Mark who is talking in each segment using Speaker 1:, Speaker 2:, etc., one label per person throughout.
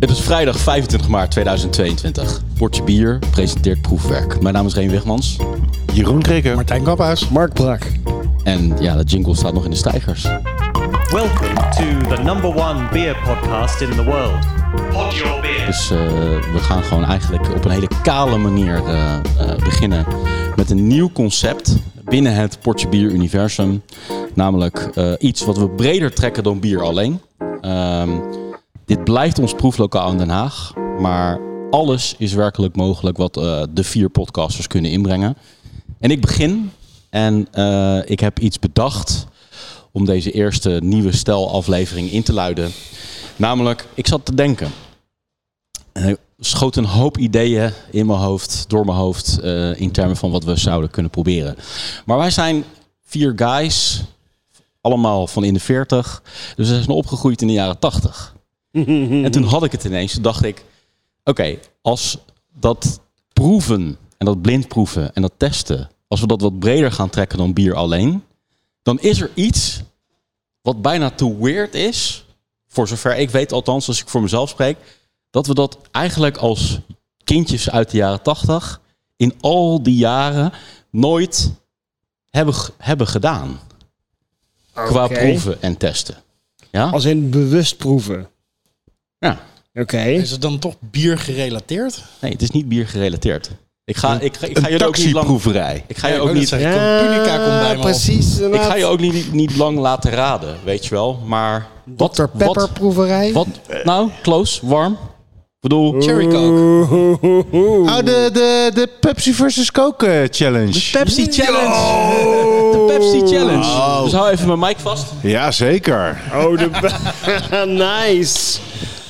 Speaker 1: Het is vrijdag 25 maart 2022. Portje Bier presenteert proefwerk. Mijn naam is Reen Wegmans.
Speaker 2: Jeroen Krikker.
Speaker 3: Martijn Kaphuis.
Speaker 4: Mark Brak.
Speaker 1: En ja, de jingle staat nog in de stijgers.
Speaker 5: Welcome to the number one beer podcast in the world. Pod your beer.
Speaker 1: Dus eh, we gaan gewoon eigenlijk op een hele kale manier eh, eh, beginnen met een nieuw concept binnen het Portje Bier Universum. Namelijk eh, iets wat we breder trekken dan bier alleen. Ehm, dit blijft ons proeflokaal in Den Haag. Maar alles is werkelijk mogelijk wat eh, de vier podcasters kunnen inbrengen. En ik begin. En eh, ik heb iets bedacht om deze eerste nieuwe stelaflevering in te luiden. Namelijk, ik zat te denken. En er schoot een hoop ideeën in mijn hoofd, door mijn hoofd, eh, in termen van wat we zouden kunnen proberen. Maar wij zijn vier guys, allemaal van in de 40, dus we zijn opgegroeid in de jaren 80. en toen had ik het ineens, toen dacht ik, oké, als dat proeven en dat blind proeven en dat testen, als we dat wat breder gaan trekken dan bier alleen, dan is er iets wat bijna te weird is, voor zover ik weet althans, als ik voor mezelf spreek, dat we dat eigenlijk als kindjes uit de jaren tachtig in al die jaren nooit hebben, g- hebben gedaan. Qua
Speaker 4: Oké.
Speaker 1: proeven en testen. Ja?
Speaker 4: Als in bewust proeven.
Speaker 1: ja.
Speaker 4: Oké.
Speaker 3: Is het dan toch bier gerelateerd?
Speaker 1: Nee, het is niet bier gerelateerd. Ik ga, ik, ga- ik ga
Speaker 2: Een
Speaker 1: jullie ook niet lang...
Speaker 2: taxiproeverij.
Speaker 1: Ik ga je ook niet...
Speaker 3: zeggen. Campunica komt bij me op.
Speaker 4: precies.
Speaker 1: Ik ga je ook niet, niet lang laten raden, weet je wel. Maar wat,
Speaker 4: Dr. Pepper
Speaker 1: wat,
Speaker 4: proeverij.
Speaker 1: wat, nou, close, warm. Ik bedoel,
Speaker 3: Cherry Coke.
Speaker 2: Oh, de, de, de Pepsi versus Coke eh, challenge.
Speaker 1: Pepsi Challenge. De Pepsi Challenge. Dus hou even mijn mic vast.
Speaker 2: Jazeker.
Speaker 4: Oh, de... nice.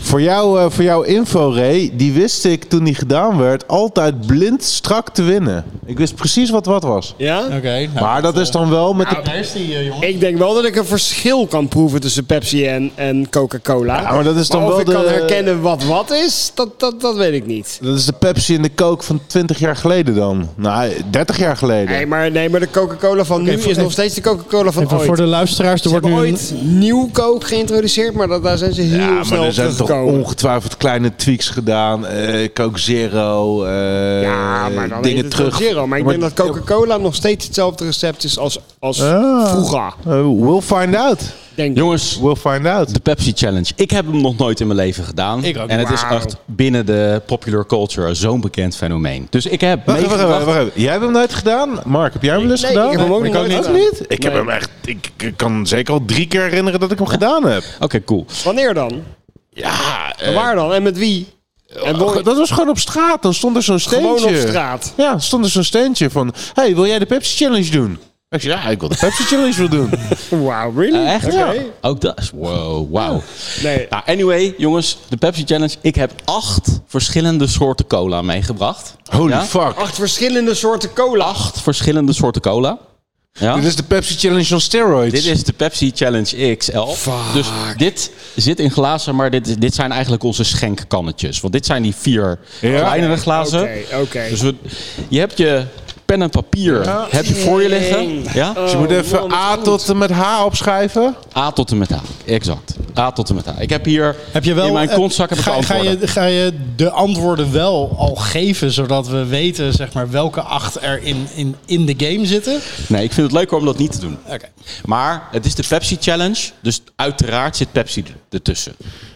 Speaker 2: Voor, jou, eh, voor jouw info, Ray, die wist ik toen die gedaan werd altijd blind strak te winnen. Ik wist precies wat wat was.
Speaker 4: Ja? eh,
Speaker 3: Oké. nou,
Speaker 2: Maar dat is dan wel met de...
Speaker 3: daar is die, eh, jongen.
Speaker 4: Ik denk wel dat ik een verschil kan proeven tussen Pepsi en, en Coca-Cola.
Speaker 2: Ja, maar dat is dan
Speaker 4: of
Speaker 2: wel
Speaker 4: ik
Speaker 2: de-
Speaker 4: kan herkennen wat wat is, dat, dat, dat weet ik niet.
Speaker 2: Dat is de Pepsi en de Coke van 20 jaar geleden dan. Nou, 30 jaar geleden.
Speaker 4: Nee, maar, nee, maar de Coca-Cola van nu
Speaker 6: voor-
Speaker 4: is nog steeds de Coca-Cola van
Speaker 6: Even
Speaker 4: ooit.
Speaker 6: voor de luisteraars, er
Speaker 4: Ze
Speaker 6: wordt
Speaker 4: hebben
Speaker 6: nu een,
Speaker 4: ooit nieuw Coke geïntroduceerd, maar dat, daar zijn ze heel
Speaker 2: Ja, maar
Speaker 4: snel
Speaker 2: er
Speaker 4: op
Speaker 2: zijn toch
Speaker 4: teruggekomen.
Speaker 2: ongetwijfeld kleine tweaks gedaan. Eh Coke Zero, eh,
Speaker 4: Ja, maar dan heet
Speaker 2: dingen
Speaker 4: het
Speaker 2: terug.
Speaker 4: ook Zero. Maar ik denk dat Coca-Cola nog steeds hetzelfde recept is als, als
Speaker 2: Ah.
Speaker 4: vroeger.
Speaker 2: Eh, we'll find out.
Speaker 4: Denk ik.
Speaker 1: Jongens,
Speaker 2: We'll find out.
Speaker 1: de Pepsi Challenge. Ik heb hem nog nooit in mijn leven gedaan.
Speaker 3: Ik ook
Speaker 1: en het
Speaker 4: niet.
Speaker 1: is
Speaker 4: Wauw.
Speaker 1: echt binnen de popular culture zo'n bekend fenomeen. Dus ik heb
Speaker 2: Wacht even, wacht
Speaker 1: meegebracht-
Speaker 2: even, wacht even. Jij hebt hem nooit gedaan? Mark, heb jij hem wel eens
Speaker 4: Nee,
Speaker 2: gedaan?
Speaker 4: ik heb hem ook
Speaker 2: Nee,
Speaker 4: nog
Speaker 2: ook
Speaker 4: nooit
Speaker 2: niet.
Speaker 4: gedaan.
Speaker 2: Ik heb
Speaker 4: Nee.
Speaker 2: hem echt... Ik, ik kan zeker al drie keer herinneren dat ik hem gedaan heb.
Speaker 1: Oké, cool.
Speaker 4: Wanneer dan?
Speaker 2: Ja, eh,
Speaker 4: Waar dan? En met wie? En wo-
Speaker 2: dat was gewoon op straat. Dan stond er zo'n steentje.
Speaker 4: gewoon op straat.
Speaker 2: Ja, stond er zo'n steentje van... hey, wil jij de Pepsi Challenge doen? Ik zei, ja, ik wil de Pepsi Challenge wel doen.
Speaker 4: Wow, really?
Speaker 1: Eh, echt?
Speaker 4: Oké.
Speaker 1: Ja. Ook dat is... Wow, wow.
Speaker 4: Nee.
Speaker 1: Nou, anyway, jongens, de Pepsi Challenge. Ik heb acht verschillende soorten cola meegebracht.
Speaker 2: Holy
Speaker 1: Ja?
Speaker 2: fuck.
Speaker 4: Acht verschillende soorten cola.
Speaker 1: Acht verschillende soorten cola. Ja?
Speaker 2: Dit is de Pepsi Challenge van steroids.
Speaker 1: Dit is de Pepsi Challenge XL. Dus dit zit in glazen, maar dit, dit zijn eigenlijk onze schenkkannetjes. Want dit zijn die vier kleinere glazen.
Speaker 4: Oké, oké.
Speaker 1: Dus we, je hebt je pen en papier heb je voor je liggen. Ja?
Speaker 6: Eh.
Speaker 1: Dus
Speaker 2: Je moet even
Speaker 4: Oh, man,
Speaker 2: A
Speaker 4: goed.
Speaker 2: tot en met H opschrijven.
Speaker 1: A tot en met A. Exact. A tot en met A. Ik heb hier
Speaker 6: Heb je wel,
Speaker 1: in mijn
Speaker 6: eh,
Speaker 1: kontzak heb ik
Speaker 6: ga, ga,
Speaker 1: antwoorden.
Speaker 6: je, ga je de antwoorden wel al geven, zodat we weten zeg maar, welke acht er in, in, in de game zitten?
Speaker 1: Nee, ik vind het leuker om dat niet te doen.
Speaker 6: Oké.
Speaker 1: Maar het is de Pepsi Challenge. Dus uiteraard zit Pepsi er- ertussen.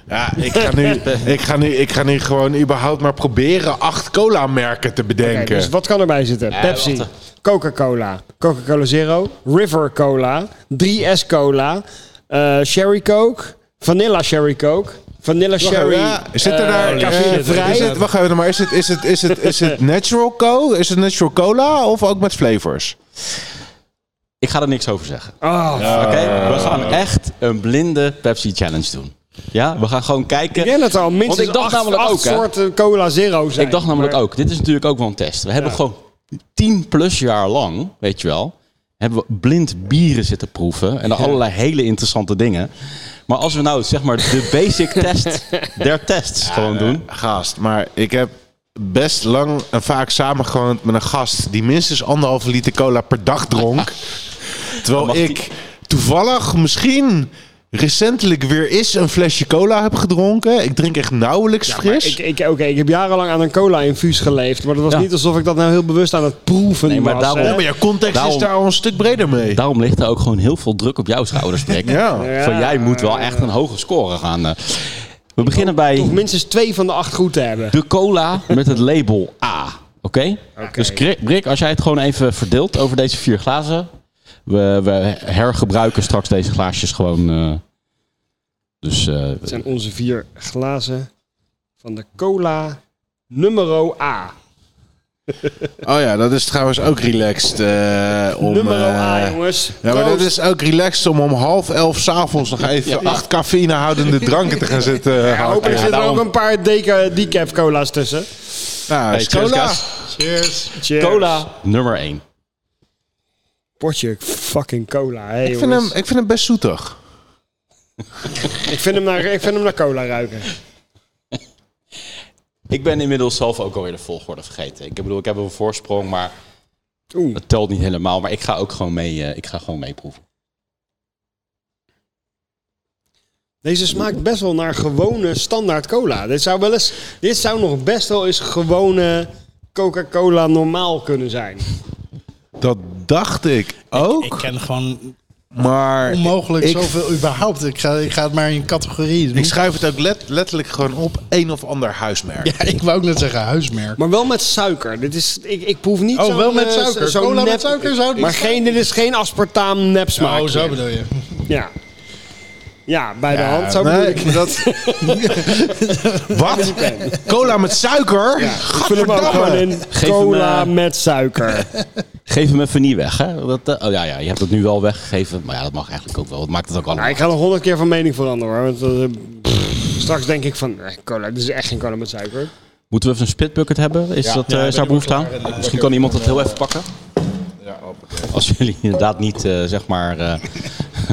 Speaker 2: Ja, ik ga, nu, ik, ga nu, ik ga nu gewoon überhaupt maar proberen acht cola-merken te
Speaker 4: Oké,
Speaker 2: bedenken.
Speaker 4: dus wat kan erbij zitten? Pepsi,
Speaker 1: wacht.
Speaker 4: Coca-Cola, Coca-Cola Zero, River Cola, 3S Cola, eh, Sherry Coke, Vanilla Sherry Coke, Vanilla Sherry...
Speaker 2: Ja, zit er
Speaker 4: eh,
Speaker 2: daar eh,
Speaker 4: cafeïne vrij?
Speaker 2: Is het, wacht even, maar is het, is het, is het, is het natural co? Is het natural cola of ook met flavors?
Speaker 1: Ik ga er niks over zeggen.
Speaker 4: Ah,
Speaker 1: Oké, we gaan echt een blinde Pepsi Challenge doen. Ja, we gaan gewoon kijken.
Speaker 4: Ik ken het al. Minstens
Speaker 1: Want ik dacht
Speaker 4: acht,
Speaker 1: namelijk
Speaker 4: acht
Speaker 1: ook, hè.
Speaker 4: soorten cola zero zijn.
Speaker 1: Ik dacht namelijk
Speaker 4: Maar
Speaker 1: ook, dit is natuurlijk ook wel een test. We hebben gewoon 10 plus jaar lang, weet je wel, hebben we blind bieren zitten proeven en allerlei hele interessante dingen. Maar als we nou zeg maar de basic test der tests gewoon doen.
Speaker 2: Gast, maar ik heb best lang en vaak samengewoond met een gast die minstens anderhalve liter cola per dag dronk.
Speaker 1: Dan
Speaker 2: terwijl
Speaker 1: mag
Speaker 2: ik toevallig misschien recentelijk weer eens een flesje cola heb gedronken. Ik drink echt nauwelijks
Speaker 4: Maar
Speaker 2: fris.
Speaker 4: Ik, ik, oké, ik heb jarenlang aan een cola-infuus geleefd. Maar dat was
Speaker 1: Ja.
Speaker 4: niet alsof ik dat nou heel bewust aan het proeven
Speaker 1: Nee, maar
Speaker 4: was.
Speaker 1: daarom-
Speaker 4: hè.
Speaker 2: ja, maar jouw context
Speaker 1: Daarom-
Speaker 2: is daar al een stuk breder mee.
Speaker 1: Daarom ligt er ook gewoon heel veel druk op jouw schouders, Rick.
Speaker 2: Ja.
Speaker 4: Ja.
Speaker 1: Van jij moet wel echt een hoge score gaan. eh. We beginnen
Speaker 4: Toch
Speaker 1: bij
Speaker 4: minstens twee van de acht goed te hebben.
Speaker 1: de cola met het label A. Oké? Dus Rick, Rick, als jij het gewoon even verdeelt over deze vier glazen. We, we hergebruiken straks deze glaasjes gewoon. eh. dus eh,
Speaker 4: Dat zijn onze vier glazen van de cola numero A.
Speaker 2: Oh ja, dat is trouwens ook relaxed. eh, om,
Speaker 4: numero A,
Speaker 2: eh,
Speaker 4: jongens.
Speaker 2: Ja, maar dat
Speaker 4: Proost.
Speaker 2: is ook relaxed om om half elf s'avonds nog even acht cafeïnehoudende dranken te gaan zitten.
Speaker 4: Ja,
Speaker 2: Ja,
Speaker 4: hopelijk
Speaker 2: ja,
Speaker 4: zitten er ook een paar deca- decaf cola's tussen.
Speaker 1: hey,
Speaker 2: is
Speaker 1: cheers,
Speaker 2: cola.
Speaker 1: guys.
Speaker 6: Cheers.
Speaker 4: Cheers.
Speaker 1: Cola nummer 1.
Speaker 4: Potje fucking cola. Hè,
Speaker 2: Ik vind, hem, ik vind hem best zoetig.
Speaker 4: ik, vind hem naar, ik vind hem naar cola ruiken.
Speaker 1: Ik ben inmiddels zelf ook alweer de volgorde vergeten. Ik bedoel, ik heb een voorsprong, maar
Speaker 4: Oeh.
Speaker 1: het telt niet helemaal. Maar ik ga ook gewoon mee, eh, ik ga gewoon meeproeven.
Speaker 4: Deze smaakt best wel naar gewone standaard cola. Dit zou, wel eens, dit zou nog best wel eens gewone Coca-Cola normaal kunnen zijn.
Speaker 2: Dat dacht ik ook.
Speaker 6: Ik ken gewoon
Speaker 2: maar
Speaker 6: onmogelijk
Speaker 2: ik,
Speaker 6: zoveel überhaupt. Ik ga, ik ga het maar in categorieën doen.
Speaker 2: Ik schrijf het ook let- letterlijk gewoon op een of ander huismerk.
Speaker 6: Ja, ik wou ook net zeggen huismerk.
Speaker 4: Maar wel met suiker. Dit is, ik, ik proef niet
Speaker 6: Oh,
Speaker 4: zo'n,
Speaker 6: wel met
Speaker 4: eh,
Speaker 6: suiker.
Speaker 4: zo'n
Speaker 6: Cola met
Speaker 4: nep-
Speaker 6: suiker zou het
Speaker 4: Maar
Speaker 6: niet
Speaker 4: geen, dit is geen aspartaam nepsmaak.
Speaker 6: oh, zo bedoel je.
Speaker 4: Ja. Ja, bij de hand. Zo bedoel
Speaker 2: nee,
Speaker 4: ik.
Speaker 2: dat... Wat? Cola met suiker?
Speaker 4: Ik vul hem ook gewoon in
Speaker 1: Geef hem,
Speaker 4: cola
Speaker 1: eh,
Speaker 4: met suiker.
Speaker 1: Geef hem even niet weg, hè? Dat, eh, oh ja, ja, je hebt het nu wel weggegeven. Maar ja, dat mag eigenlijk ook wel. Dat maakt het ook allemaal.
Speaker 4: Nou, ik ga nog honderd keer van mening veranderen hoor. Want, eh, pff, straks denk ik van, eh, cola, dit is echt geen cola met suiker.
Speaker 1: Moeten we even een spitbucket hebben? Is, dat, eh, is daar behoefte aan? Misschien kan iemand dat heel even pakken. Als jullie inderdaad niet, eh, zeg maar, eh,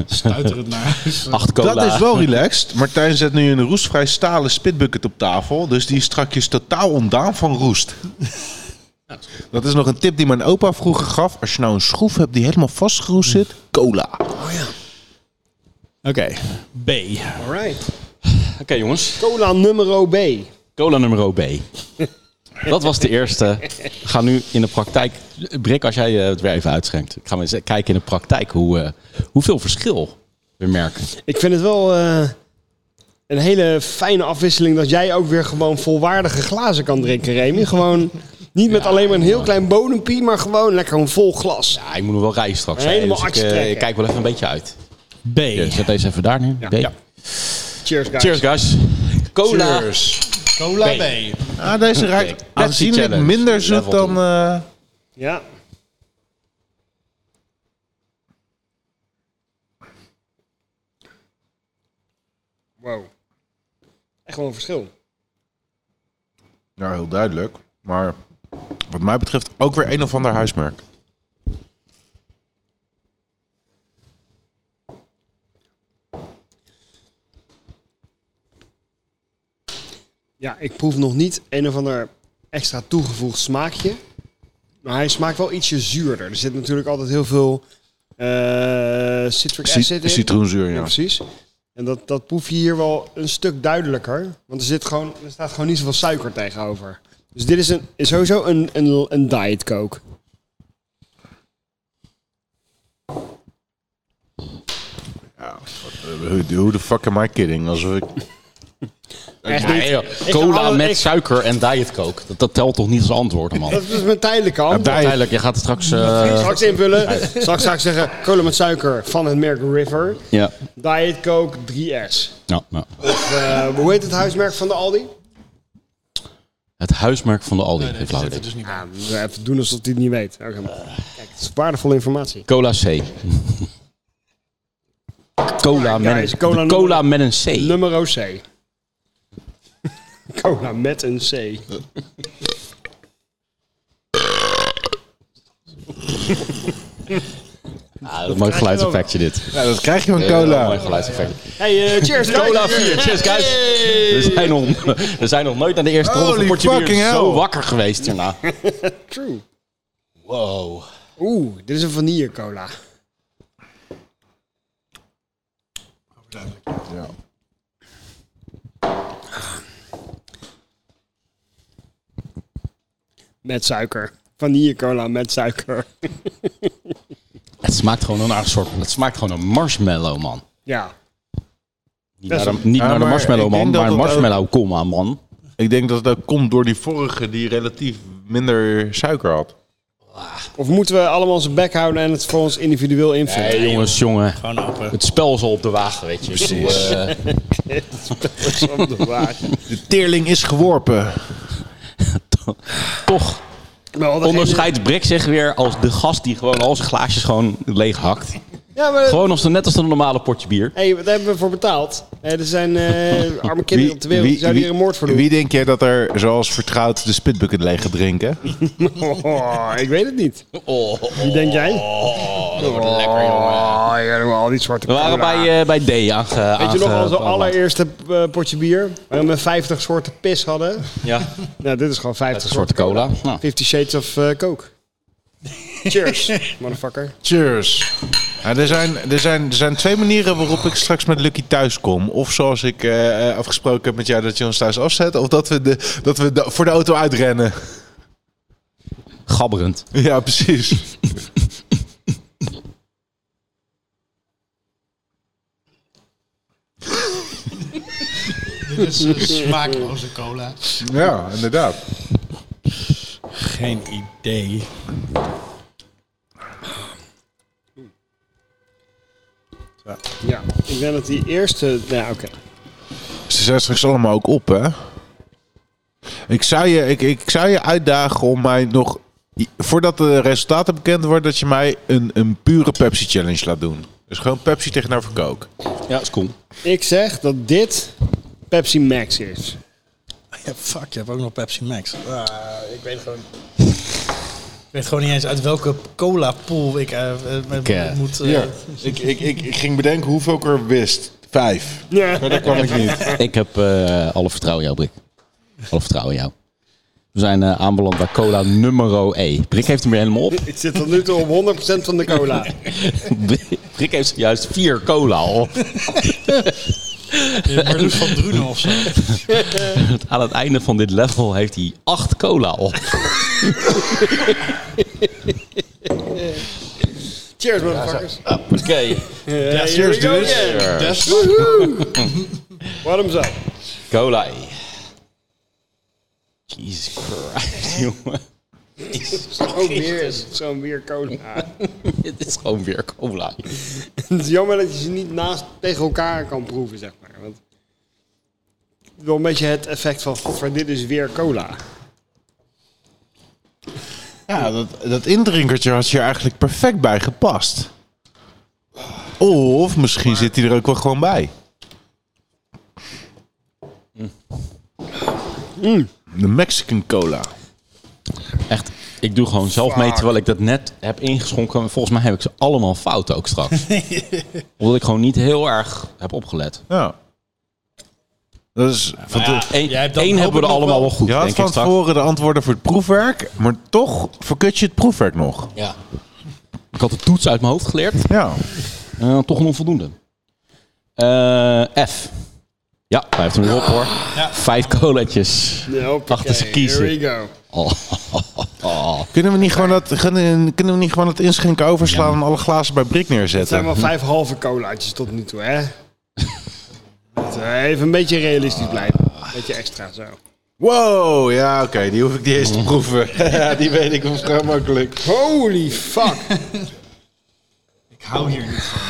Speaker 6: Stuiterend naar huis.
Speaker 1: acht cola...
Speaker 2: Dat is wel relaxed. Martijn zet nu een roestvrij stalen spitbucket op tafel. Dus die is strakjes totaal ontdaan van roest. Dat is nog een tip die mijn opa vroeger gaf. Als je nou een schroef hebt die helemaal vastgeroest zit, cola.
Speaker 6: Oké, B.
Speaker 4: Alright.
Speaker 1: Oké, jongens.
Speaker 4: Cola nummer B.
Speaker 1: Cola nummer B. Dat was de eerste. Ga nu in de praktijk... Brik, als jij eh, het weer even uitschenkt. Ik ga maar eens kijken in de praktijk hoe, eh, hoeveel verschil we merken.
Speaker 4: Ik vind het wel eh, een hele fijne afwisseling dat jij ook weer gewoon volwaardige glazen kan drinken, Remy. Gewoon niet met alleen maar een heel klein bodempie, maar gewoon lekker een vol glas.
Speaker 1: Ja, ik Ah, moet nog wel rijden straks. hè,
Speaker 4: Helemaal
Speaker 1: dus ik,
Speaker 4: actie
Speaker 1: eh,
Speaker 4: trekken.
Speaker 1: ik kijk wel even een beetje uit.
Speaker 6: B.
Speaker 1: Ja, zet deze even daar neer. B.
Speaker 4: Cheers, guys.
Speaker 1: Cheers, guys. Cola.
Speaker 6: Cola B.
Speaker 2: Ah, deze
Speaker 1: Kijk,
Speaker 2: ruikt
Speaker 1: Ansi
Speaker 2: aanzienlijk
Speaker 1: Challenge,
Speaker 2: minder zoet
Speaker 1: level
Speaker 2: dan...
Speaker 1: two.
Speaker 2: eh,
Speaker 4: Ja. Wow. Echt wel een verschil.
Speaker 2: Ja, nou, heel duidelijk. Maar wat mij betreft ook weer een of ander huismerk.
Speaker 4: Ja, ik proef nog niet een of ander extra toegevoegd smaakje. Maar hij smaakt wel ietsje zuurder. Er zit natuurlijk altijd heel veel eh citric
Speaker 2: Cit-
Speaker 4: acid in.
Speaker 2: citroenzuur,
Speaker 4: Ja,
Speaker 2: ja.
Speaker 4: precies. En dat, dat proef je hier wel een stuk duidelijker. Want er, zit gewoon, er staat gewoon niet zoveel suiker tegenover. Dus dit is, een, is sowieso een, een, een diet coke.
Speaker 2: Who, who the fuck am I kidding? Alsof ik...
Speaker 4: Echt
Speaker 1: Nee, joh. Cola met suiker en diet coke. Dat, dat telt toch niet als antwoord, man?
Speaker 4: Dat is dus mijn tijdelijke hand.
Speaker 1: Uiteindelijk, je gaat het straks... eh,
Speaker 4: Straks invullen. Straks straks zeggen cola met suiker van het merk River.
Speaker 1: ja.
Speaker 4: Diet coke 3S.
Speaker 1: Nou, nou.
Speaker 4: Eh, hoe heet het huismerk van de Aldi?
Speaker 1: Het huismerk van de Aldi. geen flauw idee.
Speaker 4: Ja, we moeten even doen alsof hij het niet weet. Oké, maar Eh, Kijk, het is waardevolle informatie.
Speaker 2: dus
Speaker 1: Cola C. Cola,
Speaker 4: Alright,
Speaker 1: met,
Speaker 4: guys,
Speaker 1: een,
Speaker 4: cola
Speaker 1: cola, cola met een C.
Speaker 4: Nummer C. Cola met een C.
Speaker 1: Ah, dat is een mooi geluidseffectje dit.
Speaker 2: Ja, dat krijg je van cola.
Speaker 1: Mooi geluidseffectje.
Speaker 4: Hey, eh, cheers
Speaker 1: Cola 4, cheers guys. We zijn, nog, we zijn nog nooit aan de eerste ronde van
Speaker 2: Holy
Speaker 1: Potje Bier
Speaker 2: fucking
Speaker 1: zo
Speaker 2: hell.
Speaker 1: wakker geweest hierna.
Speaker 4: True.
Speaker 1: Wow.
Speaker 4: Oeh, dit is een vanille cola.
Speaker 7: duidelijk.
Speaker 2: Ja.
Speaker 4: Met suiker. Vanille cola met suiker.
Speaker 1: Het smaakt gewoon naar een soort. Het smaakt gewoon een marshmallow, man.
Speaker 4: Ja.
Speaker 1: Niet
Speaker 4: Best
Speaker 1: naar de,
Speaker 4: wel.
Speaker 1: niet
Speaker 2: Ja,
Speaker 1: naar de
Speaker 2: maar
Speaker 1: marshmallow,
Speaker 2: ik denk
Speaker 1: man,
Speaker 2: dat
Speaker 1: maar een
Speaker 2: dat ook-
Speaker 1: marshmallow, comma, man.
Speaker 2: Ik denk dat dat komt door die vorige die relatief minder suiker had.
Speaker 4: Of moeten we allemaal zijn bek houden en het voor ons individueel invullen?
Speaker 1: Hey, jongens, jongen.
Speaker 6: Gewoon open.
Speaker 1: Het spel is al op de wagen, weet je. eh, Precies.
Speaker 2: De teerling is geworpen.
Speaker 1: toch
Speaker 4: Maar wel degene-
Speaker 1: onderscheidt Brik zich weer als de gast die gewoon al zijn glaasjes gewoon leeg hakt.
Speaker 4: Ja, maar
Speaker 1: Gewoon als de, net als de normale potje bier.
Speaker 4: hey, wat hebben we voor betaald? Eh, er zijn eh, arme kinderen op de wereld die zouden hier een moord voor doen.
Speaker 2: Wie denk jij dat er, zoals vertrouwd, de spitbucket leeg gaat drinken?
Speaker 4: Oh, ik weet het niet. Wie denk jij? Oh, ja, doen we al die zwarte
Speaker 1: We waren
Speaker 4: cola.
Speaker 1: bij, eh, bij D aange,
Speaker 4: Weet je nog,
Speaker 1: aange-
Speaker 4: onze allereerste eh, potje bier, waarin we 50 soorten pis hadden.
Speaker 1: Ja,
Speaker 4: Nou, dit is gewoon 50
Speaker 1: een soort cola. Nou,
Speaker 4: 50 Shades of eh, Coke. Cheers, motherfucker.
Speaker 2: Cheers. Nou, er, zijn, er, zijn, er zijn twee manieren waarop ik straks met Lucky thuis kom. Of zoals ik eh, eh, afgesproken heb met jou dat je ons thuis afzet. Of dat we, de, dat we de- voor de auto uitrennen.
Speaker 1: gabberend.
Speaker 2: Ja, precies.
Speaker 6: Dit is eh, smaakloze cola.
Speaker 2: Ja, inderdaad.
Speaker 6: Geen idee.
Speaker 4: Ja, ik denk dat die eerste... Nou, ja, oké.
Speaker 2: Ze zijn straks allemaal ook op, hè? Ik zou je, ik, ik zou je uitdagen om mij nog... Voordat de resultaten bekend worden, dat je mij een, een pure Pepsi-challenge laat doen. Dus gewoon Pepsi tegenover Coke.
Speaker 1: Ja, is cool.
Speaker 4: Ik zeg dat dit Pepsi Max is.
Speaker 6: Ja, fuck, je hebt ook nog Pepsi Max. Ah, ik weet gewoon... Ik weet gewoon niet eens uit welke cola pool ik eh, eh, met-
Speaker 1: Oké.
Speaker 6: moet... eh,
Speaker 2: Ik, ik, ik, ik ging bedenken hoeveel ik er wist. Vijf.
Speaker 4: Ja.
Speaker 2: Maar dat kwam ik niet.
Speaker 1: Ik heb eh, alle vertrouwen in jou, Brik. Alle vertrouwen in jou. We zijn eh, aanbeland bij cola nummer E. Brik heeft hem weer helemaal op.
Speaker 4: Ik zit tot nu toe op 100% van de cola.
Speaker 1: Brik heeft juist vier cola al.
Speaker 6: Marloes van Drunen of zo.
Speaker 1: Aan het einde van dit level heeft hij acht cola op.
Speaker 4: Cheers, motherfuckers.
Speaker 1: Oké.
Speaker 4: Ja,
Speaker 2: cheers, dudes.
Speaker 4: Wat hem zo.
Speaker 1: Cola E. Jesus Christ, jongen.
Speaker 4: Gewoon weer is het zo'n weer cola.
Speaker 1: Dit is gewoon weer cola.
Speaker 4: Het is jammer dat je ze niet naast tegen elkaar kan proeven, zeg maar. Want het is wel een beetje het effect van, godver, dit is weer cola.
Speaker 2: Ja, dat, dat indrinkertje had je er eigenlijk perfect bij gepast. Of misschien zit hij er ook wel gewoon bij. De Mexican cola.
Speaker 1: Echt, ik doe gewoon zelf mee terwijl ik dat net heb ingeschonken. Volgens mij heb ik ze allemaal fout ook straks. Omdat ik gewoon niet heel erg heb opgelet.
Speaker 2: Ja. Dat is van te-
Speaker 1: Eén
Speaker 6: jij hebt dan
Speaker 1: één hebben we
Speaker 6: hopelijk
Speaker 1: er
Speaker 6: nog
Speaker 1: allemaal wel
Speaker 6: wel-
Speaker 1: goed,
Speaker 2: je had
Speaker 1: denk ik
Speaker 2: van
Speaker 1: straks.
Speaker 2: tevoren de antwoorden voor het proefwerk, maar toch verkut je het proefwerk nog.
Speaker 1: Ja. Ik had de toets uit mijn hoofd geleerd.
Speaker 2: Ja.
Speaker 1: Eh, toch een onvoldoende. Eh, F. Ja, hij heeft hem weer op hoor. Vijf coletjes. Wachten ze kiezen.
Speaker 4: Here we go.
Speaker 1: Oh,
Speaker 2: Kunnen we niet gewoon dat, kunnen, kunnen we niet gewoon dat inschenken overslaan en alle glazen bij Brik
Speaker 4: Het zijn
Speaker 2: neerzetten?
Speaker 4: wel vijf halve colaatjes tot nu toe, hè? Laten we Even een beetje realistisch blijven. Een beetje extra zo.
Speaker 2: Wow, ja oké, die hoef ik niet eens te proeven. die weet ik vrij makkelijk.
Speaker 4: Holy fuck.
Speaker 6: Ik hou hier niet van.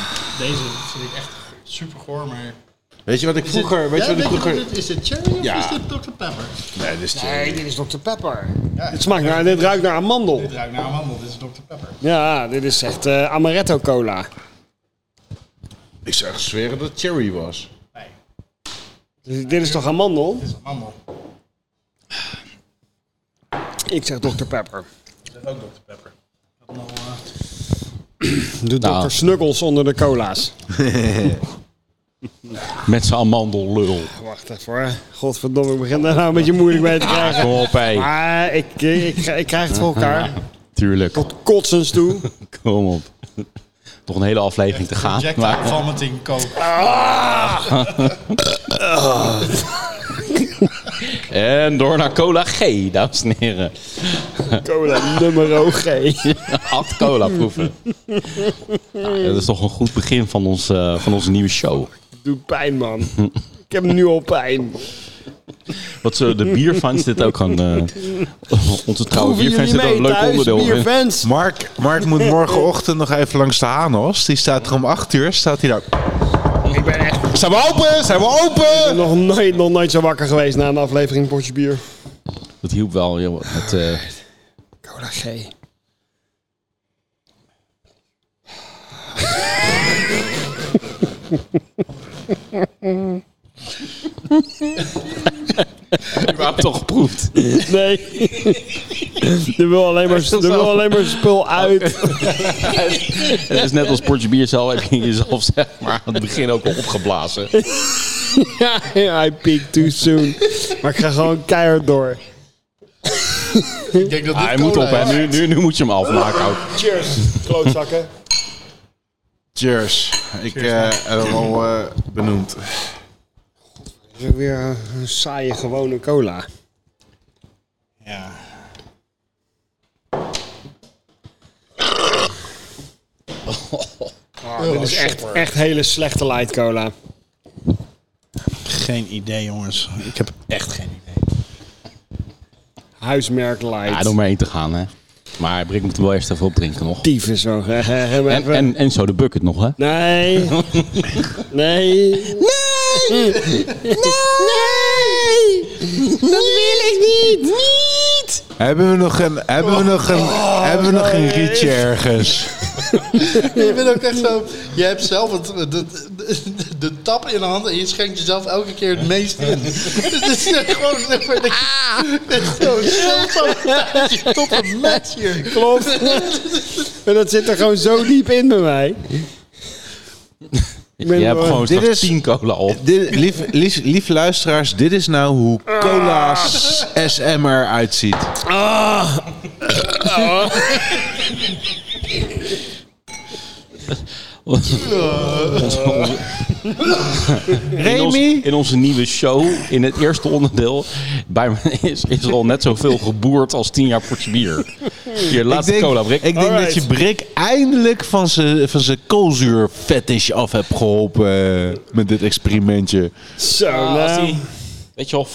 Speaker 6: Deze vind ik echt super goor, maar...
Speaker 2: Weet je wat ik vroeger... Weet je wat ik vroeger...
Speaker 6: dit is? dit cherry of
Speaker 2: Ja.
Speaker 6: is dit Dr. Pepper?
Speaker 2: Nee, dus dit is te-
Speaker 4: Nee, dit is Dr. Pepper. Dit, smaakt naar, dit ruikt naar amandel.
Speaker 6: Dit ruikt naar amandel, dit is Dr. Pepper.
Speaker 4: Ja, dit is echt eh, amaretto cola.
Speaker 2: Ik zou echt zweren dat het cherry was.
Speaker 6: Nee,
Speaker 4: Dus dit is toch amandel?
Speaker 6: dit is amandel.
Speaker 4: Ik zeg Dr. Pepper.
Speaker 6: Dit is ook Dr. Pepper.
Speaker 4: Doe
Speaker 1: Nou.
Speaker 4: Dr. Snuggles onder de cola's.
Speaker 1: met zijn amandellul.
Speaker 4: Wacht even hoor. Godverdomme, ik begin daar nou een beetje moeilijk mee te krijgen.
Speaker 1: Kom op, hé.
Speaker 4: Maar ik, ik, ik krijg het voor elkaar.
Speaker 1: Tuurlijk.
Speaker 4: Tot kotsens toe.
Speaker 1: Kom op. nog een hele aflevering te gaan.
Speaker 6: Jack
Speaker 1: Maar-
Speaker 6: vomiting coke.
Speaker 1: En door naar cola G, dames en heren.
Speaker 4: Cola nummer G.
Speaker 1: Acht cola proeven. Nou, dat is toch een goed begin van, ons, eh, van onze nieuwe show.
Speaker 4: Doe pijn, man. Ik heb nu al pijn.
Speaker 1: Wat zullen de bierfans dit ook gaan... eh, onze trouwe
Speaker 4: Proeven
Speaker 1: bierfans dit
Speaker 4: jullie
Speaker 1: ook
Speaker 4: mee
Speaker 1: een leuk
Speaker 4: thuis,
Speaker 1: onderdeel vinden.
Speaker 4: bierfans?
Speaker 2: Mark, Mark moet morgenochtend nog even langs de Hanos. Die staat er om 8 uur. Staat hij daar.
Speaker 4: Ik ben echt
Speaker 2: Zijn we open? Zijn we open?
Speaker 4: nog nooit, nog nooit zo wakker geweest na een aflevering Potje Bier.
Speaker 1: Dat hielp wel, joh. Het, eh,
Speaker 4: Cola G.
Speaker 1: ik heb het al geproefd.
Speaker 4: Nee. er, wil alleen maar, er wil alleen maar
Speaker 1: Oh,
Speaker 4: spul uit.
Speaker 1: Het is net als portje bier zelf. Heb je jezelf zeg maar aan het begin ook al opgeblazen.
Speaker 4: ja, I peak too soon. Maar ik ga gewoon keihard door.
Speaker 6: Ik denk dat dit
Speaker 1: Ah, hij moet
Speaker 6: cola
Speaker 1: op, hè. Nu, nu, nu moet je hem afmaken ook.
Speaker 4: Cheers, klootzakken.
Speaker 2: Cheers. Ik eh, heb hem al eh, benoemd.
Speaker 4: Dat is weer een saaie gewone cola.
Speaker 6: Ja.
Speaker 4: Ah, dit is echt, echt hele slechte light cola.
Speaker 6: Geen idee, jongens. Ik heb echt geen idee.
Speaker 4: Huismerk
Speaker 1: Ja, door
Speaker 4: light.
Speaker 1: maar één te gaan, hè. Maar Brik moet er wel eerst even op drinken nog.
Speaker 4: Tief is nog.
Speaker 1: En, en, en zo de bucket nog, hè.
Speaker 4: Nee. Nee. Nee.
Speaker 2: Hebben we nog een, hebben we nog een, hebben we nog een rietje ergens?
Speaker 6: Je bent ook echt zo. Je hebt zelf het, de, de, de tap in de hand en je schenkt jezelf elke keer het meest in. Dus Het is echt gewoon. Het is gewoon zo. Tot een match hier.
Speaker 4: Klopt. Maar dat zit er gewoon zo diep in bij mij.
Speaker 1: Je
Speaker 4: ben-
Speaker 1: hebt gewoon
Speaker 2: dit
Speaker 1: straks
Speaker 2: is-
Speaker 1: 10 cola op.
Speaker 2: Dit, lief, lief, lief luisteraars, dit is nou hoe cola's SM eruit ziet.
Speaker 1: In, ons- in onze nieuwe show, in het eerste onderdeel, bij me is, is er al net zoveel geboerd als 10 jaar portje bier. Hier, laatste
Speaker 2: denk,
Speaker 1: cola, Brik.
Speaker 2: ik denk dat je Brik eindelijk van zijn van zijn koolzuurfetish af hebt geholpen eh, met dit experimentje.
Speaker 4: Zo,
Speaker 1: Eh, Ah, Als
Speaker 4: nou.
Speaker 1: die, weet je wel,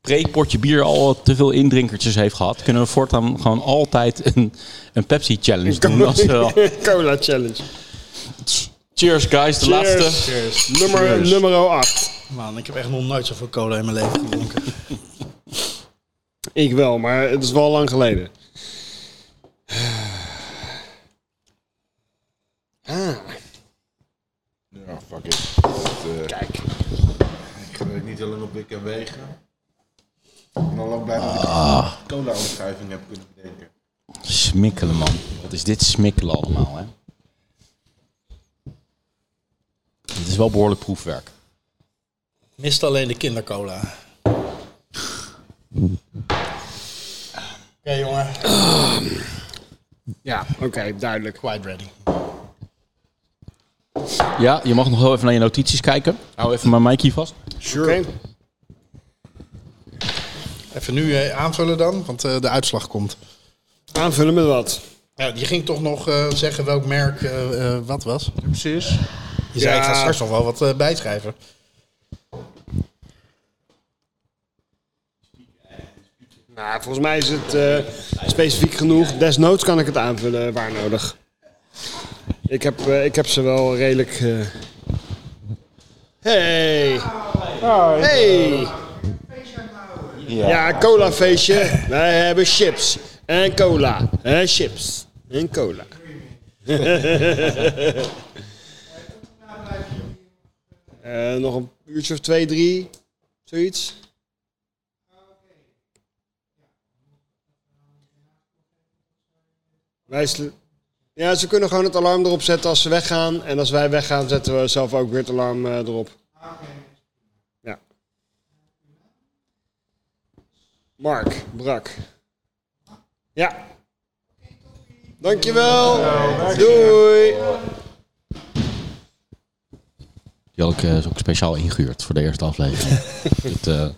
Speaker 1: pre-portje bier al te veel indrinkertjes heeft gehad, kunnen we voortaan gewoon altijd een, een Pepsi-challenge doen. Als we al-
Speaker 4: Cola challenge.
Speaker 1: Cheers, guys. De
Speaker 4: Cheers.
Speaker 1: laatste.
Speaker 4: Nummer, nummer 8.
Speaker 6: Man, ik heb echt nog nooit zoveel cola in mijn leven gedronken.
Speaker 4: Ik wel, maar het is wel lang geleden.
Speaker 2: Ja, fuck it. Kijk. Ik ga er niet te lang op wik en wegen. Ik ben al lang blij dat ik een cola-omschrijving heb kunnen bedenken.
Speaker 1: Smikkelen, man. Wat is dit smikkelen allemaal, hè? Dit is wel behoorlijk proefwerk.
Speaker 6: Mist alleen de kindercola. Oké, jongen.
Speaker 4: Ja, oké, duidelijk.
Speaker 6: Quite ready.
Speaker 1: Ja, je mag nog heel even naar je notities kijken. Hou even mijn Mikey vast.
Speaker 4: Sure.
Speaker 6: Even nu eh, aanvullen dan, want eh, de uitslag komt.
Speaker 4: Aanvullen met wat?
Speaker 6: Ja, je ging toch nog eh, zeggen welk merk eh, eh, wat was?
Speaker 2: Precies.
Speaker 6: Je zei,
Speaker 4: Ja.
Speaker 6: ik ga straks nog wel wat eh, bijschrijven.
Speaker 4: Nou, volgens mij is het eh, specifiek genoeg. Desnoods kan ik het aanvullen waar nodig. Ik heb, eh, ik heb ze wel redelijk. eh, Hey! Hey! Ja, cola feestje. Wij hebben chips. En cola. En chips. En cola. Eh, nog een uurtje of twee, drie. Zoiets. Wij sl- ja, ze kunnen gewoon het alarm erop zetten als ze weggaan. En als wij weggaan, zetten we zelf ook weer het alarm eh, erop. Ja. Mark, Brak. Ja. Dankjewel. Doei.
Speaker 1: Die had ik eh, ook speciaal ingehuurd voor de eerste aflevering. Met, eh,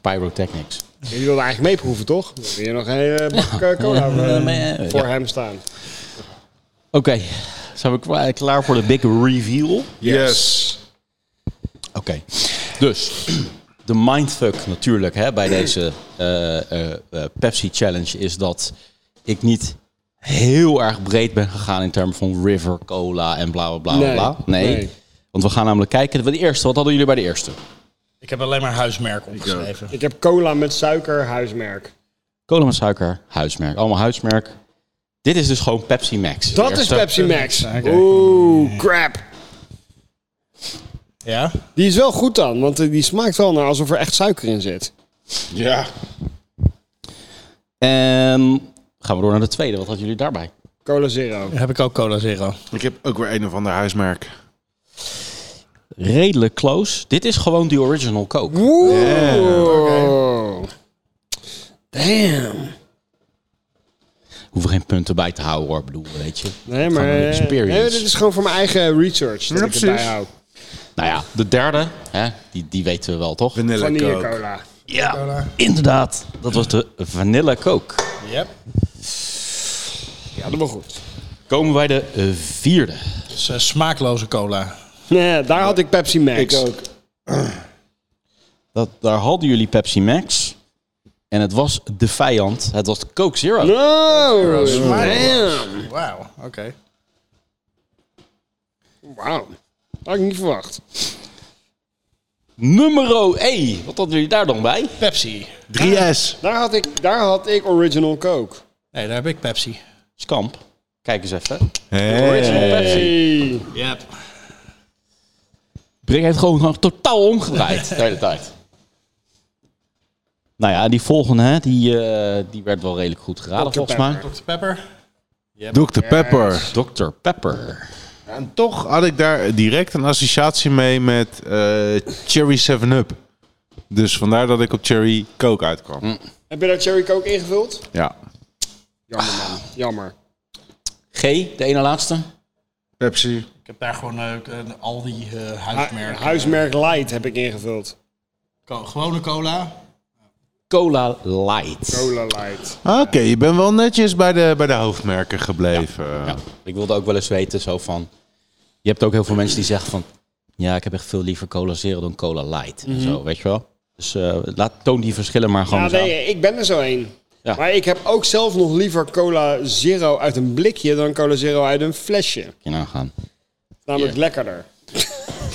Speaker 1: pyrotechnics.
Speaker 4: Jullie wilden eigenlijk meeproeven, toch? Dan wil je nog een hele bak eh, cola eh,
Speaker 1: Eh,
Speaker 4: voor
Speaker 1: ja.
Speaker 4: hem staan.
Speaker 1: Oké, zijn we kwa- klaar voor de big reveal? Oké,
Speaker 8: Yes.
Speaker 1: dus de mindfuck natuurlijk hè, bij deze eh, eh, eh, Pepsi Challenge is dat ik niet heel erg breed ben gegaan in termen van river, cola en bla bla bla.
Speaker 4: Nee,
Speaker 1: bla. Nee.
Speaker 4: nee.
Speaker 1: Want we gaan namelijk kijken, de eerste, wat hadden jullie bij de eerste?
Speaker 6: Ik heb alleen maar huismerken opgeschreven.
Speaker 4: Ik heb cola met suiker, huismerk.
Speaker 1: Cola met suiker, huismerk. Allemaal huismerk. Dit is dus gewoon Pepsi Max.
Speaker 4: Dat
Speaker 1: Eerste.
Speaker 4: is Pepsi Max. Oeh, crap.
Speaker 6: Ja?
Speaker 4: Die is wel goed dan, want eh, die smaakt wel naar alsof er echt suiker in zit.
Speaker 8: Ja.
Speaker 1: En Ehm, gaan we door naar de tweede. Wat hadden jullie daarbij?
Speaker 4: Cola Zero.
Speaker 6: Heb ik ook Cola Zero.
Speaker 8: Ik heb ook weer een of ander huismerk.
Speaker 1: Redelijk close. Dit is gewoon die original Coke.
Speaker 4: Oeh. Damn.
Speaker 1: Hoeven geen punten bij te houden hoor. Ik bedoel, weet je.
Speaker 4: Nee,
Speaker 1: Gewoon
Speaker 4: maar...
Speaker 1: een
Speaker 4: eh,
Speaker 1: experience.
Speaker 4: Nee, dit is gewoon voor mijn eigen research dat
Speaker 8: Ja,
Speaker 4: ik erbij
Speaker 8: precies.
Speaker 4: hou.
Speaker 1: Nou ja, de derde. Hè, die, die weten we wel toch?
Speaker 8: Vanille
Speaker 4: Vanille
Speaker 8: coke.
Speaker 4: cola.
Speaker 1: Ja, inderdaad. Dat was de Vanilla Coke.
Speaker 6: Yep.
Speaker 4: Ja, dat was goed.
Speaker 1: Komen wij de eh, vierde.
Speaker 6: Dat is eh, smaakloze cola.
Speaker 4: Nee, daar had ik Pepsi Max.
Speaker 8: Ik ook.
Speaker 1: Dat, daar hadden jullie Pepsi Max. En het was de vijand. Het was de Coke Zero.
Speaker 4: No! Damn.
Speaker 6: Smaakloos. Wauw, oké.
Speaker 4: Wauw. Had ik niet verwacht.
Speaker 1: Nummer 1. Wat hadden jullie daar dan bij?
Speaker 6: Pepsi.
Speaker 8: 3S.
Speaker 4: Daar had ik, daar had ik Original Coke.
Speaker 6: Nee, daar heb ik Pepsi.
Speaker 1: Skamp. Kijk eens even.
Speaker 4: Original Pepsi.
Speaker 6: Yep.
Speaker 1: Brink heeft gewoon, gewoon totaal omgedraaid de hele tijd. Nou ja, die volgende, hè, die, eh, die werd wel redelijk goed geraden
Speaker 4: Dr.
Speaker 1: volgens mij.
Speaker 4: Pepper.
Speaker 6: Dr. Pepper.
Speaker 8: Dr. Pepper.
Speaker 1: Dr. Pepper.
Speaker 8: En toch had ik daar direct een associatie mee met eh, Cherry 7-Up. Dus vandaar dat ik op Cherry Coke uitkwam.
Speaker 4: Heb je daar Cherry Coke ingevuld?
Speaker 8: Ja.
Speaker 4: Jammer man, jammer.
Speaker 1: G, de ene laatste.
Speaker 8: Pepsi.
Speaker 6: Ik heb daar gewoon eh, een Aldi eh
Speaker 4: Hu-
Speaker 6: huismerk.
Speaker 4: huismerk Light heb ik ingevuld.
Speaker 6: Co- gewone cola.
Speaker 1: Cola Light.
Speaker 4: Cola Light.
Speaker 8: Oké, je bent wel netjes bij de, bij de hoofdmerken gebleven.
Speaker 1: Ja, ik wilde ook wel eens weten zo van... Je hebt ook heel veel mensen die zeggen van... Ja, ik heb echt veel liever Cola Zero dan Cola Light. en zo, weet je wel? Dus eh, laat, toon die verschillen maar gewoon
Speaker 4: Mhm. Ja,
Speaker 1: eens aan.
Speaker 4: nee, ik ben er zo een.
Speaker 1: Ja.
Speaker 4: Maar ik heb ook zelf nog liever Cola Zero uit een blikje dan Cola Zero uit een flesje.
Speaker 1: Je nou gaan.
Speaker 4: Namelijk lekkerder.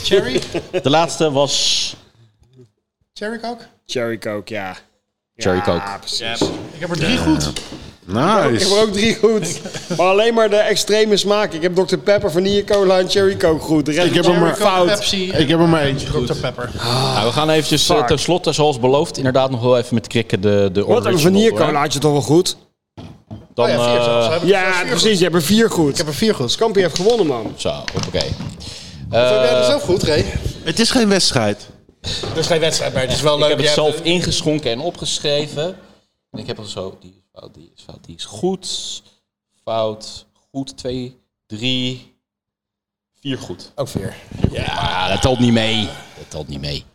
Speaker 6: Cherry.
Speaker 1: De laatste was
Speaker 6: Cherry Coke.
Speaker 4: Cherry Coke, ja.
Speaker 1: Cherry
Speaker 4: ja,
Speaker 1: Coke.
Speaker 4: Precies.
Speaker 6: Ik heb er drie goed.
Speaker 4: Ik heb er
Speaker 8: Nice.
Speaker 4: ook drie goed. Maar alleen maar de extreme smaak. Ik heb Dr. Pepper, vanille cola en cherry coke goed. De rest
Speaker 8: Ik heb
Speaker 4: is
Speaker 8: er maar-
Speaker 4: allemaal fout.
Speaker 6: Pepsi.
Speaker 8: Ik heb er maar eentje goed.
Speaker 6: Dr. Pepper.
Speaker 1: Nou, we gaan eventjes eh, tenslotte, zoals beloofd, inderdaad nog wel even met krikken de, de
Speaker 4: Wat een
Speaker 1: original
Speaker 4: vanille
Speaker 1: door, hè?
Speaker 4: cola had je toch wel goed?
Speaker 1: Dan,
Speaker 6: Oh ja, vier zelfs.
Speaker 1: eh,
Speaker 6: Heb ik er zelfs
Speaker 4: Ja,
Speaker 6: vier
Speaker 4: precies.
Speaker 6: goed.
Speaker 4: Je hebt er vier goed.
Speaker 6: Ik heb er vier goed.
Speaker 4: Scampi heeft gewonnen, man.
Speaker 1: Zo, oké.
Speaker 9: Heb jij dat zelf goed, Ray?
Speaker 8: Het is geen wedstrijd.
Speaker 6: Er is geen wedstrijd bij. Het is wel
Speaker 1: Ik
Speaker 6: leuk.
Speaker 1: heb het
Speaker 6: Je hebt-
Speaker 1: zelf ingeschonken en opgeschreven. En ik heb al zo, die is fout, die is fout, die is goed. Fout, goed, twee, drie, vier goed.
Speaker 6: Ook vier.
Speaker 1: Ja, dat telt niet mee. Dat telt niet mee.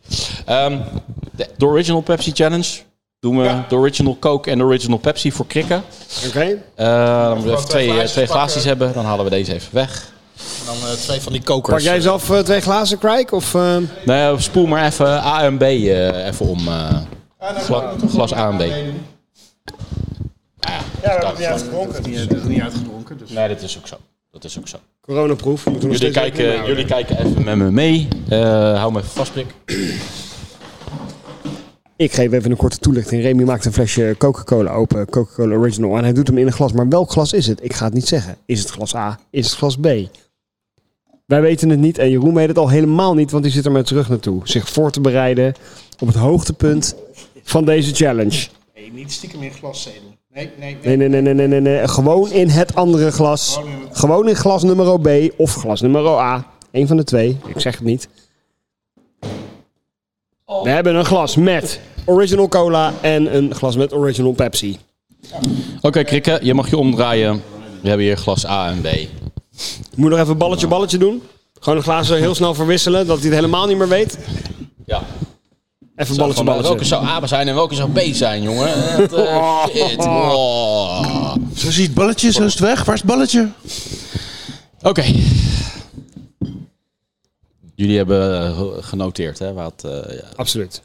Speaker 1: Ehm, de, de Original Pepsi Challenge. Doen we de Original Coke en de Original Pepsi voor krikken.
Speaker 4: Oké?
Speaker 1: Eh dan moeten we
Speaker 6: Gewoon
Speaker 1: even
Speaker 6: twee
Speaker 1: twee, eh,
Speaker 6: glaasjes
Speaker 1: twee glaasjes
Speaker 6: pakken.
Speaker 1: hebben. Dan halen we deze even weg.
Speaker 6: En dan eh, twee van die
Speaker 4: Pak
Speaker 6: kokers.
Speaker 4: jij zelf eh, twee glazen, Krijk? Of, eh,
Speaker 1: Nou, ja, spoel maar even A en B eh, even om. eh, gla- glas A en B.
Speaker 6: Het is niet uitgedronken. Dus.
Speaker 1: Nee, dat is ook zo. Dat is ook zo.
Speaker 4: Dus Coronaproef. Moeten we nog
Speaker 1: Jullie
Speaker 4: steeds
Speaker 1: kijken,
Speaker 6: eh,
Speaker 4: rekening mee houden.
Speaker 1: jullie kijken even met me mee. Eh, hou me even vast, Prik.
Speaker 4: Ik geef even een korte toelichting. Remy maakt een flesje Coca-Cola open, Coca-Cola Original. En hij doet hem in een glas. Maar welk glas is het? Ik ga het niet zeggen. Is het glas A? Is het glas B? Wij weten het niet en Jeroen weet het al helemaal niet, want die zit er met zijn rug naartoe. Zich voor te bereiden op het hoogtepunt van deze challenge.
Speaker 6: Nee, niet stiekem in glas zeden. Nee, nee, nee.
Speaker 4: Nee, nee, nee, nee, nee, nee, nee. Gewoon in het andere glas. Gewoon in glas nummer B of glas nummer A. Eén van de twee. Ik zeg het niet. We hebben een glas met original cola en een glas met original Pepsi.
Speaker 1: Oké, Krikke, je mag je omdraaien. We hebben hier glas A en B.
Speaker 4: Moet je nog even balletje, balletje doen? Gewoon de glazen heel snel verwisselen, dat hij het helemaal niet meer weet.
Speaker 1: Ja. Zo
Speaker 4: Even balletje
Speaker 1: van, eh,
Speaker 4: balletje.
Speaker 1: welke zou A zijn en welke zou B zijn, jongen? Dat, eh, shit. Oh.
Speaker 2: Zo ziet het balletje, zo is het weg. Waar is het balletje?
Speaker 1: Oké. Jullie hebben eh, ge- genoteerd, hè? Wat, eh, ja.
Speaker 4: Absoluut.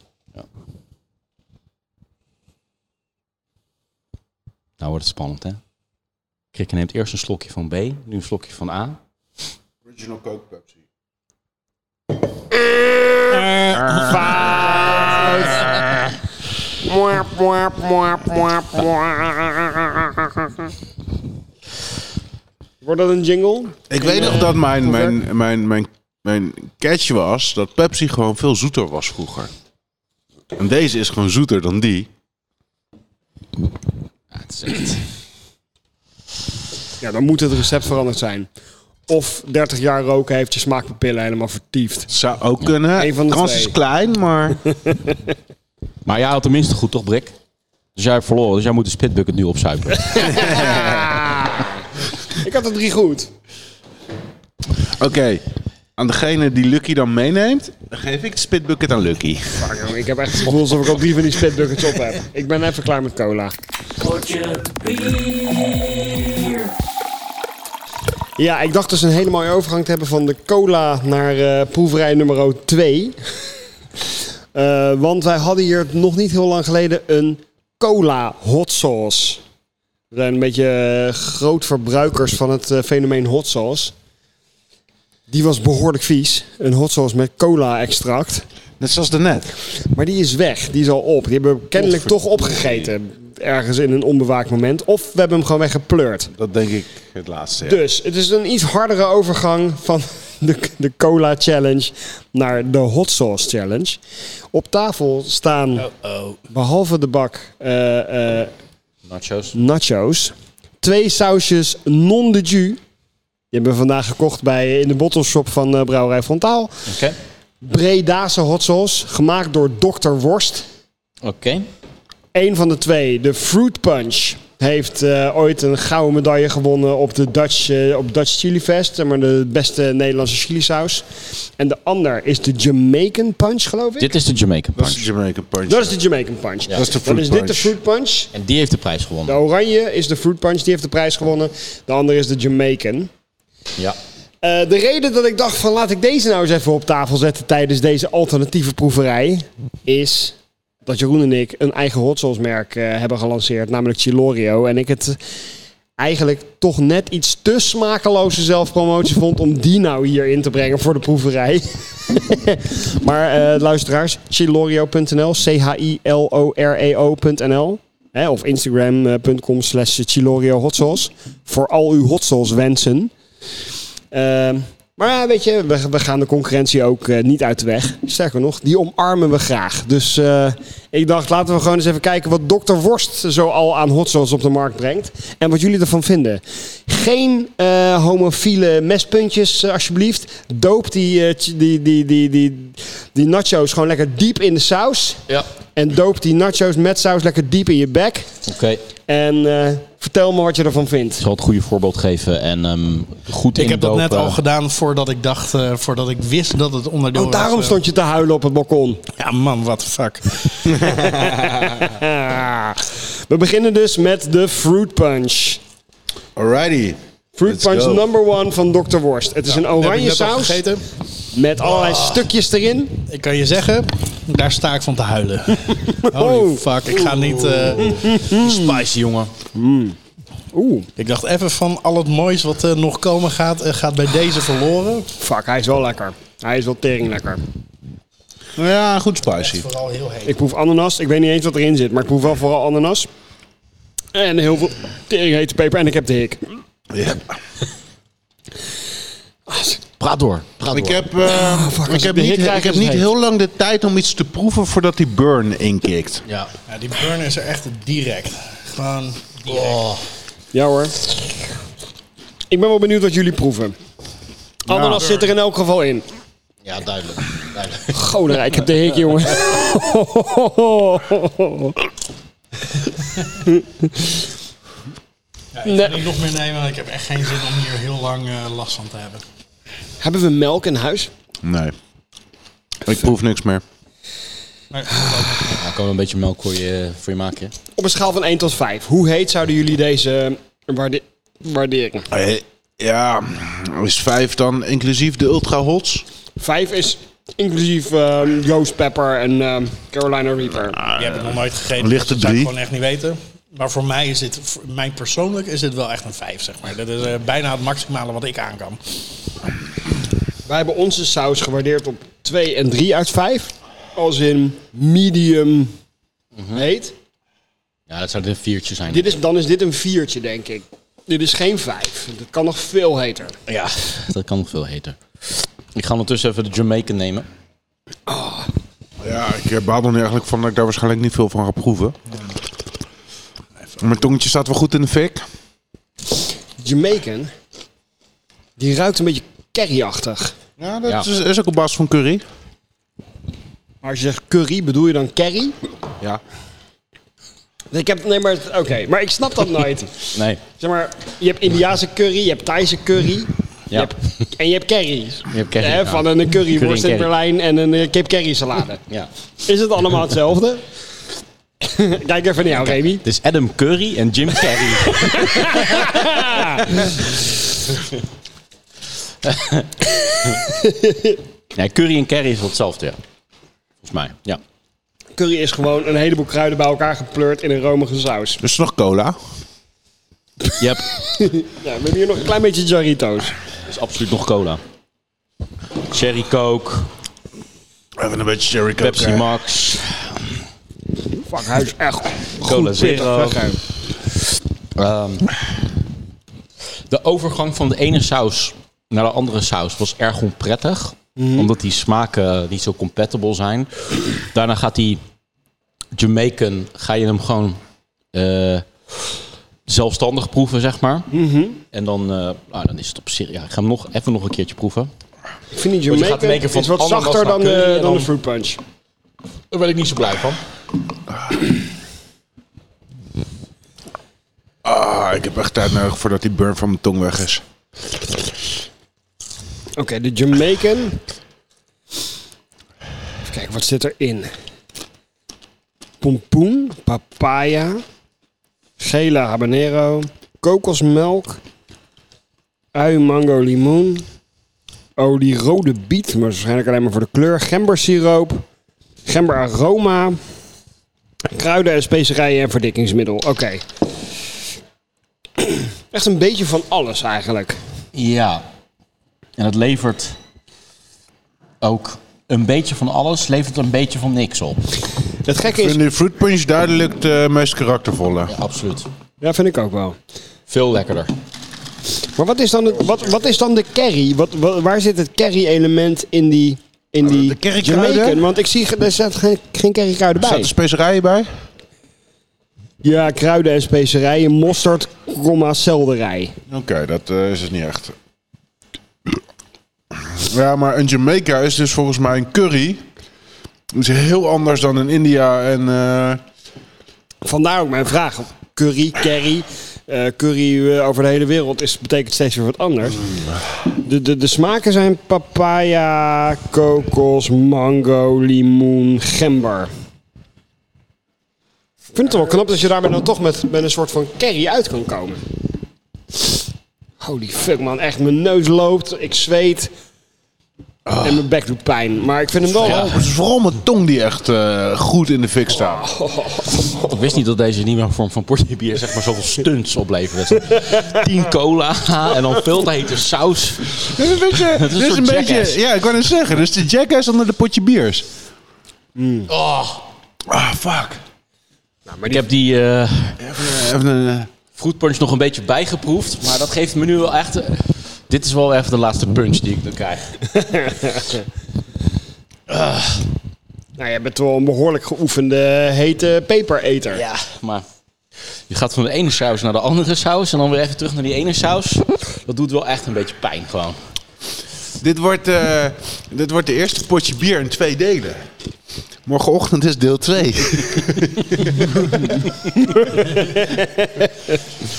Speaker 1: Nou wordt het spannend, hè? Krikke neemt eerst een slokje van B, nu een slokje van A.
Speaker 2: Original Coke Pepsi.
Speaker 4: Wordt dat een jingle?
Speaker 2: Ik weet nog dat mijn, mijn, mijn, mijn, mijn catch was dat Pepsi gewoon veel zoeter was vroeger. En deze is gewoon zoeter dan die.
Speaker 1: Ja, het is echt...
Speaker 4: Ja, dan moet het recept veranderd zijn. Of 30 jaar roken heeft je smaakpapillen helemaal vertiefd.
Speaker 2: Zou ook kunnen.
Speaker 4: Eén van de
Speaker 2: Kans
Speaker 4: twee.
Speaker 2: is klein, maar...
Speaker 1: Maar jij had tenminste goed, toch, Brik? Dus jij hebt verloren, dus jij moet de spitbucket nu opzuipen.
Speaker 4: Ik had er drie goed.
Speaker 2: Oké. Aan degene die Lucky dan meeneemt, dan geef ik de spitbucket aan Lucky.
Speaker 4: Fuck, jongen, ik heb echt het gevoel alsof ik al drie van die spitbuckets op heb. Ik ben even klaar met cola. Ja, ik dacht dus een hele mooie overgang te hebben van de cola naar eh, proeverij nummer 2. Eh, want wij hadden hier nog niet heel lang geleden een cola hot sauce. We zijn een beetje eh, groot verbruikers van het eh, fenomeen hot sauce. Die was behoorlijk vies. Een hot sauce met cola extract.
Speaker 2: Net zoals daarnet.
Speaker 4: Maar die is weg. Die is al op. Die hebben we kennelijk toch opgegeten. Ergens in een onbewaakt moment. Of we hebben hem gewoon weggepleurd.
Speaker 2: Dat denk ik het laatste. ja.
Speaker 4: Dus het is een iets hardere overgang van de, de cola challenge naar de hot sauce challenge. Op tafel staan, behalve de bak eh, eh,
Speaker 1: Nachos.
Speaker 4: nachos, twee sausjes non de jus. Die hebben we vandaag gekocht bij, in de bottleshop van eh, Brouwerij Frontaal.
Speaker 1: Oké.
Speaker 4: Bredase hot sauce, gemaakt door Dr. Worst.
Speaker 1: Oké.
Speaker 4: Eén van de twee, de Fruit Punch, heeft eh, ooit een gouden medaille gewonnen op de Dutch, eh, op Dutch Chili Fest. zeg Maar de beste Nederlandse chilisaus. En de ander is de Jamaican Punch, geloof ik.
Speaker 1: Dit is de Jamaican
Speaker 2: Dat is de
Speaker 1: Punch.
Speaker 2: Jamaican Punch.
Speaker 4: Dat is de Jamaican Punch.
Speaker 2: Dat is de
Speaker 4: Dan
Speaker 2: Fruit
Speaker 4: is dit de
Speaker 2: Punch.
Speaker 4: Fruit Punch.
Speaker 1: En die heeft de prijs
Speaker 4: De
Speaker 6: Nou.
Speaker 1: gewonnen.
Speaker 4: oranje is de Fruit Punch, die heeft de prijs gewonnen. De ander is de Jamaican.
Speaker 1: Ja.
Speaker 4: Eh, de reden dat ik dacht van laat ik deze nou eens even op tafel zetten tijdens deze alternatieve proeverij is dat Jeroen en ik een eigen hot sauce merk eh, hebben gelanceerd, namelijk Chilorio. En ik het eigenlijk toch net iets te smakeloze zelfpromotie vond om die nou hier in te brengen voor de proeverij. maar eh, luisteraars, chilorio.nl, E C-H-I-L-O-R-E-O.nl hè, of instagram.com slash chilorio hot sauce voor al uw hot sauce wensen. Ehm, maar ja, weet je, we, we gaan de concurrentie ook eh, niet uit de weg. Sterker nog, die omarmen we graag. Dus eh, ik dacht, laten we gewoon eens even kijken wat Dr. Worst zo al aan hot sauce op de markt brengt. En wat jullie ervan vinden. Geen eh, homofiele mespuntjes, eh, alsjeblieft. Doop die, eh, ch- die, die, die, die, die nachos gewoon lekker diep in de saus.
Speaker 1: Ja.
Speaker 4: En doop die nachos met saus lekker diep in je bek.
Speaker 1: Oké.
Speaker 4: En eh, vertel me wat je ervan vindt.
Speaker 1: Ik zal het goede voorbeeld geven en ehm, goed
Speaker 6: Ik heb dat net
Speaker 1: indopen.
Speaker 6: al gedaan voordat ik dacht, eh, voordat ik wist dat het onderdeel
Speaker 4: Oh, daarom
Speaker 6: was. eh.
Speaker 4: stond je te huilen op het balkon.
Speaker 6: Ja, man, what the fuck.
Speaker 4: We beginnen dus met de Fruit Punch.
Speaker 2: Alrighty.
Speaker 4: Fruit
Speaker 2: Let's
Speaker 4: Punch
Speaker 2: go.
Speaker 4: number one van Dr. Worst. Het is een
Speaker 6: Heb ik
Speaker 4: oranje
Speaker 6: net al
Speaker 4: saus
Speaker 6: gegeten. Ah.
Speaker 4: met allerlei stukjes erin.
Speaker 6: Ik kan je zeggen, daar sta ik van te huilen.
Speaker 2: Oh.
Speaker 6: Holy fuck, ik ga niet... eh,
Speaker 1: Spicy, jongen.
Speaker 2: Mm.
Speaker 4: Oeh,
Speaker 6: ik dacht even van al het moois wat eh, nog komen gaat, eh, gaat bij deze verloren.
Speaker 4: fuck, hij is wel lekker. Hij is wel tering lekker.
Speaker 2: Nou ja, goed spicy.
Speaker 6: Vooral heel heet.
Speaker 4: Ik proef ananas. Ik weet niet eens wat erin zit, maar ik proef wel vooral ananas. En heel veel tering hete peper en ik heb de hik.
Speaker 2: Ja.
Speaker 1: Praat door. Praat
Speaker 2: Ik
Speaker 1: door.
Speaker 2: heb, eh, ik heb
Speaker 4: de hik
Speaker 2: niet,
Speaker 4: krijg,
Speaker 2: ik heb
Speaker 4: is
Speaker 2: niet
Speaker 4: het
Speaker 2: heel lang de tijd om iets te proeven voordat die burn inkikt.
Speaker 1: Ja.
Speaker 6: Ja, die burn is er echt direct. Gewoon direct.
Speaker 4: Ja hoor. Ik ben wel benieuwd wat jullie proeven. Ananas zit er in elk geval in.
Speaker 1: ja, duidelijk. duidelijk.
Speaker 4: Goder, ik heb de hik, jongen.
Speaker 6: Ja, ik ga niet nog meer nemen, want ik heb echt geen zin om hier heel lang eh, last van te hebben.
Speaker 4: Hebben we melk in huis?
Speaker 2: Nee. Ik proef niks meer.
Speaker 1: Ja, kan wel een beetje melk voor je, voor je maken. hè?
Speaker 4: Op een schaal van 1 tot 5. Hoe heet zouden jullie deze ehm, waarde- waarderen?
Speaker 2: Eh, Ja, is vijf dan inclusief de ultra hots?
Speaker 4: 5 is inclusief ehm Joost Pepper en ehm, Carolina Reaper.
Speaker 6: Die heb ik nog nooit gegeten. dus
Speaker 2: Lichte
Speaker 6: dat zou ik
Speaker 2: drie.
Speaker 6: gewoon echt niet weten. Maar voor mij is dit, voor mij persoonlijk is dit wel echt een 5, zeg maar. Dat is eh, bijna het maximale wat ik aan kan.
Speaker 4: Wij hebben onze saus gewaardeerd op 2 en 3 uit 5. Als in medium heet.
Speaker 1: Ja, dat zou er een viertje zijn.
Speaker 4: Dit is, dan is dit een viertje, denk ik. Dit is geen 5. Dat kan nog veel heter.
Speaker 1: Ja, dat kan nog veel heter. Ik ga ondertussen even de Jamaican nemen.
Speaker 2: Ja, ik eh, baal er nu eigenlijk van dat ik daar waarschijnlijk niet veel van ga proeven. Mijn tongetje staat wel goed in de fik.
Speaker 4: Jamaican, die ruikt een beetje curryachtig.
Speaker 2: Ja, dat
Speaker 1: Ja.
Speaker 2: Is, is ook op basis van curry.
Speaker 4: Maar als je zegt curry, bedoel je dan curry?
Speaker 2: Ja.
Speaker 4: Ik heb, nee, maar oké, maar ik snap dat nooit.
Speaker 1: Nee,
Speaker 4: Zeg maar, je hebt Indiaanse curry, je hebt Thaise curry. Je
Speaker 1: Ja.
Speaker 4: hebt, en je hebt curry's.
Speaker 1: je hebt curry.
Speaker 4: Hè,
Speaker 1: ja.
Speaker 4: van een curryworst
Speaker 1: Curry en
Speaker 4: in Berlijn en een eh, kip curry salade.
Speaker 1: Ja.
Speaker 4: Is het allemaal hetzelfde? Kijk even naar jou, Remy.
Speaker 1: Het is Adam Curry en Jim Carrey. nee, curry en curry is wel hetzelfde, ja. Volgens mij, ja.
Speaker 4: Curry is gewoon een heleboel kruiden bij elkaar gepleurd in een romige saus.
Speaker 2: Dus nog cola.
Speaker 1: Je hebt
Speaker 4: Ja, we hebben hier nog een klein beetje jarrito's.
Speaker 1: dus absoluut nog cola. Cherry Coke,
Speaker 2: Even een beetje cherry coke.
Speaker 1: Pepsi Max,
Speaker 4: Fuck, huis echt.
Speaker 1: Cola Zero.
Speaker 4: pittig, hè?
Speaker 1: Ehm, de overgang van de ene saus naar de andere saus was erg onprettig. Omdat die smaken niet zo compatible zijn. Daarna gaat die Jamaican, ga je hem gewoon eh, zelfstandig proeven, zeg maar. En dan, eh, nou, dan is het op zich... Ja, ik ga hem nog, even nog een keertje proeven.
Speaker 4: Ik vind die
Speaker 1: Want je gaat
Speaker 4: Jamaican
Speaker 1: denken van
Speaker 4: is wat
Speaker 1: ananas
Speaker 4: zachter
Speaker 1: naar
Speaker 4: dan, de-
Speaker 1: curry en
Speaker 4: dan,
Speaker 1: dan-
Speaker 4: de fruit punch.
Speaker 1: Daar ben ik niet zo blij van.
Speaker 2: Ah, ik heb echt tijd nodig voordat die burn van mijn tong weg is.
Speaker 4: Oké, de Jamaican. Even kijken, wat zit erin? Pompoen, papaya, gele habanero, kokosmelk, ui, mango, limoen, olie rode biet, maar waarschijnlijk alleen maar voor de kleur, gembersiroop, gemberaroma, kruiden en specerijen en verdikkingsmiddel. Oké. Echt een beetje van alles eigenlijk.
Speaker 1: Ja. En het levert ook een beetje van alles, levert een beetje van niks op.
Speaker 4: Het gekke
Speaker 2: Ik
Speaker 4: is...
Speaker 2: vind die fruit punch duidelijk de meest karaktervolle.
Speaker 1: Absoluut.
Speaker 4: Ja, vind ik ook wel.
Speaker 1: Veel lekkerder.
Speaker 4: Maar wat is dan, het, wat, wat is dan de carry? Wat, wa- waar zit het carry-element in die, in die
Speaker 2: de carrykruiden?
Speaker 4: Jamaican? Want ik zie, ge- er staat geen, geen carrykruiden
Speaker 2: Staat
Speaker 4: bij.
Speaker 2: er specerijen bij?
Speaker 4: Ja, kruiden en specerijen, mosterd, komma, selderij.
Speaker 2: Oké, dat eh, is het niet echt. Ja, maar een Jamaica is dus volgens mij een curry. Dat is heel anders dan in India en... eh,
Speaker 4: Vandaar ook mijn vraag. Curry, curry, eh, curry eh, over de hele wereld is, betekent steeds weer wat anders. De, de, de smaken zijn papaya, kokos, mango, limoen, gember. Ik vind het wel knap dat je daarmee dan toch met, met een soort van curry uit kan komen. Holy fuck man, echt mijn neus loopt, ik zweet en mijn bek doet pijn. Maar ik vind hem wel...
Speaker 2: Oh, het is vooral mijn tong die echt eh, goed in de fik staat.
Speaker 1: Ik wist niet dat deze nieuwe vorm van portierbier zeg maar zoveel stunts oplevert. Dat is Tien cola en dan veel te hete saus.
Speaker 2: Dit is een beetje...
Speaker 1: is een soort jackass.
Speaker 2: ja, ik kan het zeggen. Dus de jackass onder de potje biers. Hmm.
Speaker 1: Oh.
Speaker 2: Ah, fuck.
Speaker 1: Ik heb die eh
Speaker 2: Even een... eh,
Speaker 1: fruit punch nog een beetje bijgeproefd, maar dat geeft me nu wel echt... eh, dit is wel even de laatste punch die ik dan krijg.
Speaker 4: Nou, jij bent wel een behoorlijk geoefende hete pepereter.
Speaker 1: Ja, maar je gaat van de ene saus naar de andere saus en dan weer even terug naar die ene saus. Dat doet wel echt een beetje pijn gewoon.
Speaker 2: Dit wordt, eh, dit wordt de eerste potje bier in twee delen. Morgenochtend is deel 2.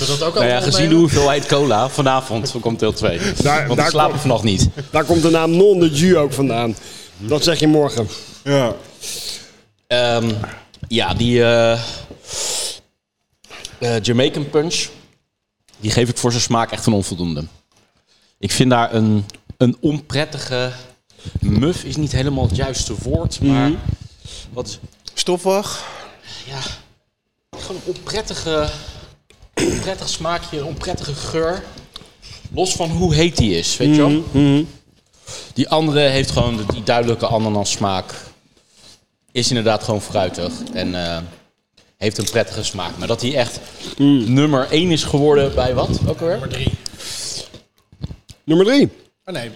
Speaker 6: Dat ook
Speaker 1: Nou ja, gezien de hoeveelheid cola vanavond komt deel 2.
Speaker 4: Daar-
Speaker 1: Want
Speaker 4: daar
Speaker 1: we slapen
Speaker 4: komt-
Speaker 1: vannacht niet.
Speaker 4: Daar komt de naam Non de Ju ook vandaan. Dat zeg je morgen.
Speaker 2: ja.
Speaker 1: Ehm, ja, die eh, eh, Jamaican Punch, die geef ik voor zijn smaak echt een onvoldoende. Ik vind daar een, een onprettige... Muf is niet helemaal het juiste woord, maar... Wat is,
Speaker 2: Stofwag.
Speaker 1: ja, gewoon een onprettige, onprettig smaakje, een onprettige geur. Los van hoe heet die is, weet je wel? Die andere heeft gewoon de- die duidelijke ananas smaak. Is inderdaad gewoon fruitig en eh, heeft een prettige smaak. Maar dat hij echt nummer 1 is geworden bij wat ook alweer?
Speaker 6: Drie.
Speaker 4: Nummer drie.
Speaker 6: Oh nee.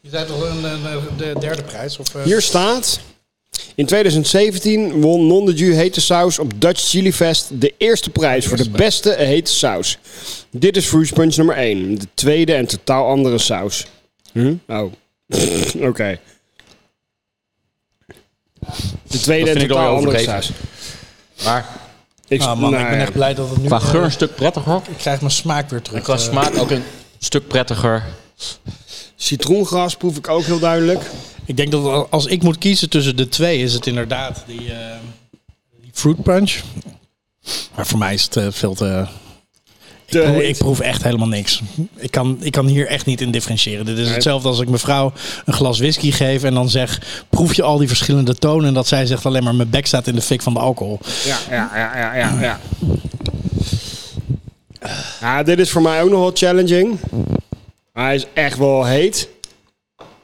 Speaker 6: Je zei toch een, een, een- de derde prijs? Of, eh,
Speaker 4: Hier staat... In 2017 won Non de Ju hete saus op Dutch Chili Fest de eerste prijs voor de beste hete saus. Dit is Fruit Punch nummer 1. De tweede en totaal andere saus. Hm? Oh. Oké. De tweede
Speaker 1: Dat
Speaker 4: en
Speaker 1: vind ik dan
Speaker 4: totaal
Speaker 1: weer
Speaker 4: andere
Speaker 1: overdreven.
Speaker 4: saus.
Speaker 1: Maar
Speaker 4: Ik, nou
Speaker 6: Ah, man, ik
Speaker 4: nee.
Speaker 6: ben echt blij dat het nu...
Speaker 1: qua geur
Speaker 6: eh,
Speaker 1: een stuk prettiger.
Speaker 6: ik krijg mijn smaak weer terug.
Speaker 1: Qua
Speaker 6: eh.
Speaker 1: smaak ook een stuk prettiger.
Speaker 4: Citroengras proef ik ook heel duidelijk.
Speaker 6: Ik denk dat al- als ik moet kiezen tussen de twee, is het inderdaad die, eh, die fruit punch. Maar voor mij is het eh, veel te... Ik
Speaker 4: Te
Speaker 6: proef,
Speaker 4: heet.
Speaker 6: ik proef echt helemaal niks. Ik kan, ik kan hier echt niet in differentiëren. Dit is hetzelfde als ik mevrouw een glas whisky geef en dan zeg... proef je al die verschillende tonen? En dat zij zegt alleen maar mijn bek staat in de fik van de alcohol.
Speaker 4: Ja, ja, ja, ja, ja. ja. Ja, dit is voor mij ook nog wel challenging. Hij is echt wel heet.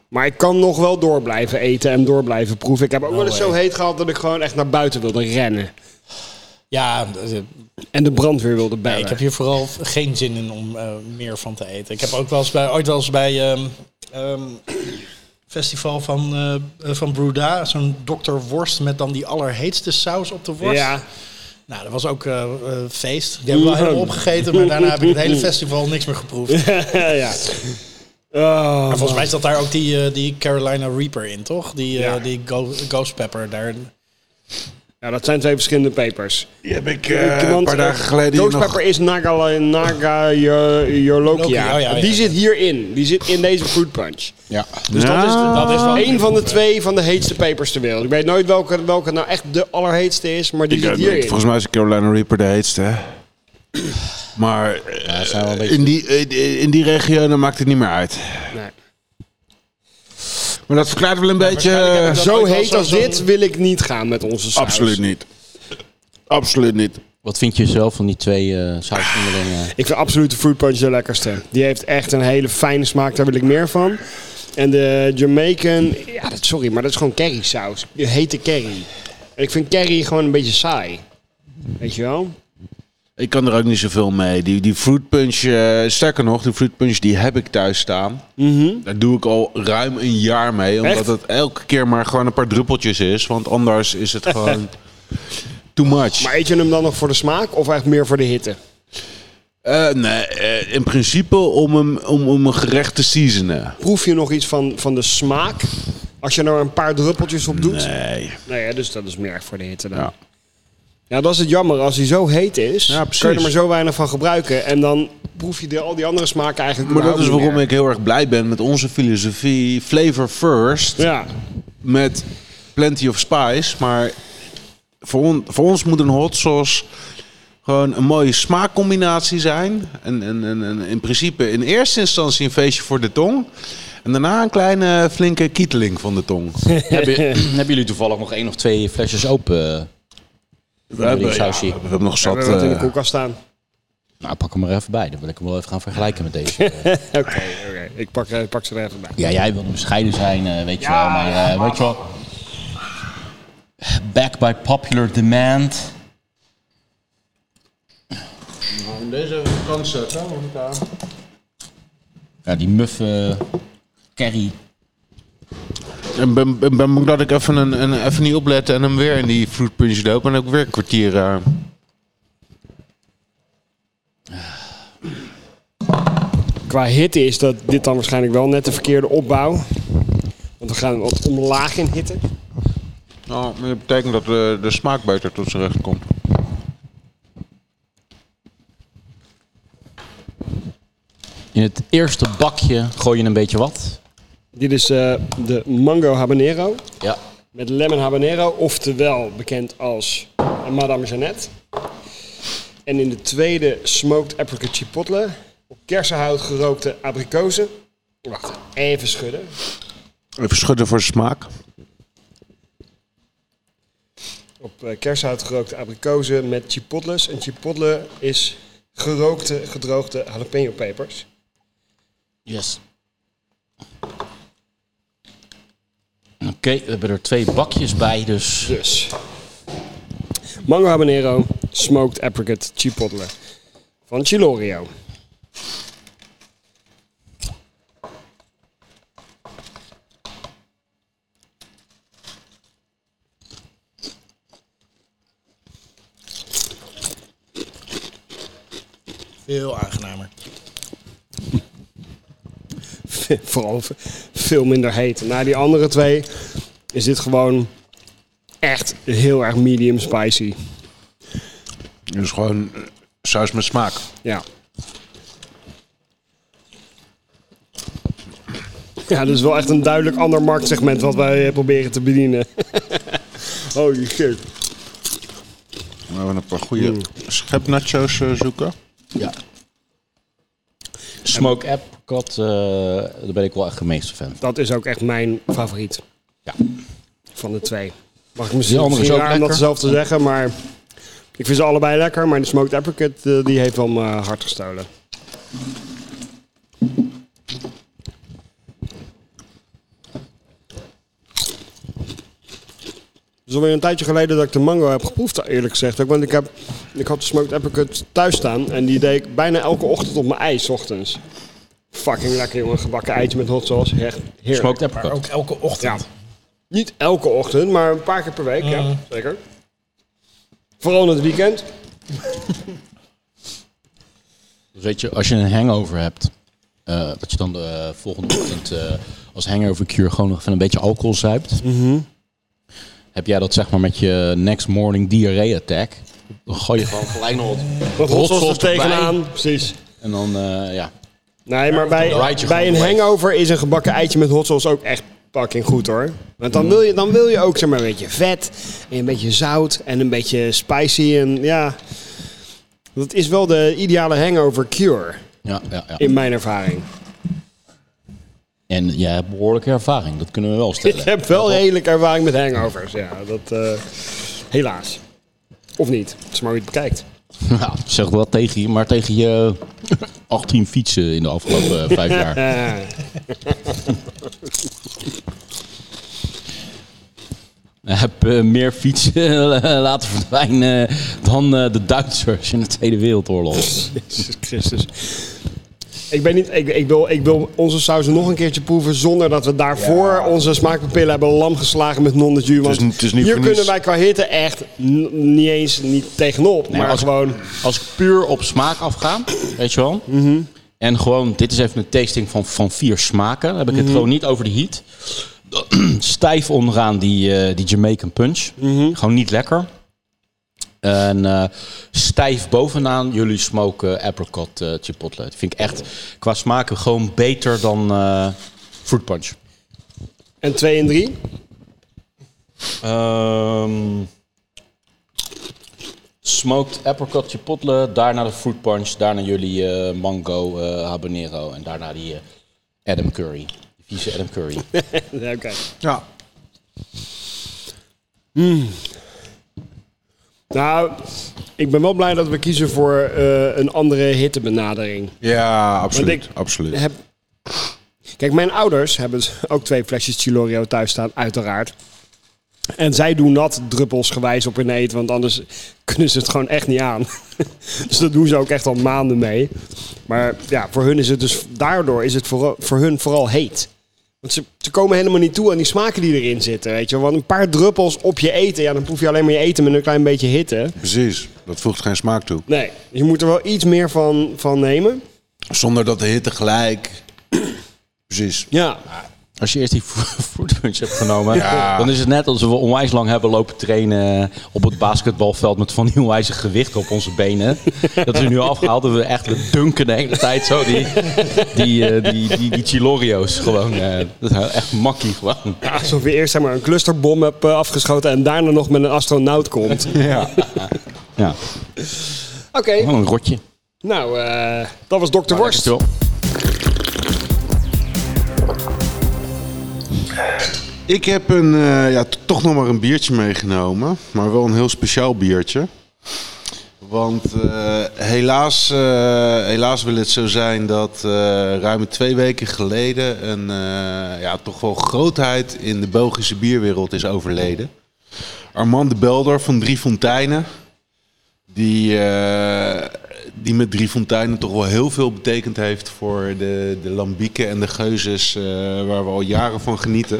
Speaker 4: Maar ik kan nog wel door blijven eten en door blijven proeven. Ik heb ook wel eens zo heet gehad dat ik gewoon echt naar buiten wilde rennen.
Speaker 6: Ja, eh,
Speaker 4: En de brandweer wilde bellen.
Speaker 6: Nee, ik heb hier vooral v- geen zin in om eh, meer van te eten. Ik heb ook wel eens bij, ooit wel eens bij ehm ehm, festival van, eh, eh, van Bruda, zo'n dokter worst met dan die allerheetste saus op de worst.
Speaker 4: ja,
Speaker 6: Nou, dat was ook eh, eh, feest. Die hebben we wel helemaal opgegeten, maar daarna heb ik het hele festival niks meer geproefd.
Speaker 4: ja, ja. Oh,
Speaker 6: Maar volgens mij zat daar ook die, eh, die Carolina Reaper in, toch? Die, eh,
Speaker 4: Ja.
Speaker 6: die go- Ghost Pepper daar.
Speaker 4: ja, dat zijn twee verschillende pepers.
Speaker 2: Die heb ik
Speaker 4: Ik-
Speaker 2: eh, een
Speaker 4: want,
Speaker 2: paar
Speaker 4: eh,
Speaker 2: dagen geleden hier
Speaker 4: Ghost
Speaker 2: nog...
Speaker 4: Pepper is Naga, Naga
Speaker 6: Lokia, oh ja, ja,
Speaker 4: Die
Speaker 6: ja.
Speaker 4: zit hierin. Die zit in deze fruit punch.
Speaker 1: Ja.
Speaker 4: Dus dat is, de-
Speaker 6: Dat is wel-
Speaker 4: een van de twee van de heetste pepers ter wereld. Ik weet nooit welke, welke nou echt de allerheetste is, maar die
Speaker 2: Ik,
Speaker 4: zit
Speaker 2: eh,
Speaker 4: hierin.
Speaker 2: volgens mij is Carolina Reaper de heetste, hè? Maar eh,
Speaker 1: dat zijn wel een beetje-
Speaker 2: in, die, eh, in die regionen maakt het niet meer uit.
Speaker 4: Nee.
Speaker 2: Maar dat verklaart wel een beetje...
Speaker 6: waarschijnlijk heb ik
Speaker 4: Zo
Speaker 6: ooit wel
Speaker 4: heet
Speaker 6: zo-
Speaker 4: als
Speaker 6: zo'n-
Speaker 4: dit wil ik niet gaan met onze saus.
Speaker 2: Absoluut niet. Absoluut niet.
Speaker 1: Wat vind je zelf van die twee eh saus onderling? eh?
Speaker 4: Ik vind absoluut de fruit punch de lekkerste. Die heeft echt een hele fijne smaak, daar wil ik meer van. En de Jamaican, ja, dat, sorry, maar dat is gewoon curry saus. Die hete curry. En ik vind curry gewoon een beetje saai. Weet je wel?
Speaker 2: Ik kan er ook niet zoveel mee. Die, die fruit punch, eh, sterker nog, die fruit punch die heb ik thuis staan. Daar doe ik al ruim een jaar mee. Omdat
Speaker 4: Mhm. Echt?
Speaker 2: het elke keer maar gewoon een paar druppeltjes is. Want anders is het gewoon too much.
Speaker 4: Maar eet je hem dan nog voor de smaak of echt meer voor de hitte?
Speaker 2: Eh, nee, eh, in principe om, hem, om, om een gerecht te seasonen.
Speaker 4: Proef je nog iets van, van de smaak? Als je er een paar druppeltjes op doet?
Speaker 2: Nee.
Speaker 4: Nou ja, dus dat is meer echt voor de hitte dan. Ja.
Speaker 2: Ja.
Speaker 4: dat is het jammer. Als hij zo heet is,
Speaker 2: Ja, precies.
Speaker 4: kun je er maar zo weinig van gebruiken. En dan proef je de, al die andere smaken eigenlijk
Speaker 2: Maar dat is
Speaker 4: überhaupt niet
Speaker 2: waarom
Speaker 4: meer.
Speaker 2: ik heel erg blij ben met onze filosofie. Flavor first.
Speaker 4: Ja,
Speaker 2: met plenty of spice. Maar voor, on- voor ons moet een hot sauce gewoon een mooie smaakcombinatie zijn. En, en, en, en in principe in eerste instantie een feestje voor de tong. En daarna een kleine flinke kieteling van de tong.
Speaker 1: hebben, hebben jullie toevallig nog één of twee flesjes open? Eh,
Speaker 2: We hebben, ja, we hebben nog
Speaker 4: we
Speaker 2: zat.
Speaker 4: hebben het in de
Speaker 2: eh,
Speaker 4: koelkast staan.
Speaker 1: Nou, pak hem er even bij. Dan wil ik hem wel even gaan vergelijken met deze.
Speaker 4: Oké, oké. Ik pak, eh, pak ze er even bij.
Speaker 1: ja, jij wilde bescheiden zijn, eh, weet je wel. Maar eh, weet je wel... Back by popular demand. Ja, die muffe eh, carry.
Speaker 2: en ben, ben, ben bang dat ik even, een, een, even niet opletten en hem weer in die fruit punch doop. En ook weer een kwartier. eh,
Speaker 4: Qua hitte is dat dit dan waarschijnlijk wel net de verkeerde opbouw. Want we gaan hem wat omlaag in hitten.
Speaker 8: Nou, dat betekent dat de, de smaak beter tot zijn recht komt.
Speaker 1: In het eerste bakje gooi je een beetje wat.
Speaker 4: Dit is eh, de mango habanero
Speaker 1: Ja.
Speaker 4: met lemon habanero, oftewel bekend als Madame Jeannette. En in de tweede smoked apricot chipotle, op kersenhout gerookte abrikozen. Wacht, even schudden.
Speaker 8: Even schudden voor de smaak.
Speaker 4: Op eh, kersenhout gerookte abrikozen met chipotles. En chipotle is gerookte, gedroogde jalapeno pepers.
Speaker 1: Yes. Oké, we hebben er twee bakjes bij, dus
Speaker 4: Dus. Mango habanero, smoked apricot chipotle. Van Chilorio.
Speaker 6: Veel aangenamer.
Speaker 4: Vooral ve- veel minder heet. Na die andere twee is dit gewoon echt heel erg medium spicy.
Speaker 8: Dus gewoon eh, saus met smaak.
Speaker 4: Ja. Ja, dat is wel echt een duidelijk ander marktsegment wat wij eh, proberen te bedienen. Holy shit.
Speaker 8: Nou, We hebben een paar goede schepnacho's eh, zoeken.
Speaker 1: Smoke Apricot, eh daar ben ik wel echt de meeste fan van.
Speaker 4: Dat is ook echt mijn favoriet.
Speaker 1: Ja.
Speaker 4: Van de twee. Mag ik
Speaker 1: Die
Speaker 4: misschien
Speaker 1: andere is
Speaker 4: misschien
Speaker 1: ook
Speaker 4: raar om dat
Speaker 1: lekker.
Speaker 4: zelf te zeggen, maar ik vind ze allebei lekker. Maar de smoked apricot eh, die heeft wel mijn hart gestolen. Het is alweer een tijdje geleden dat ik de mango heb geproefd, eerlijk gezegd. Ook, want ik, heb, ik had de smoked apricot thuis staan en die deed ik bijna elke ochtend op mijn ei, 's ochtends. Fucking lekker, jongen. Gebakken eitje met hot sauce. Echt heerlijk.
Speaker 1: Smoked
Speaker 6: Maar
Speaker 1: Apricot.
Speaker 6: ook elke ochtend.
Speaker 4: Niet elke ochtend, maar een paar keer per week, ja, zeker. Vooral in het weekend.
Speaker 1: Dus weet je, als je een hangover hebt, eh, dat je dan de eh, volgende ochtend eh, als hangover cure gewoon nog even een beetje alcohol zuipt. Heb jij dat zeg maar met je next morning diarrhea attack? Dan gooi je gewoon gelijk nog wat
Speaker 4: Wat rotsels er
Speaker 1: erbij.
Speaker 4: tegenaan. Precies.
Speaker 1: En dan, eh, ja.
Speaker 4: Nee, maar
Speaker 1: dan
Speaker 4: bij,
Speaker 1: ride je
Speaker 4: bij een
Speaker 1: gewoon mee.
Speaker 4: hangover is een gebakken eitje met hot sauce ook echt fucking goed hoor. Want dan wil je, dan wil je ook zeg maar, een beetje vet, en een beetje zout en een beetje spicy. En ja, dat is wel de ideale hangover cure,
Speaker 1: Ja, ja, ja.
Speaker 4: in mijn ervaring.
Speaker 1: En jij hebt behoorlijke ervaring, dat kunnen we wel
Speaker 4: Ik
Speaker 1: stellen.
Speaker 4: heb wel redelijk ervaring met hangovers, ja. Dat, eh, helaas. Of niet, het is maar hoe je het kijkt.
Speaker 1: Nou, zeg wel tegen je, maar tegen je 18 fietsen in de afgelopen eh, vijf jaar.
Speaker 4: Eh.
Speaker 1: heb eh, meer fietsen eh, laten verdwijnen dan eh, de Duitsers in de Tweede Wereldoorlog.
Speaker 4: Jezus Christus. Ik, ben niet, ik, ik, wil, ik wil onze saus nog een keertje proeven zonder dat we daarvoor onze smaakpapillen hebben lam geslagen met non de jus. Want
Speaker 8: niet- het is niet
Speaker 4: hier
Speaker 8: voor
Speaker 4: kunnen
Speaker 8: niets.
Speaker 4: wij qua hitte echt n- niet eens niet tegenop.
Speaker 1: Nee,
Speaker 4: maar
Speaker 1: als-
Speaker 4: gewoon,
Speaker 1: Als ik puur op smaak afga, weet je wel. En gewoon, dit is even een tasting van, van vier smaken. Dan heb ik het gewoon niet over de heat. Stijf onderaan die, eh, die Jamaican punch. Gewoon niet lekker. En eh, stijf bovenaan jullie smoken apricot eh, chipotle. Dat vind ik echt qua smaken gewoon beter dan eh, fruit punch.
Speaker 4: en 2 en 3.
Speaker 1: Ehm smoked apricot chipotle, daarna de fruit punch, daarna jullie eh, mango eh, habanero en daarna die eh, Adam Curry. Die vieze Adam Curry.
Speaker 4: Oké.
Speaker 8: Ja.
Speaker 4: Hmm. Nou, ik ben wel blij dat we kiezen voor eh, een andere hittebenadering.
Speaker 8: Ja, absoluut.
Speaker 4: Want ik-
Speaker 8: absoluut.
Speaker 4: heb... Kijk, mijn ouders hebben ook twee flesjes Chilorio thuis staan, uiteraard. En zij doen dat druppelsgewijs op hun eet, want anders kunnen ze het gewoon echt niet aan. dus dat doen ze ook echt al maanden mee. Maar ja, voor hun is het dus, daardoor is het voor, voor hun vooral heet. Want ze, ze komen helemaal niet toe aan die smaken die erin zitten, weet je. wel. Want een paar druppels op je eten, ja, dan proef je alleen maar je eten met een klein beetje hitte.
Speaker 8: Precies. Dat voegt geen smaak toe.
Speaker 4: Nee, je moet er wel iets meer van, van nemen.
Speaker 8: Zonder dat de hitte gelijk. Precies.
Speaker 4: Ja.
Speaker 1: Als je eerst die fruit punch hebt genomen,
Speaker 8: Ja.
Speaker 1: dan is het net alsof we onwijs lang hebben lopen trainen op het basketbalveld met van die onwijze gewichten op onze benen. Dat is nu afgehaald en we echt we dunken de hele tijd zo die, die, eh, die, die, die chilorio's gewoon. eh, dat is echt makkie gewoon.
Speaker 4: Alsof je eerst zeg maar, een clusterbom hebt eh, afgeschoten en daarna nog met een astronaut komt. Oké,
Speaker 1: Ja, wel een rotje.
Speaker 4: nou, eh, dat was Dr. Worst.
Speaker 1: Dankjewel.
Speaker 2: Ik heb een, eh, ja, t- toch nog maar een biertje meegenomen. Maar wel een heel speciaal biertje. Want eh, helaas, eh, helaas wil het zo zijn dat eh, ruim twee weken geleden een eh, ja, toch wel grootheid in de Belgische bierwereld is overleden. Armand de Belder van Drie Fonteinen. Die, eh, die met Drie Fonteinen toch wel heel veel betekend heeft voor de, de lambieken en de geuzes eh, waar we al jaren van genieten.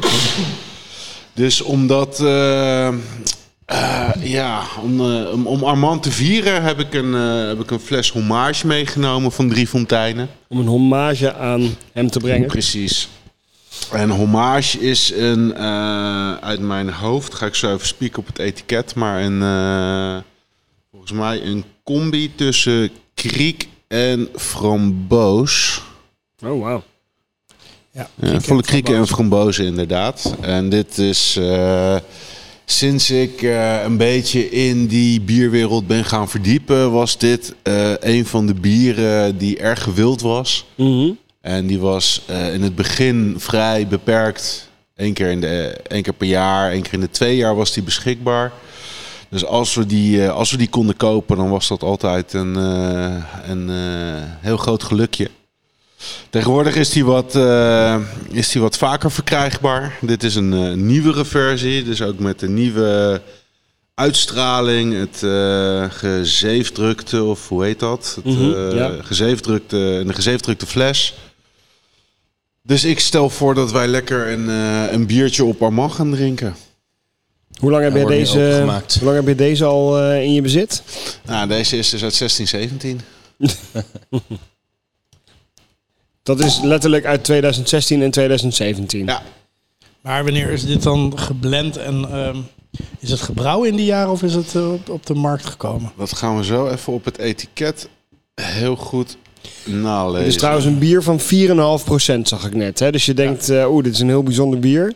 Speaker 2: Dus omdat, eh, eh, ja, om, eh, om, om Armand te vieren heb ik, een, eh, heb ik een fles hommage meegenomen van Drie Fonteinen.
Speaker 4: Om een hommage aan hem te brengen.
Speaker 2: Precies. En hommage is een, eh, uit mijn hoofd, ga ik zo even spieken op het etiket, maar een, eh, volgens mij een combi tussen kriek en framboos.
Speaker 4: Oh, wauw.
Speaker 6: Ja,
Speaker 2: Ja, volle krieken en frambozen inderdaad. En dit is eh, sinds ik eh, een beetje in die bierwereld ben gaan verdiepen, was dit eh, een van de bieren die erg gewild was.
Speaker 4: Mhm.
Speaker 2: En die was eh, in het begin vrij beperkt. Eén keer, in de, eh, één keer per jaar, één keer in de twee jaar was die beschikbaar. Dus als we die, eh, als we die konden kopen, dan was dat altijd een, eh, een eh, heel groot gelukje. Tegenwoordig is die, wat, eh, is die wat vaker verkrijgbaar. Dit is een eh, nieuwere versie, dus ook met een nieuwe uitstraling. Het eh, gezeefdrukte, of hoe heet dat? Het,
Speaker 4: Mhm,
Speaker 2: eh,
Speaker 4: ja.
Speaker 2: gezeefdrukte, een gezeefdrukte fles. Dus ik stel voor dat wij lekker een, eh, een biertje op Armand gaan drinken.
Speaker 4: Hoe, lang heb je
Speaker 1: wordt nu
Speaker 4: deze,
Speaker 1: opengemaakt.
Speaker 4: hoe lang heb je deze al eh, in je bezit?
Speaker 2: Nou, deze is dus uit 1617.
Speaker 4: Dat is letterlijk uit 2016 en 2017.
Speaker 2: Ja,
Speaker 6: Maar wanneer is dit dan geblend en ehm, is het gebrouwen in die jaren of is het eh, op, op de markt gekomen?
Speaker 2: dat gaan we zo even op het etiket heel goed
Speaker 4: Het is
Speaker 2: nalezen.
Speaker 4: trouwens een bier van 4,5% zag ik net. Hè? Dus je denkt, eh, oeh, dit is een heel bijzonder bier.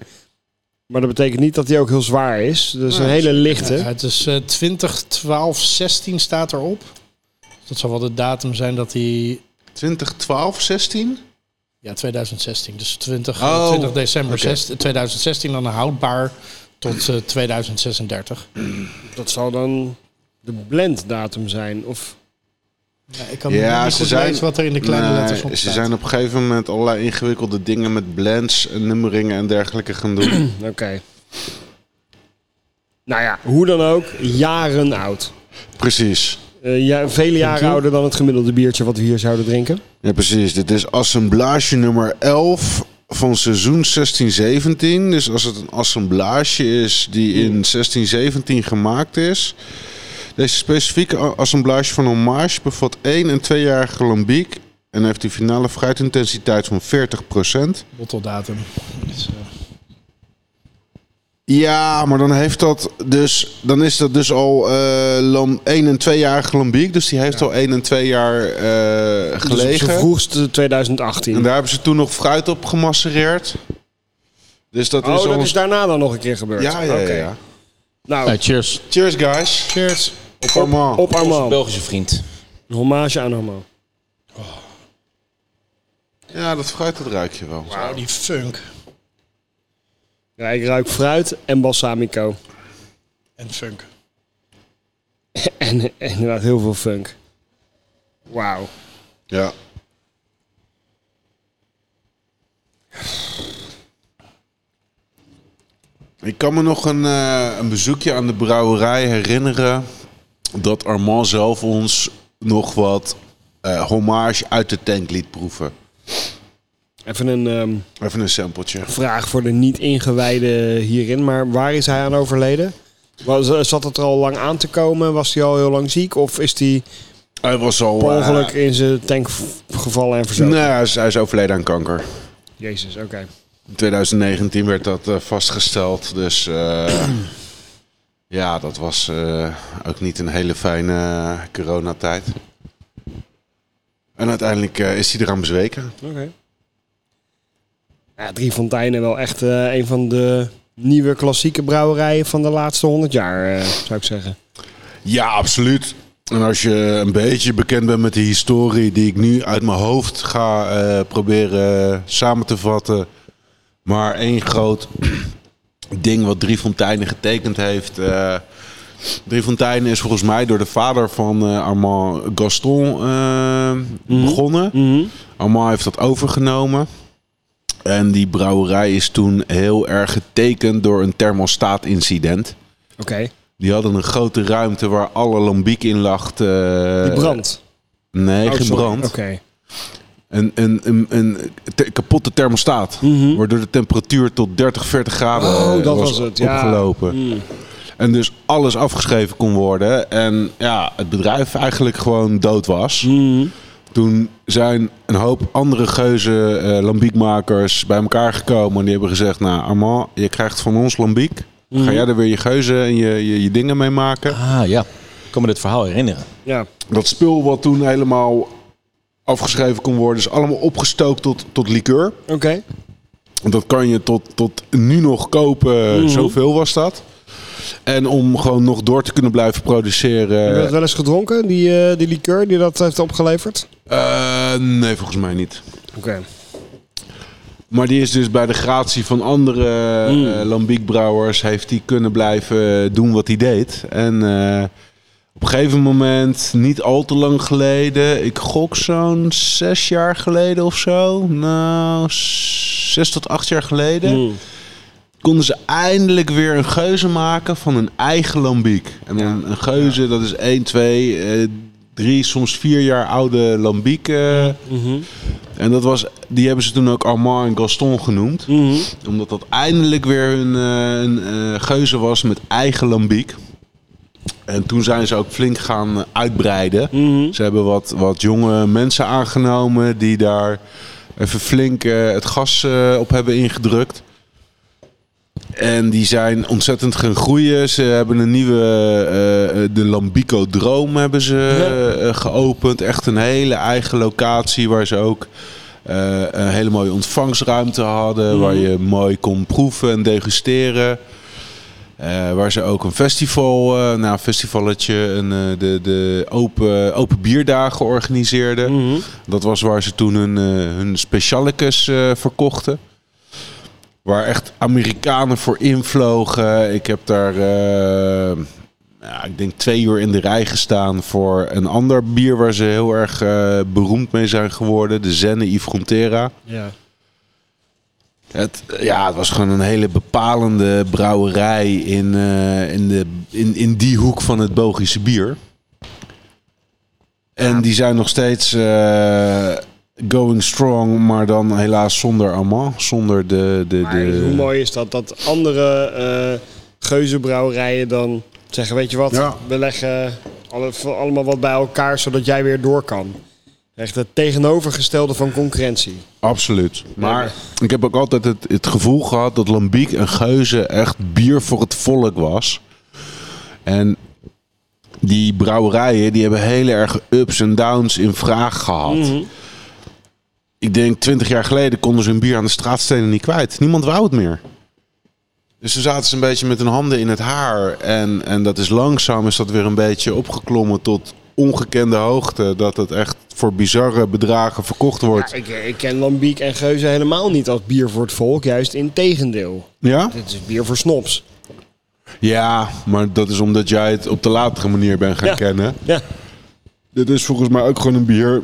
Speaker 4: Maar dat betekent niet dat die ook heel zwaar is. Dat is een hele lichte.
Speaker 6: Ja, het is eh 20, 12, 16 staat erop. Dus Dat zal wel de datum zijn dat hij...
Speaker 2: 2012, 16?
Speaker 6: Ja, 2016. Dus 20,
Speaker 2: Oh,
Speaker 6: 20 december
Speaker 2: oké.
Speaker 6: 16 2016 dan houdbaar tot eh, 2036.
Speaker 4: Dat zal dan de blenddatum zijn. Of
Speaker 6: Ja, ik kan niet goed lezen wat er in de kleine
Speaker 2: Nee,
Speaker 6: letters op
Speaker 2: Ze
Speaker 6: staat.
Speaker 2: zijn op een gegeven moment allerlei ingewikkelde dingen met blends, en nummeringen en dergelijke gaan doen.
Speaker 4: oké. Nou ja, hoe dan ook, jaren oud.
Speaker 2: precies.
Speaker 4: Eh, ja, vele jaren ouder dan het gemiddelde biertje wat we hier zouden drinken. Dus
Speaker 2: Ja, precies. Dit is assemblage nummer 11 van seizoen 1617. Dus als het een assemblage is die in 1617 gemaakt is. Deze specifieke a- assemblage van hommage bevat 1 en 2-jarige lambiek. En heeft een finale fruitintensiteit van 40%.
Speaker 6: Botteldatum. Dus, eh,
Speaker 2: Ja, maar dan, heeft dat dus, dan is dat dus al eh lam, 1 en 2-jarige lambiek. Dus die heeft al 1 en 2 jaar eh
Speaker 4: Dus op
Speaker 2: gelegen.
Speaker 4: zijn vroegste
Speaker 2: En
Speaker 4: 2018.
Speaker 2: daar hebben ze toen nog fruit op gemassereerd. Dus dat
Speaker 4: Oh,
Speaker 2: is al...
Speaker 4: dat is daarna dan nog een keer gebeurd.
Speaker 2: ja, ja, ja,
Speaker 4: Oké.
Speaker 2: ja.
Speaker 1: Nou,
Speaker 4: Nou,
Speaker 1: cheers.
Speaker 2: Cheers, guys.
Speaker 6: cheers.
Speaker 2: Op Armand.
Speaker 4: op Armand.
Speaker 1: Belgische vriend.
Speaker 4: Een hommage aan Armand.
Speaker 2: Ja, dat fruit, dat ruik je wel.
Speaker 6: Oh, die funk.
Speaker 4: Ja, ik ruik fruit en balsamico.
Speaker 6: En funk.
Speaker 4: En, en inderdaad heel veel funk. Wauw.
Speaker 2: Ja. Ik kan me nog een, eh, een bezoekje aan de brouwerij herinneren. Dat Armand zelf ons nog wat eh, hommage uit de tank liet proeven.
Speaker 4: Even een ehm,
Speaker 2: Even een sampletje.
Speaker 4: vraag voor de niet ingewijden hierin. Maar waar is hij aan overleden? Was, zat het er al lang aan te komen? Was hij al heel lang ziek? Of is hij
Speaker 2: Hij was al...
Speaker 4: per
Speaker 2: eh,
Speaker 4: ongeluk in zijn tank v- gevallen en verzopen?
Speaker 2: Nee, hij is, hij is overleden aan kanker.
Speaker 4: Jezus, oké.
Speaker 2: In 2019 werd dat eh, vastgesteld. Dus eh, ja, dat was eh, ook niet een hele fijne eh, coronatijd. En uiteindelijk eh, is hij eraan bezweken.
Speaker 4: Ja, Drie Fonteinen wel echt eh, een van de nieuwe klassieke brouwerijen van de laatste 100 jaar, eh, zou ik zeggen.
Speaker 2: Ja, absoluut. En als je een beetje bekend bent met de historie die ik nu uit mijn hoofd ga eh, proberen eh, samen te vatten. Maar één groot ding wat Drie Fonteinen getekend heeft. eh Drie Fonteinen is volgens mij door de vader van eh, Armand Gaston eh, begonnen. Armand heeft dat overgenomen. En die brouwerij is toen heel erg getekend door een thermostaatincident.
Speaker 4: Oké,
Speaker 2: Die hadden een grote ruimte waar alle lambiek in lag. eh,
Speaker 4: die brand.
Speaker 2: Nee,
Speaker 4: Oh,
Speaker 2: geen
Speaker 4: sorry.
Speaker 2: brand.
Speaker 4: Oké.
Speaker 2: Een, een, een, een te- kapotte thermostaat. Waardoor de temperatuur tot 30, 40 graden
Speaker 4: Mhm. Oh,
Speaker 2: eh,
Speaker 4: dat was het, ja. Mm.
Speaker 2: opgelopen. En dus alles afgeschreven kon worden. En ja, het bedrijf eigenlijk gewoon dood was.
Speaker 4: Mm.
Speaker 2: Toen zijn een hoop andere geuzen, eh, lambiekmakers, bij elkaar gekomen. En die hebben gezegd, nou Armand, je krijgt van ons lambiek.
Speaker 4: Mm.
Speaker 2: Ga jij er weer je geuzen en je, je, je dingen mee maken?
Speaker 1: Ah ja, ik kan me dit verhaal herinneren.
Speaker 4: Ja.
Speaker 2: dat spul wat toen helemaal afgeschreven kon worden, is allemaal opgestookt tot, tot liqueur.
Speaker 4: Oké.
Speaker 2: Want dat kan je tot, tot nu nog kopen, zoveel was dat. En om gewoon nog door te kunnen blijven produceren.
Speaker 4: Heb je dat wel eens gedronken, die, eh, die liqueur die dat heeft opgeleverd?
Speaker 2: eh, nee, volgens mij niet.
Speaker 4: Oké.
Speaker 2: Maar die is dus bij de gratie van andere eh, lambiekbrouwers... heeft die kunnen blijven eh, doen wat hij deed. En eh, op een gegeven moment, niet al te lang geleden... ik gok zo'n zes jaar geleden of zo. Nou, s- zes tot acht jaar geleden... konden ze eindelijk weer een geuze maken van hun eigen lambiek. En een, een geuze, dat is 1, 2, eh 3, soms vier jaar oude lambiek... eh, en dat was, die hebben ze toen ook Armand en Gaston genoemd. Omdat dat eindelijk weer hun eh, een, eh, geuze was met eigen lambiek. En toen zijn ze ook flink gaan eh, uitbreiden. Ze hebben wat, wat jonge mensen aangenomen die daar even flink eh, het gas eh, op hebben ingedrukt. En die zijn ontzettend gaan groeien. Ze hebben een nieuwe, eh, eh, de Lambico Droom hebben ze eh, geopend. Echt een hele eigen locatie waar ze ook eh, een hele mooie ontvangstruimte hadden. Waar je mooi kon proeven en degusteren. Eh, waar ze ook een festival, eh nou een festivalletje, een, eh, de, de open, open bierdagen organiseerden. Dat was waar ze toen hun, eh hun specialicus eh, verkochten. Waar echt Amerikanen voor invlogen. Ik heb daar, eh, ja, ik denk twee uur in de rij gestaan voor een ander bier waar ze heel erg eh, beroemd mee zijn geworden. De Zenne Yves Frontera.
Speaker 4: Ja.
Speaker 2: Het, ja, het was gewoon een hele bepalende brouwerij in, eh, in, de, in, in die hoek van het Belgische bier. En die zijn nog steeds eh, going strong, maar dan helaas zonder Armand, zonder de... de,
Speaker 4: Maar
Speaker 2: de
Speaker 4: Dus hoe mooi is dat, dat andere eh geuzenbrouwerijen dan zeggen, weet je wat,
Speaker 2: Ja.
Speaker 4: we leggen alle, allemaal wat bij elkaar, zodat jij weer door kan. Echt het tegenovergestelde van concurrentie.
Speaker 2: Absoluut. Maar ik heb ook altijd het, het gevoel gehad dat Lambiek en Geuze echt bier voor het volk was. En die brouwerijen die hebben heel erg ups en downs in vraag gehad.
Speaker 4: Mhm.
Speaker 2: Ik denk twintig jaar geleden konden ze hun bier aan de straatstenen niet kwijt. Niemand wou het meer. Dus toen zaten ze een beetje met hun handen in het haar. En, en dat is langzaam is dat weer een beetje opgeklommen tot ongekende hoogte. Dat het echt voor bizarre bedragen verkocht wordt.
Speaker 4: Ja, ik, ik ken Lambiek en Geuze helemaal niet als bier voor het volk, juist in tegendeel.
Speaker 2: Ja?
Speaker 4: Dit is bier voor snobs.
Speaker 2: Ja, maar dat is omdat jij het op de latere manier bent gaan
Speaker 4: Ja.
Speaker 2: kennen.
Speaker 4: Ja.
Speaker 2: Dit is volgens mij ook gewoon een bier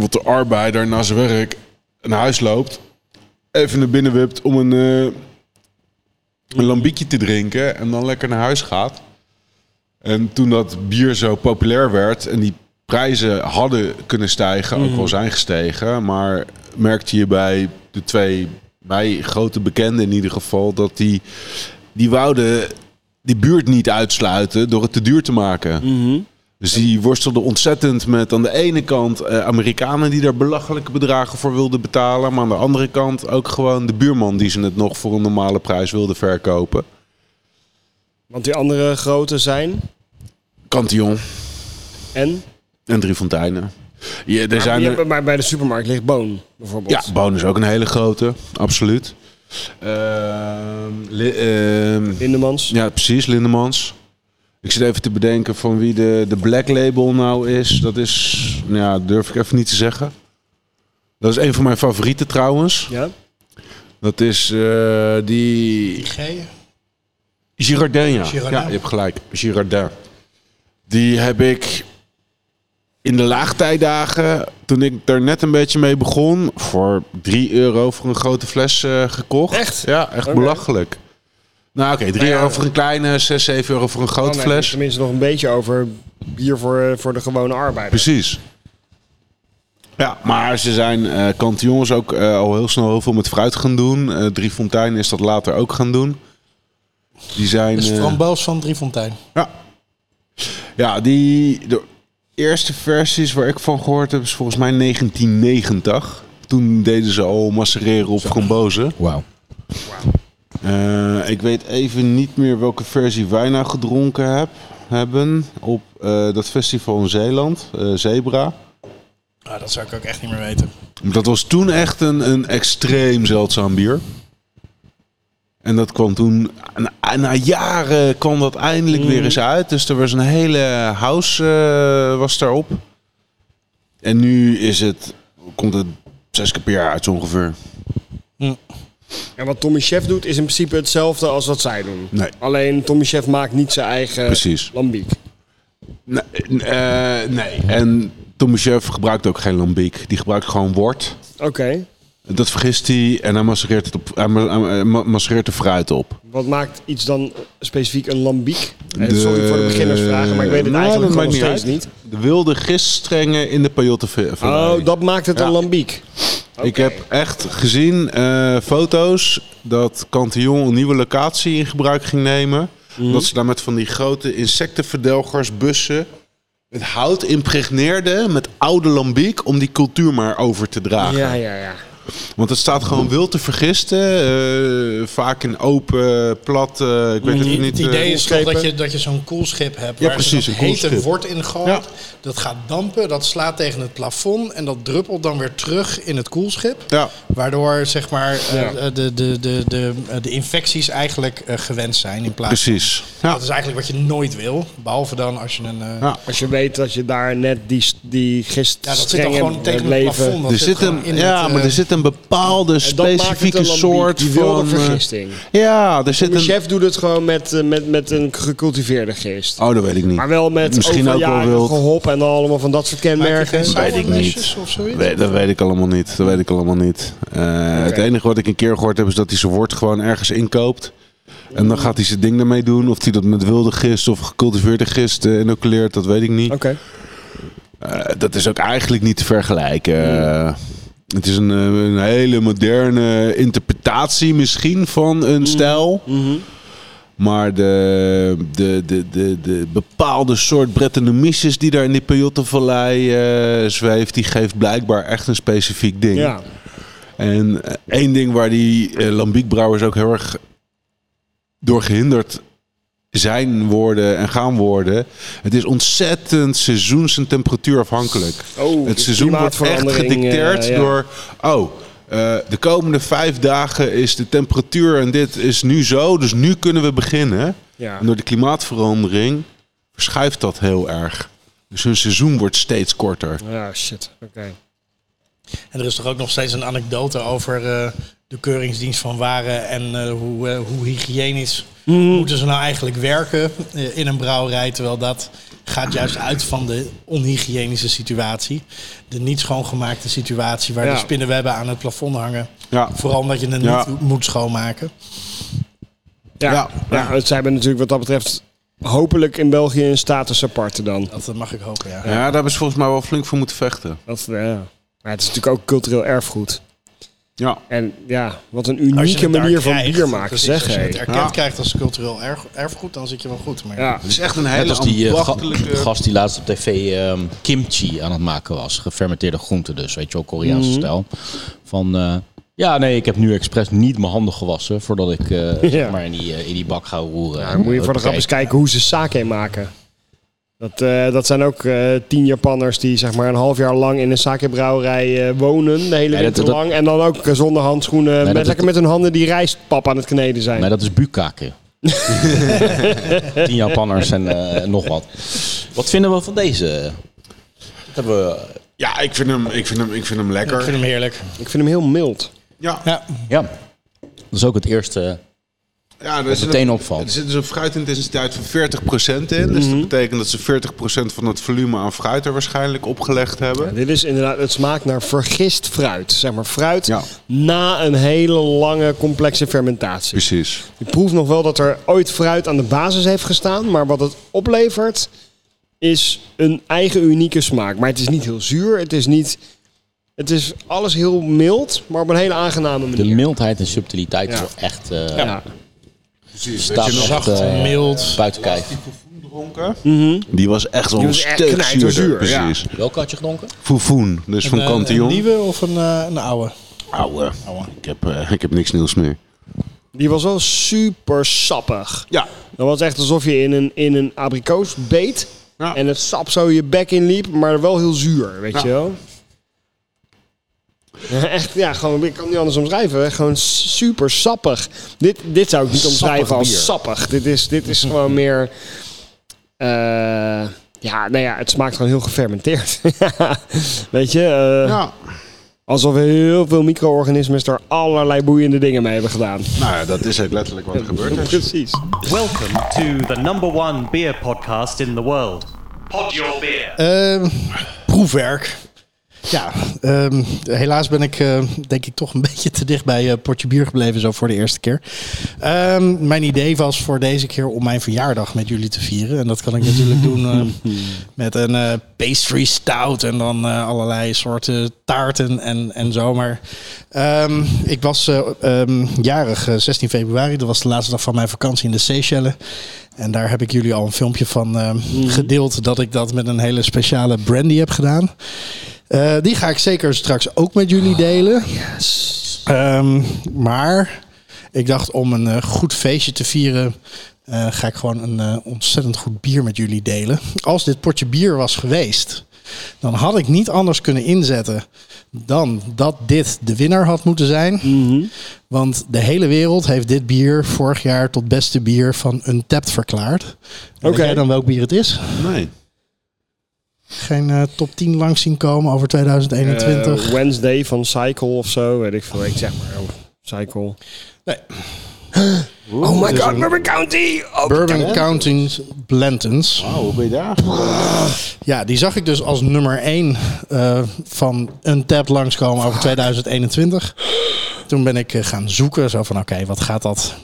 Speaker 2: wat de arbeider na zijn werk naar huis loopt. Even naar binnen wipt om een, eh, een lambiekje te drinken en dan lekker naar huis gaat. En toen dat bier zo populair werd en die prijzen hadden kunnen stijgen, ook wel zijn gestegen, maar merkte je bij de twee mij grote bekenden in ieder geval dat die die wouden die buurt niet uitsluiten door het te duur te maken. Dus die worstelde ontzettend met aan de ene kant eh, Amerikanen die daar belachelijke bedragen voor wilden betalen. Maar aan de andere kant ook gewoon de buurman die ze het nog voor een normale prijs wilde verkopen.
Speaker 4: Want die andere grote zijn.
Speaker 2: Cantillon
Speaker 4: En?
Speaker 2: en Driefonteinen. Ja, er
Speaker 4: Maar,
Speaker 2: zijn
Speaker 4: die
Speaker 2: er,
Speaker 4: hebben- maar bij de supermarkt ligt Boon, bijvoorbeeld.
Speaker 2: ja, Boon is ook een hele grote, absoluut. Ehm, li- ehm,
Speaker 4: Lindemans.
Speaker 2: Ja, precies, Lindemans. Ik zit even te bedenken van wie de, de Black Label nou is. Dat is, nou ja, durf ik even niet te zeggen. Dat is een van mijn favorieten trouwens.
Speaker 4: Ja.
Speaker 2: Dat is eh, die...
Speaker 6: G.
Speaker 2: Girardin, ja.
Speaker 6: Girardin.
Speaker 2: Ja, je hebt gelijk. Girardin. Die heb ik in de laagtijdagen, toen ik daar net een beetje mee begon, voor 3 euro voor een grote fles eh, gekocht.
Speaker 4: Echt?
Speaker 2: Ja, echt belachelijk. Nou oké, 3 euro voor een kleine, 6, 7 euro voor een
Speaker 4: Dan
Speaker 2: grote
Speaker 4: Nou, heb je
Speaker 2: fles.
Speaker 4: Tenminste nog een beetje over bier voor, eh, voor de gewone arbeider.
Speaker 2: Precies. Ja, maar ze zijn eh kantion's ook eh, al heel snel heel veel met fruit gaan doen. Eh Driefontein is dat later ook gaan doen. Die zijn...
Speaker 6: is
Speaker 2: eh,
Speaker 6: framboos van Driefontein.
Speaker 2: Ja. Ja, die, de eerste versies waar ik van gehoord heb is volgens mij 1990. Toen deden ze al macereren op frambozen.
Speaker 1: Wauw.
Speaker 2: Eh, ik weet even niet meer welke versie wij nou gedronken heb, hebben op eh, dat festival in Zeeland, eh, Zebra.
Speaker 6: Ah, dat zou ik ook echt niet meer weten.
Speaker 2: Dat was toen echt een, een extreem zeldzaam bier. En dat kwam toen, na, na jaren kwam dat eindelijk weer eens uit. Dus er was een hele house eh, was daarop. En nu is het, komt het zes keer per jaar uit zo ongeveer.
Speaker 4: En wat Tommy Chef doet is in principe hetzelfde als wat zij doen.
Speaker 2: Nee.
Speaker 4: Alleen Tommy Chef maakt niet zijn eigen
Speaker 2: Precies.
Speaker 4: lambiek.
Speaker 2: Nee. eh, nee. En Thomas Chef gebruikt ook geen lambiek. Die gebruikt gewoon wort.
Speaker 4: Oké,
Speaker 2: Dat vergist hij en hij massereert, het op, hij ma- hij ma- massereert de fruit op.
Speaker 4: wat maakt iets dan specifiek een lambiek? Eh,
Speaker 2: De-
Speaker 4: Sorry voor de beginnersvragen, maar ik weet het
Speaker 2: Nou,
Speaker 4: eigenlijk
Speaker 2: dat
Speaker 4: gewoon nog
Speaker 2: maakt
Speaker 4: steeds niet.
Speaker 2: uit. De wilde giststrengen in de peyote
Speaker 4: Oh, dat maakt het
Speaker 2: Ja.
Speaker 4: een lambiek.
Speaker 2: Ik
Speaker 4: Oké.
Speaker 2: heb echt gezien eh, foto's dat Cantillon een nieuwe locatie in gebruik ging nemen.
Speaker 4: Mhm.
Speaker 2: Dat ze daar met van die grote insectenverdelgers, bussen, het hout impregneerden met oude lambiek om die cultuur maar over te dragen.
Speaker 4: Ja, ja, ja.
Speaker 2: Want het staat gewoon wild te vergisten. eh, vaak in open, plat, eh, ik weet
Speaker 4: Mhm.
Speaker 2: het
Speaker 6: Die-
Speaker 2: niet.
Speaker 6: het idee
Speaker 2: eh,
Speaker 6: is toch dat
Speaker 4: koelschepen.
Speaker 6: je, dat je zo'n koelschip hebt
Speaker 2: Ja,
Speaker 6: waar
Speaker 2: precies,
Speaker 6: ze
Speaker 2: een
Speaker 6: dat hete
Speaker 2: koelschip.
Speaker 6: wort in gooit.
Speaker 2: Ja.
Speaker 6: Dat gaat dampen, dat slaat tegen het plafond en dat druppelt dan weer terug in het koelschip.
Speaker 2: Ja.
Speaker 6: Waardoor zeg maar, eh, eh, de, de, de, de, eh, de infecties eigenlijk eh, gewend zijn in plaats
Speaker 2: Precies. Ja.
Speaker 6: Dat is eigenlijk wat je nooit wil. Behalve dan als je een... eh,
Speaker 2: Ja.
Speaker 6: ja.
Speaker 4: Als je weet dat je daar net die, die gist
Speaker 6: dat zit dan gewoon tegen het plafond. Dat
Speaker 2: Er zit
Speaker 6: gewoon
Speaker 2: een,
Speaker 6: in
Speaker 2: ja,
Speaker 6: het,
Speaker 2: maar
Speaker 4: ehm,
Speaker 6: eh,
Speaker 2: er zit een bepaalde
Speaker 4: Eh,
Speaker 2: specifieke soort
Speaker 4: die wilde
Speaker 2: van... eh,
Speaker 4: vergisting.
Speaker 2: ja, er zit
Speaker 4: De
Speaker 2: een...
Speaker 4: chef doet het gewoon met, eh, met, met een gecultiveerde gist.
Speaker 2: Oh, dat weet ik niet.
Speaker 4: Maar wel met
Speaker 2: Misschien ook wel
Speaker 4: overjarige
Speaker 2: wild.
Speaker 4: gehop en allemaal van dat soort kenmerken.
Speaker 6: Maakt hij
Speaker 2: Weet ik niet.
Speaker 6: Of zoiets?
Speaker 2: Nee, dat weet ik allemaal niet. Dat weet ik allemaal niet. Eh, Het enige wat ik een keer gehoord heb is dat hij zijn wort gewoon ergens inkoopt. En dan gaat hij zijn ding daarmee doen. Of hij dat met wilde gist of gecultiveerde gist eh, inoculeert, dat weet ik niet.
Speaker 4: Oké.
Speaker 2: Eh, dat is ook eigenlijk niet te vergelijken. Eh, het is een, eh, een hele moderne interpretatie misschien van een stijl. Maar de, de, de, de, de bepaalde soort Brettanomyces die daar in die Peyote-vallei eh, zweeft, die geeft blijkbaar echt een specifiek ding.
Speaker 4: Ja.
Speaker 2: En eh, één ding waar die eh, lambiekbrouwers ook heel erg door gehinderd zijn worden en gaan worden. Het is ontzettend seizoens- en temperatuurafhankelijk.
Speaker 4: Oh,
Speaker 2: het
Speaker 4: de
Speaker 2: seizoen wordt echt
Speaker 4: klimaatverandering,
Speaker 2: gedicteerd
Speaker 4: eh, ja.
Speaker 2: door... Oh, eh, de komende vijf dagen is de temperatuur en dit is nu zo, dus nu kunnen we beginnen.
Speaker 4: Ja.
Speaker 2: En door de klimaatverandering verschuift dat heel erg. Dus hun seizoen wordt steeds korter.
Speaker 4: Ja, shit. Oké.
Speaker 6: En er is toch ook nog steeds een anekdote over eh, de keuringsdienst van waren en eh, hoe, eh, hoe hygiënisch
Speaker 4: Mhm.
Speaker 6: moeten ze nou eigenlijk werken eh, in een brouwerij. Terwijl dat gaat juist uit van de onhygiënische situatie. De niet schoongemaakte situatie waar
Speaker 4: Ja.
Speaker 6: de spinnenwebben aan het plafond hangen.
Speaker 2: Ja.
Speaker 6: Vooral omdat je het
Speaker 2: Ja.
Speaker 6: niet moet schoonmaken.
Speaker 4: Ja,
Speaker 2: Ja,
Speaker 4: ja,
Speaker 2: ja.
Speaker 4: het- zij hebben natuurlijk wat dat betreft hopelijk in België een status aparte dan.
Speaker 6: Dat eh, mag ik hopen, ja.
Speaker 2: Ja,
Speaker 4: eh,
Speaker 2: daar hebben ze volgens mij wel flink voor moeten vechten.
Speaker 4: Dat, ja. Maar het is natuurlijk ook cultureel erfgoed.
Speaker 2: Ja.
Speaker 4: En ja, wat een
Speaker 6: Als je
Speaker 4: unieke
Speaker 6: het daar
Speaker 4: manier van
Speaker 6: krijgt,
Speaker 4: bier maken,
Speaker 6: precies,
Speaker 4: zeg
Speaker 6: Als je
Speaker 4: hé.
Speaker 6: het erkend
Speaker 2: Ja.
Speaker 6: krijgt als cultureel erf- erfgoed, dan zit je wel goed. Maar
Speaker 4: Ja,
Speaker 2: Het is echt een
Speaker 1: Net
Speaker 2: hele
Speaker 1: als die eh, ga-
Speaker 2: ambachtelijke...
Speaker 1: gast die laatst op tv ehm, kimchi aan het maken was. Gefermenteerde groenten dus, weet je wel, Koreaanse
Speaker 4: Mhm.
Speaker 1: stijl. Van, eh, ja nee, ik heb nu expres niet mijn handen gewassen voordat ik eh,
Speaker 4: Ja.
Speaker 1: zeg maar in die, eh, in die bak ga roeren. eh,
Speaker 4: Ja, dan moet je voor de grap eens kijken hoe ze sake maken. Dat, eh, dat zijn ook eh, tien Japanners die zeg maar een half jaar lang in een sakebrouwerij eh, wonen, de hele
Speaker 1: Nee, dat-
Speaker 4: winter
Speaker 1: dat-
Speaker 4: lang. En dan ook eh, zonder handschoenen, met,
Speaker 1: dat-
Speaker 4: lekker met hun handen die rijstpap aan het kneden zijn.
Speaker 1: Maar dat is bukaken. Tien Japanners en eh, nog wat. Wat vinden we van deze? Dat hebben we...
Speaker 2: Ja, ik vind hem, ik vind hem, ik vind hem
Speaker 6: ik vind
Speaker 2: lekker.
Speaker 6: hem heerlijk.
Speaker 4: Ik vind hem heel mild.
Speaker 2: Ja,
Speaker 6: Ja,
Speaker 1: Ja, dat is ook het eerste
Speaker 2: ja er
Speaker 1: dat
Speaker 2: zit een-
Speaker 1: meteen
Speaker 2: Er
Speaker 1: opvalt. Mhm.
Speaker 2: zit dus een fruitintensiteit van 40% in. Dus dat betekent dat ze 40% van het volume aan fruit er waarschijnlijk opgelegd hebben.
Speaker 4: Dit is inderdaad, het smaakt naar vergist fruit. Zeg maar fruit
Speaker 2: Ja.
Speaker 4: na een hele lange complexe fermentatie.
Speaker 2: Precies.
Speaker 4: Je proeft nog wel dat er ooit fruit aan de basis heeft gestaan. Maar wat het oplevert is een eigen unieke smaak. Maar het is niet heel zuur. Het is niet... Het is alles heel mild, maar op een hele aangename
Speaker 1: De
Speaker 4: manier.
Speaker 1: mildheid en subtiliteit is
Speaker 4: Ja.
Speaker 1: wel echt... eh
Speaker 4: ja.
Speaker 1: Staat echt,
Speaker 6: zacht,
Speaker 1: eh,
Speaker 6: mild.
Speaker 1: Buiten kijf.
Speaker 2: Dronken.
Speaker 1: Mhm.
Speaker 2: Die was echt wel
Speaker 4: Die
Speaker 2: een
Speaker 4: was echt
Speaker 2: stuk
Speaker 4: knijterzuur,
Speaker 2: zuurder.
Speaker 4: ja.
Speaker 2: Precies.
Speaker 1: Welke had je gedronken?
Speaker 2: Foufoen, dus van
Speaker 6: Een, eh, Een
Speaker 2: Cantillon.
Speaker 6: nieuwe of een, eh, een oude?
Speaker 2: Ouwe, ik heb, eh, ik heb niks nieuws meer.
Speaker 4: Die was wel super sappig.
Speaker 2: Ja,
Speaker 4: Dat was echt alsof je in een, in een abrikoos beet.
Speaker 2: Ja.
Speaker 4: En het sap zo je bek in liep, maar wel heel zuur, weet
Speaker 2: Ja.
Speaker 4: je wel. Echt, ja, gewoon, ik kan het niet anders omschrijven. hè. Gewoon super sappig. Dit, dit zou ik niet omschrijven als
Speaker 1: bier.
Speaker 4: sappig. Dit is, dit is gewoon meer... eh, ja, nou ja, het smaakt gewoon heel gefermenteerd. weet je? eh,
Speaker 2: ja.
Speaker 4: Alsof heel veel micro-organismen er allerlei boeiende dingen mee hebben gedaan.
Speaker 2: Nou ja, dat is ook letterlijk wat er gebeurd is.
Speaker 4: Precies.
Speaker 5: Welcome to the number one beer podcast in the world. Pod Your Beer.
Speaker 6: Ehm, proefwerk. Ja, ehm, helaas ben ik eh, denk ik toch een beetje te dicht bij eh potje bier gebleven zo voor de eerste keer. Ehm, mijn idee was voor deze keer om mijn verjaardag met jullie te vieren. En dat kan ik natuurlijk doen eh, met een eh, pastry stout en dan eh, allerlei soorten taarten en, en zo. Maar ehm, ik was eh, ehm, jarig, eh, 16 februari. Dat was de laatste dag van mijn vakantie in de Seychellen. En daar heb ik jullie al een filmpje van ehm, gedeeld dat ik dat met een hele speciale brandy heb gedaan. Eh, die ga ik zeker straks ook met jullie delen. Ehm, maar ik dacht om een eh, goed feestje te vieren. eh, ga ik gewoon een eh, ontzettend goed bier met jullie delen. Als dit potje bier was geweest, dan had ik niet anders kunnen inzetten dan dat dit de winnaar had moeten zijn. Want de hele wereld heeft dit bier vorig jaar tot beste bier van Untapped verklaard. Oké. Weet
Speaker 4: Oké.
Speaker 6: jij dan welk bier het is?
Speaker 2: Nee.
Speaker 6: Geen eh, top 10 langs zien komen over 2021.
Speaker 4: Eh, Wednesday van Cycle of zo, weet ik veel. Ik zeg maar, oh, Cycle.
Speaker 6: Nee.
Speaker 4: Oh my god, Bourbon County!
Speaker 6: Bourbon County's Blantons.
Speaker 2: Oh, hoe ben je daar?
Speaker 6: Ja, die zag ik dus als nummer 1 van Untapped langskomen over 2021. Toen ben ik eh, gaan zoeken, zo van oké, wat gaat dat?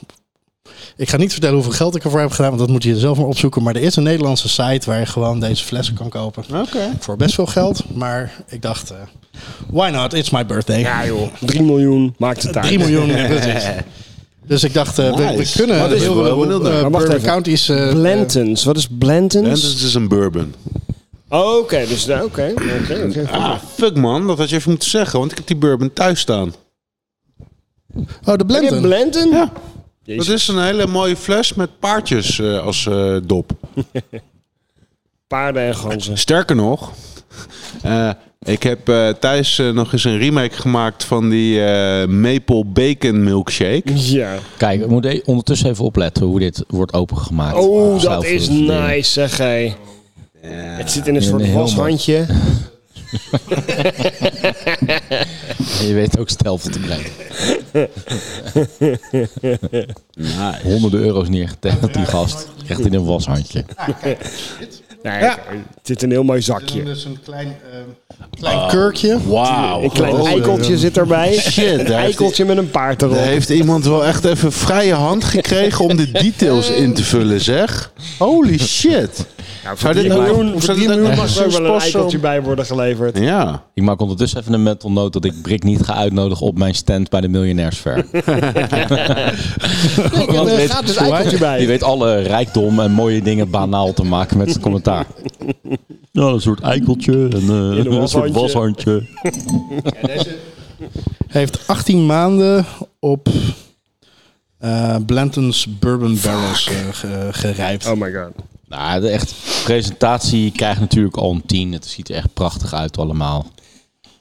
Speaker 6: Ik ga niet vertellen hoeveel geld ik ervoor heb gedaan, want dat moet je zelf maar opzoeken. Maar er is een Nederlandse site waar je gewoon deze flessen kan kopen.
Speaker 2: Oké.
Speaker 6: Voor best veel geld, maar ik dacht, eh, why not? It's my birthday.
Speaker 4: Ja joh, 3 miljoen maakt het uit.
Speaker 6: 3 miljoen, ja, precies. Dus ik dacht, eh, we- we,
Speaker 2: Nice.
Speaker 6: kunnen
Speaker 2: Maar dat is
Speaker 6: heel
Speaker 2: wel
Speaker 6: veel
Speaker 2: heel
Speaker 6: eh,
Speaker 2: leuk.
Speaker 4: Maar wacht
Speaker 6: Bourbon
Speaker 4: even.
Speaker 6: County's... eh,
Speaker 4: Blantons, wat is Blantons?
Speaker 2: En dit dus is een bourbon.
Speaker 4: Oh, Oké, dus daar- oké. oké, oké.
Speaker 2: Ah, fuck man, dat had je even moeten zeggen, want ik heb die bourbon thuis staan.
Speaker 6: Oh, de
Speaker 4: Ben je
Speaker 6: Blanton.
Speaker 4: Blanton?
Speaker 2: Ja.
Speaker 4: Jezus.
Speaker 2: Dat is een hele mooie fles met paardjes eh, als eh, dop.
Speaker 4: Paarden en ganzen.
Speaker 2: Sterker nog, eh, ik heb eh, thuis eh, nog eens een remake gemaakt van die eh, maple bacon milkshake.
Speaker 4: Ja.
Speaker 1: Kijk, we moeten e- ondertussen even opletten hoe dit wordt opengemaakt.
Speaker 4: Oh, dat
Speaker 1: Zelf
Speaker 4: is
Speaker 1: doen.
Speaker 4: nice, zeg hé. Het zit in een soort
Speaker 1: heel mooi.
Speaker 4: washandje.
Speaker 1: En je weet ook stelsel te krijgen. Honderden euro's neergeteld, die gast. Krijgt in een washandje.
Speaker 4: Nee, Het zit in een heel mooi zakje.
Speaker 9: Dus een klein... eh,
Speaker 6: Klein kurkje.
Speaker 2: Wauw.
Speaker 4: Een Oh, klein eikeltje zit erbij. Shit,
Speaker 2: daar
Speaker 4: een
Speaker 2: heeft
Speaker 4: eikeltje met een paard
Speaker 2: Daar
Speaker 4: erop. Nou,
Speaker 2: heeft iemand wel echt even vrije hand gekregen om de details in te vullen, zeg. Holy shit.
Speaker 4: Nou,
Speaker 10: Zou dit nou doen?
Speaker 4: Voor
Speaker 10: Zou
Speaker 4: 10
Speaker 10: dit nou
Speaker 4: miljoen mag
Speaker 10: echt
Speaker 4: er ook wel een
Speaker 10: sponsor-
Speaker 4: eikeltje bij worden geleverd.
Speaker 2: Ja.
Speaker 1: Ik maak ondertussen even een mental note dat ik Brick niet ga uitnodigen op mijn stand bij de Miljonairs Fair. Want
Speaker 4: er
Speaker 1: weet-
Speaker 4: gaat dus eikeltje
Speaker 1: Die
Speaker 4: bij.
Speaker 1: weet alle rijkdom en mooie dingen banaal te maken met zijn commentaar. Nou, een soort eikeltje en
Speaker 4: een een soort washandje. washandje.
Speaker 6: Hij heeft 18 maanden op eh Blanton's Bourbon Barrels eh, ge- gerijpt.
Speaker 4: Oh my god.
Speaker 1: Nou, de echt, presentatie krijgt natuurlijk al een 10. Het ziet er echt prachtig uit allemaal.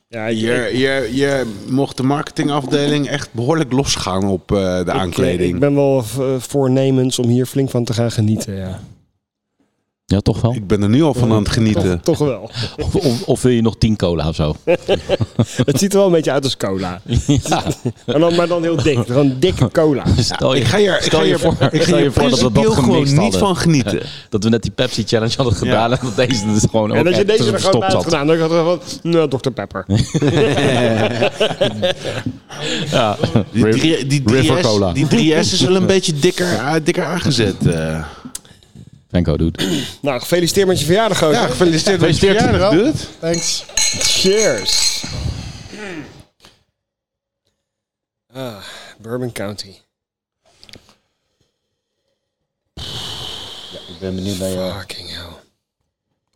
Speaker 4: Ja,
Speaker 2: Je, je, je mocht de marketingafdeling echt behoorlijk losgaan op eh, de
Speaker 4: Ik
Speaker 2: aankleding.
Speaker 4: ben wel eh, voornemens om hier flink van te gaan genieten. Ja.
Speaker 1: Ja, toch wel?
Speaker 2: Ik ben er nu al van aan het genieten.
Speaker 4: Toch wel.
Speaker 1: Of, of, of wil je nog 10 cola of zo?
Speaker 4: Het ziet er wel een beetje uit als cola.
Speaker 1: Ja.
Speaker 4: En dan, maar dan heel dik. Gewoon dikke cola.
Speaker 1: Stel je,
Speaker 2: ik ga je, ik
Speaker 1: Oh, stel
Speaker 2: ga
Speaker 1: je voor,
Speaker 2: ik ga
Speaker 1: stel je voor dat we dat
Speaker 2: principieel gewoon
Speaker 1: gemixt
Speaker 2: niet
Speaker 1: hadden.
Speaker 2: van genieten.
Speaker 1: Dat we net die Pepsi Challenge hadden gedaan en dat deze dus gewoon ook
Speaker 4: En dat je
Speaker 1: echt
Speaker 4: deze
Speaker 1: tussen
Speaker 4: er gewoon bij
Speaker 1: verstopt
Speaker 4: hebt
Speaker 1: zat.
Speaker 4: gedaan. Dan had ik van, nou, Dr. Pepper.
Speaker 1: Ja.
Speaker 2: Die, drie- die, drie
Speaker 1: River
Speaker 2: S-
Speaker 1: Cola.
Speaker 2: die 3S is wel een beetje dikker, eh, dikker aangezet. eh.
Speaker 1: Franco, dude.
Speaker 4: Nou, gefeliciteerd met je verjaardag, gozer.
Speaker 2: Ja, gefeliciteerd met je
Speaker 1: Gefeliciteerd.
Speaker 2: verjaardag, dude.
Speaker 6: Thanks.
Speaker 4: Cheers. Ah, Bourbon County.
Speaker 1: Ik ben benieuwd naar je,
Speaker 4: Fucking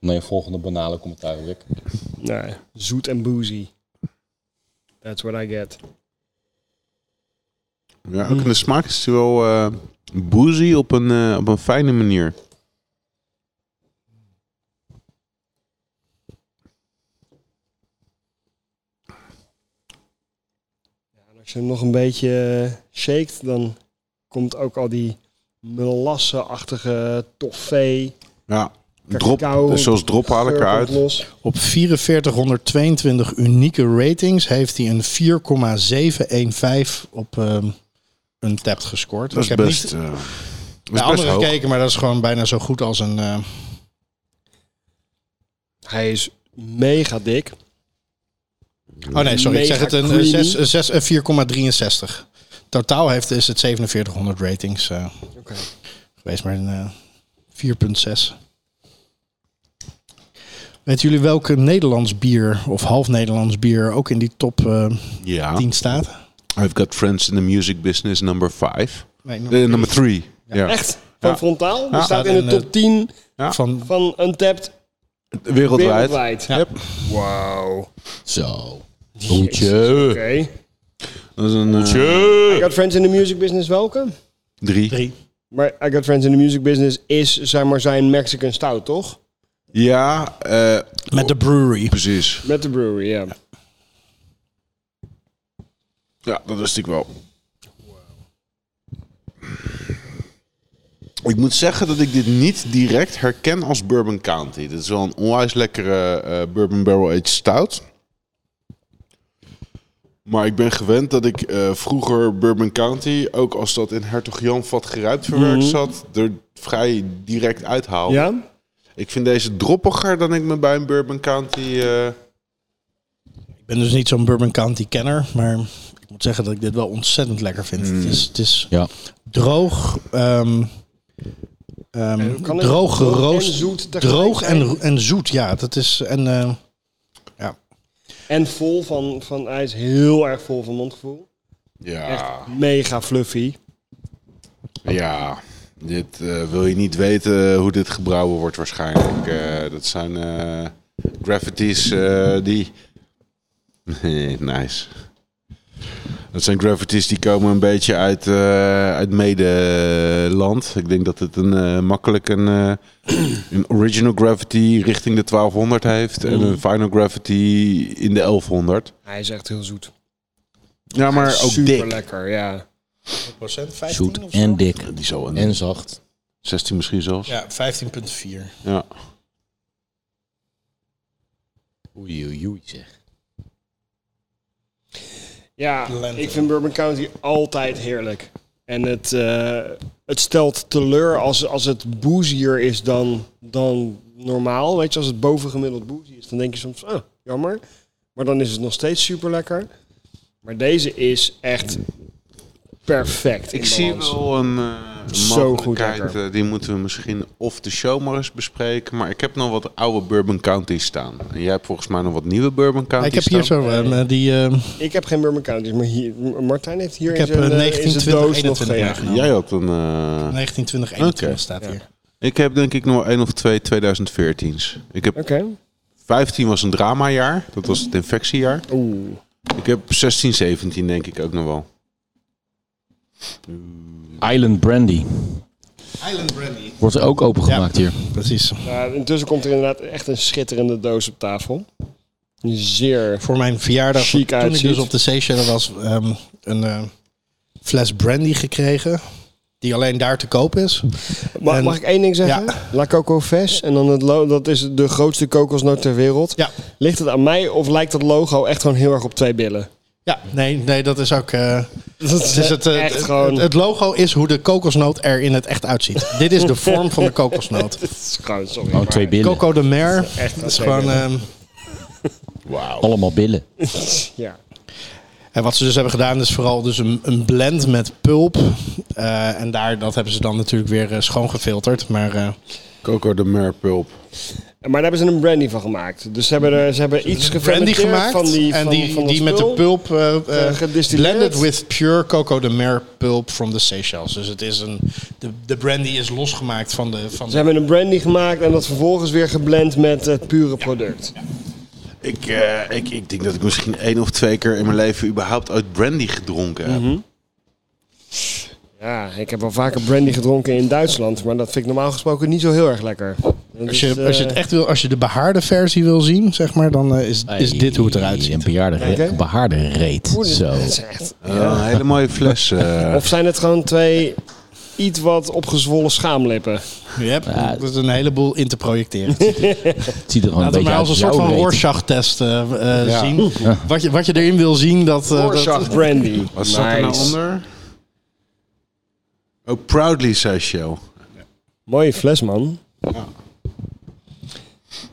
Speaker 4: hell.
Speaker 1: volgende banale commentaar, Rick.
Speaker 4: Nou, zoet en boozy. That's what I get.
Speaker 2: Ja,
Speaker 1: Mm.
Speaker 2: ook in de smaak is hij wel eh, boozy op een, eh, op een fijne manier.
Speaker 4: En als je hem nog een beetje eh, shakt, dan komt ook al die melasseachtige toffee.
Speaker 2: Ja, drop,
Speaker 4: Cacao,
Speaker 2: dus zoals drop haal ik
Speaker 4: geur komt
Speaker 2: eruit.
Speaker 4: Los.
Speaker 6: Op 4422 unieke ratings heeft hij een 4,715 op ehm een tapt gescoord.
Speaker 2: Dat is
Speaker 6: ik heb
Speaker 2: best,
Speaker 6: niet
Speaker 2: eh, dat
Speaker 6: naar
Speaker 2: is best
Speaker 6: anderen
Speaker 2: hoog.
Speaker 6: gekeken, maar dat is gewoon bijna zo goed als een... eh,
Speaker 4: Hij is mega dik.
Speaker 6: Oh nee, sorry, ik
Speaker 4: Mega
Speaker 6: zeg het een, eh,
Speaker 4: creamy.
Speaker 6: zes- eh, zes- eh, 4,63. Totaal heeft, is het 4700 ratings eh,
Speaker 4: Oké.
Speaker 6: geweest, maar een eh, 4,6. Weten jullie welke Nederlands bier of half Nederlands bier ook in die top eh,
Speaker 2: Ja.
Speaker 6: 10 staat?
Speaker 2: I've got friends in the music business, number five.
Speaker 6: Nee,
Speaker 2: Eh, number three. Ja.
Speaker 4: Echt? Van
Speaker 2: Ja.
Speaker 4: frontaal? Die
Speaker 2: Ja.
Speaker 4: staat in
Speaker 6: En,
Speaker 4: de
Speaker 6: eh,
Speaker 4: top 10
Speaker 6: Van,
Speaker 4: van Untapped
Speaker 2: Wereldwijd.
Speaker 4: wereldwijd.
Speaker 6: Ja.
Speaker 4: Yep. Wauw.
Speaker 1: Zo.
Speaker 4: Oké.
Speaker 1: Boetje.
Speaker 2: Dat is een eh,
Speaker 4: I Got Friends in the Music Business welke?
Speaker 2: drie.
Speaker 4: Maar I Got Friends in the Music Business is zeg maar zijn Mexican stout, toch?
Speaker 2: Ja, eh,
Speaker 6: met de brewery.
Speaker 2: precies.
Speaker 4: Met de brewery, ja.
Speaker 2: Ja, dat wist ik wel. Ik moet zeggen dat ik dit niet direct herken als Bourbon County. Dit is wel een onwijs lekkere eh, Bourbon Barrel Aged Stout. Maar ik ben gewend dat ik eh, vroeger Bourbon County, ook als dat in Hertog Jan vat geruimd verwerkt zat, er vrij direct uithaalde.
Speaker 4: Mhm. Ja?
Speaker 2: Ik vind deze droppiger dan ik me bij een Bourbon County... eh,
Speaker 6: Ik ben dus niet zo'n Bourbon County kenner, maar ik moet zeggen dat ik dit wel ontzettend lekker vind. Het is, het is
Speaker 1: Ja.
Speaker 6: droog, ehm, ehm,
Speaker 4: kan het
Speaker 6: droog
Speaker 4: droog en
Speaker 6: geroost,
Speaker 4: zoet tegelijk
Speaker 6: droog en,
Speaker 4: zijn?
Speaker 6: en zoet. Ja, dat is en eh,
Speaker 4: En vol van, van, hij is heel erg vol van mondgevoel.
Speaker 2: ja.
Speaker 4: Echt mega fluffy.
Speaker 2: Ja, dit eh, wil je niet weten hoe dit gebrouwen wordt waarschijnlijk. Eh, dat zijn eh, gravities eh, die... nice. Dat zijn gravities die komen een beetje uit, eh uit medeland. Ik denk dat het een, eh, makkelijk een, eh, een original gravity richting de 1200 heeft. En een final gravity in de 1100.
Speaker 4: Hij is echt heel zoet.
Speaker 2: Ja, maar ook
Speaker 4: Super
Speaker 2: dik.
Speaker 4: lekker, ja.
Speaker 6: procent 15
Speaker 1: Zoet en dik.
Speaker 2: Die zal een
Speaker 1: En zacht.
Speaker 2: 16 misschien zelfs.
Speaker 6: Ja, 15,4.
Speaker 2: Ja.
Speaker 1: Oei, oei, oei zeg.
Speaker 4: Ja,
Speaker 6: Lente.
Speaker 4: ik vind Bourbon County altijd heerlijk. En het, eh, het stelt teleur als, als het boezier is dan, dan normaal. Weet je, als het bovengemiddeld boezy is, dan denk je soms, ah, jammer. Maar dan is het nog steeds super lekker. Maar deze is echt perfect. in
Speaker 2: Ik zie
Speaker 4: balans.
Speaker 2: wel een eh,
Speaker 4: Zo goed
Speaker 2: mogelijkheid,
Speaker 4: lekker.
Speaker 2: eh, die moeten we misschien of de show maar eens bespreken. Maar ik heb nog wat oude Bourbon Counties staan. En jij hebt volgens mij nog wat nieuwe Bourbon Counties
Speaker 6: Ik heb hier
Speaker 2: staan.
Speaker 6: zo een, eh, die... eh,
Speaker 4: Ik heb geen Burma Counties, maar hier, Martijn heeft hier
Speaker 6: Ik
Speaker 4: in
Speaker 6: heb,
Speaker 4: zijn,
Speaker 6: eh,
Speaker 4: eh, in
Speaker 6: 19,
Speaker 4: zijn
Speaker 6: 20,
Speaker 4: doos nog
Speaker 6: 21
Speaker 4: geen.
Speaker 6: jaar.
Speaker 2: Jij had een... eh,
Speaker 6: 1920
Speaker 2: Oké.
Speaker 6: staat hier.
Speaker 2: Ik heb denk ik nog één of twee 2014's. Ik heb
Speaker 4: Oké.
Speaker 2: 15 was een dramajaar. Dat was het infectiejaar.
Speaker 4: Oeh.
Speaker 2: Ik heb 16, 17 denk ik ook nog wel.
Speaker 1: Island Brandy.
Speaker 9: Island Brandy.
Speaker 1: Wordt er ook opengemaakt hier.
Speaker 6: Precies.
Speaker 4: Nou, intussen komt er inderdaad echt een schitterende doos op tafel. Zeer.
Speaker 6: Voor mijn verjaardag,
Speaker 4: Chic
Speaker 6: toen ik
Speaker 4: uitziet.
Speaker 6: dus op de Seychelles was, ehm, een eh, fles brandy gekregen. Die alleen daar te koop is.
Speaker 4: Ma-
Speaker 6: En-
Speaker 4: mag ik één ding zeggen? La Coco Ves en dan het logo, dat is de grootste kokosnoot ter wereld.
Speaker 6: Ja.
Speaker 4: Ligt het aan mij of lijkt dat logo echt gewoon heel erg op twee billen?
Speaker 6: Ja, nee, nee, dat is ook. eh, dat is het, eh,
Speaker 4: echt
Speaker 6: het-
Speaker 4: gewoon-
Speaker 6: het, het logo is hoe de kokosnoot er in het echt uitziet. Dit is de vorm van de kokosnoot.
Speaker 4: Dat is gewoon, sorry.
Speaker 1: Oh,
Speaker 4: maar-
Speaker 1: twee billen.
Speaker 6: Coco de Mer.
Speaker 4: echt
Speaker 6: dat is
Speaker 4: wel
Speaker 6: gewoon. ehm,
Speaker 1: Allemaal billen.
Speaker 6: eh,
Speaker 4: Ja.
Speaker 6: en wat ze dus hebben gedaan is vooral dus een, een blend met pulp. Eh, en daar, dat hebben ze dan natuurlijk weer eh, schoongefilterd. Maar eh,
Speaker 2: Coco de Mer Pulp.
Speaker 4: Maar daar hebben ze een brandy van gemaakt. Dus ze hebben, er, ze hebben iets
Speaker 6: brandy
Speaker 4: gefermenteerd
Speaker 6: gemaakt.
Speaker 4: van die
Speaker 6: en
Speaker 4: van,
Speaker 6: die,
Speaker 4: van dat
Speaker 6: die met de
Speaker 4: spul.
Speaker 6: pulp eh, eh,
Speaker 4: eh, gedistilleerd.
Speaker 6: blended with pure Coco de Mer pulp from the Seychelles. Dus het is een. De, de brandy is losgemaakt van de. Van
Speaker 4: Ze
Speaker 6: de
Speaker 4: hebben een brandy gemaakt en dat vervolgens weer geblend met het pure product.
Speaker 2: Ik, eh, ik, ik denk dat ik misschien één of twee keer in mijn leven überhaupt uit brandy gedronken heb.
Speaker 4: Ja, ik heb wel vaker brandy gedronken in Duitsland, maar dat vind ik normaal gesproken niet zo heel erg lekker. Dat
Speaker 6: Als
Speaker 4: is,
Speaker 6: je,
Speaker 4: eh,
Speaker 6: als je het echt wil, als je de behaarde versie wil zien, zeg maar, dan eh, is, is dit hoe het eruit
Speaker 1: Een
Speaker 6: ziet.
Speaker 1: bejaarde, re-
Speaker 4: Oké.
Speaker 1: behaarde reet.
Speaker 4: oeh, dit-
Speaker 1: Zo.
Speaker 4: dit is echt-
Speaker 2: Eh, een hele mooie fles. eh.
Speaker 4: Of zijn het gewoon twee iets wat opgezwollen schaamlippen?
Speaker 6: Yep, dat is een heleboel in te projecteren.
Speaker 1: Het ziet er gewoon
Speaker 6: Laten
Speaker 1: een
Speaker 6: we maar
Speaker 1: beetje
Speaker 6: als een
Speaker 1: uit
Speaker 6: soort
Speaker 1: jouw
Speaker 6: van
Speaker 1: reet.
Speaker 6: Rorschach-test eh, eh, zien. Wat, je, wat je erin wil zien, dat... eh, dat
Speaker 4: Rorschach brandy.
Speaker 2: Wat staat er nou
Speaker 4: Nice.
Speaker 2: onder? Oh, Proudly Seychelles.
Speaker 4: Mooie fles, man.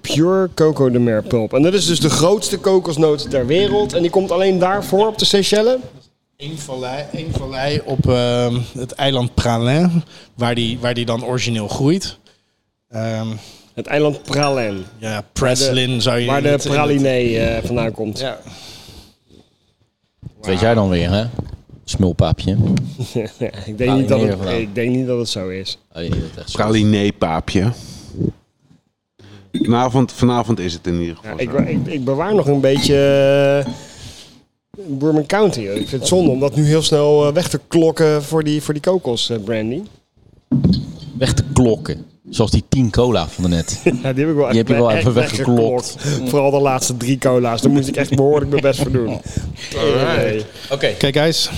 Speaker 4: Pure Coco de Mer pulp. En dat is dus de grootste kokosnoot ter wereld. En die komt alleen daarvoor op de Seychelles.
Speaker 6: één vallei, één vallei op ehm, het eiland Pralin, waar die, waar die dan origineel groeit. Ehm,
Speaker 4: Het eiland Pralin.
Speaker 6: ja, Preslin zou je...
Speaker 4: Waar
Speaker 6: in
Speaker 4: de
Speaker 6: het- in het-
Speaker 4: praline eh, vandaan komt.
Speaker 6: Ja.
Speaker 1: Weet jij dan weer, hè? Smulpaapje.
Speaker 4: ik, denk niet dat
Speaker 1: Praline
Speaker 4: het,
Speaker 1: vandaan.
Speaker 4: ik denk niet dat het zo is.
Speaker 1: Oh, je doet echt zo.
Speaker 2: Praliné-paapje. Vanavond, vanavond is het in ieder geval.
Speaker 4: Ik,
Speaker 2: zo.
Speaker 4: ik, ik bewaar nog een beetje eh, Bourbon County. Ik vind het zonde om dat nu heel snel eh, weg te klokken voor die, voor die kokos, eh, brandy.
Speaker 1: Weg te klokken. Zoals die 10 cola van daarnet.
Speaker 4: Ja, die heb ik wel
Speaker 1: Die
Speaker 4: echt-
Speaker 1: heb je wel
Speaker 4: echt
Speaker 1: even weggeklokt.
Speaker 4: weggeklokt. Vooral de laatste drie cola's. Daar moest ik echt behoorlijk mijn best voor doen. Alright.
Speaker 1: Oké.
Speaker 6: Kijk, guys,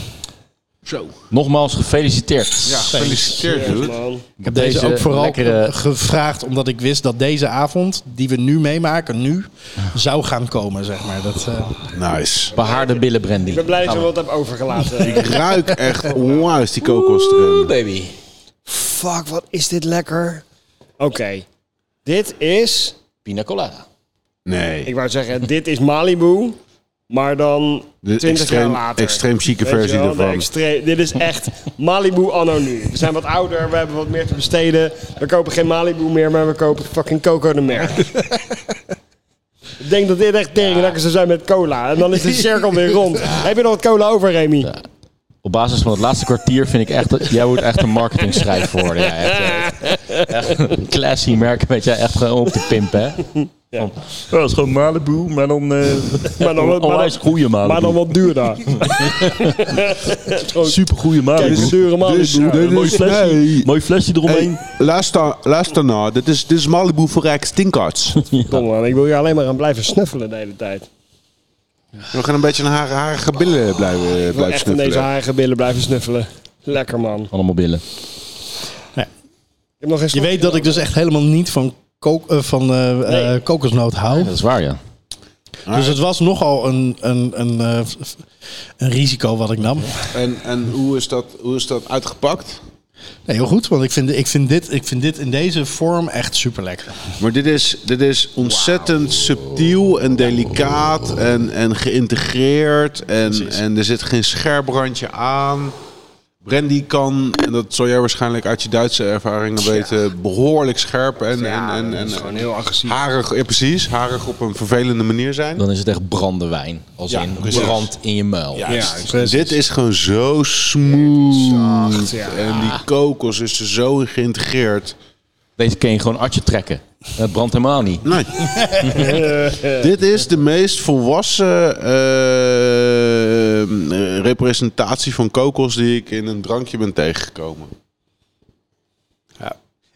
Speaker 2: Zo.
Speaker 1: Nogmaals gefeliciteerd.
Speaker 2: Ja, gefeliciteerd, dude.
Speaker 4: man.
Speaker 6: Ik heb deze, ook vooral
Speaker 1: lekkere-
Speaker 6: gevraagd omdat ik wist dat deze avond, die we nu meemaken, nu zou gaan komen, zeg maar. Dat, eh,
Speaker 2: Nice.
Speaker 1: Behaarde billen brandy.
Speaker 4: Ik ben blij dat je wat hebt overgelaten.
Speaker 2: Ruik echt onwijs die kokos erin.
Speaker 1: baby.
Speaker 4: Fuck, wat is dit lekker. Oké. Dit is...
Speaker 1: Pina colada.
Speaker 2: Nee.
Speaker 4: Ik wou zeggen, dit is Malibu. Maar dan
Speaker 2: De
Speaker 4: 20 jaar
Speaker 2: extreem,
Speaker 4: later.
Speaker 2: extreem chique
Speaker 4: Weet je
Speaker 2: versie
Speaker 4: wel, de
Speaker 2: ervan.
Speaker 4: extreem- dit is echt Malibu anno nu. We zijn wat ouder, we hebben wat meer te besteden. We kopen geen Malibu meer, maar we kopen fucking Coco de Mer. Ik denk dat dit echt tering lekker zou zijn met cola. En dan is de cirkel weer rond. Heb je nog wat cola over, Remy?
Speaker 1: Op basis van het laatste kwartier vind ik echt dat jij moet echt een marketingschrijver worden. Ja, echt,
Speaker 11: eh,
Speaker 1: echt, echt een classy merk weet jij echt gewoon op te pimpen. Hè? dat is gewoon Malibu, maar dan,
Speaker 4: Maar dan, maar dan,
Speaker 1: goede Malibu.
Speaker 4: maar dan wat duurder.
Speaker 1: super goede Malibu.
Speaker 4: Kijk, dure Oh, Malibu.
Speaker 2: Dus, dit
Speaker 1: Mooi
Speaker 2: is,
Speaker 1: flesje,
Speaker 2: nee.
Speaker 1: mooi flesje eromheen.
Speaker 2: Hey, luister, luister nou. Dit is, dit is Malibu voor Rijk Stinkarts.
Speaker 4: Tom, man, ik wil je alleen maar aan blijven snuffelen de hele tijd.
Speaker 2: We gaan een beetje naar haar, harige billen blijven,
Speaker 4: Ik wil
Speaker 2: blijven
Speaker 4: echt aan deze
Speaker 2: snuffelen.
Speaker 4: harige billen blijven snuffelen. Lekker, man. Ik
Speaker 1: Allemaal billen.
Speaker 4: heb nog geen
Speaker 6: je weet dat ik dus echt helemaal niet van, ko- eh, van eh, eh,
Speaker 4: Nee.
Speaker 6: kokosnoot hou.
Speaker 1: Dat is waar, ja.
Speaker 6: Dus het was nogal een, een, een, eh, f- f- een risico wat ik nam.
Speaker 2: En, en hoe, is dat, hoe is dat uitgepakt?
Speaker 6: Nee, heel goed, want ik vind, ik vind, dit, ik vind dit in deze vorm echt super lekker.
Speaker 2: Maar dit is, dit is ontzettend subtiel en delicaat en, en geïntegreerd. En, en er zit geen scherp randje aan. Brandy kan, en dat zal jij waarschijnlijk uit je Duitse ervaringen weten, behoorlijk scherp en, en, en, en
Speaker 4: gewoon heel agressief.
Speaker 2: harig, ja, precies, harig op een vervelende manier zijn.
Speaker 11: Dan is het echt brandewijn. Als
Speaker 2: Ja,
Speaker 11: in
Speaker 2: precies.
Speaker 11: brand in je muil.
Speaker 2: Dit is gewoon zo smooth.
Speaker 4: Zacht, ja.
Speaker 2: En die kokos is er zo in geïntegreerd.
Speaker 11: Deze kun je gewoon artje trekken. Het brandt helemaal niet.
Speaker 2: Nee. Dit is de meest volwassen eh, eh, representatie van kokos die ik in een drankje ben tegengekomen.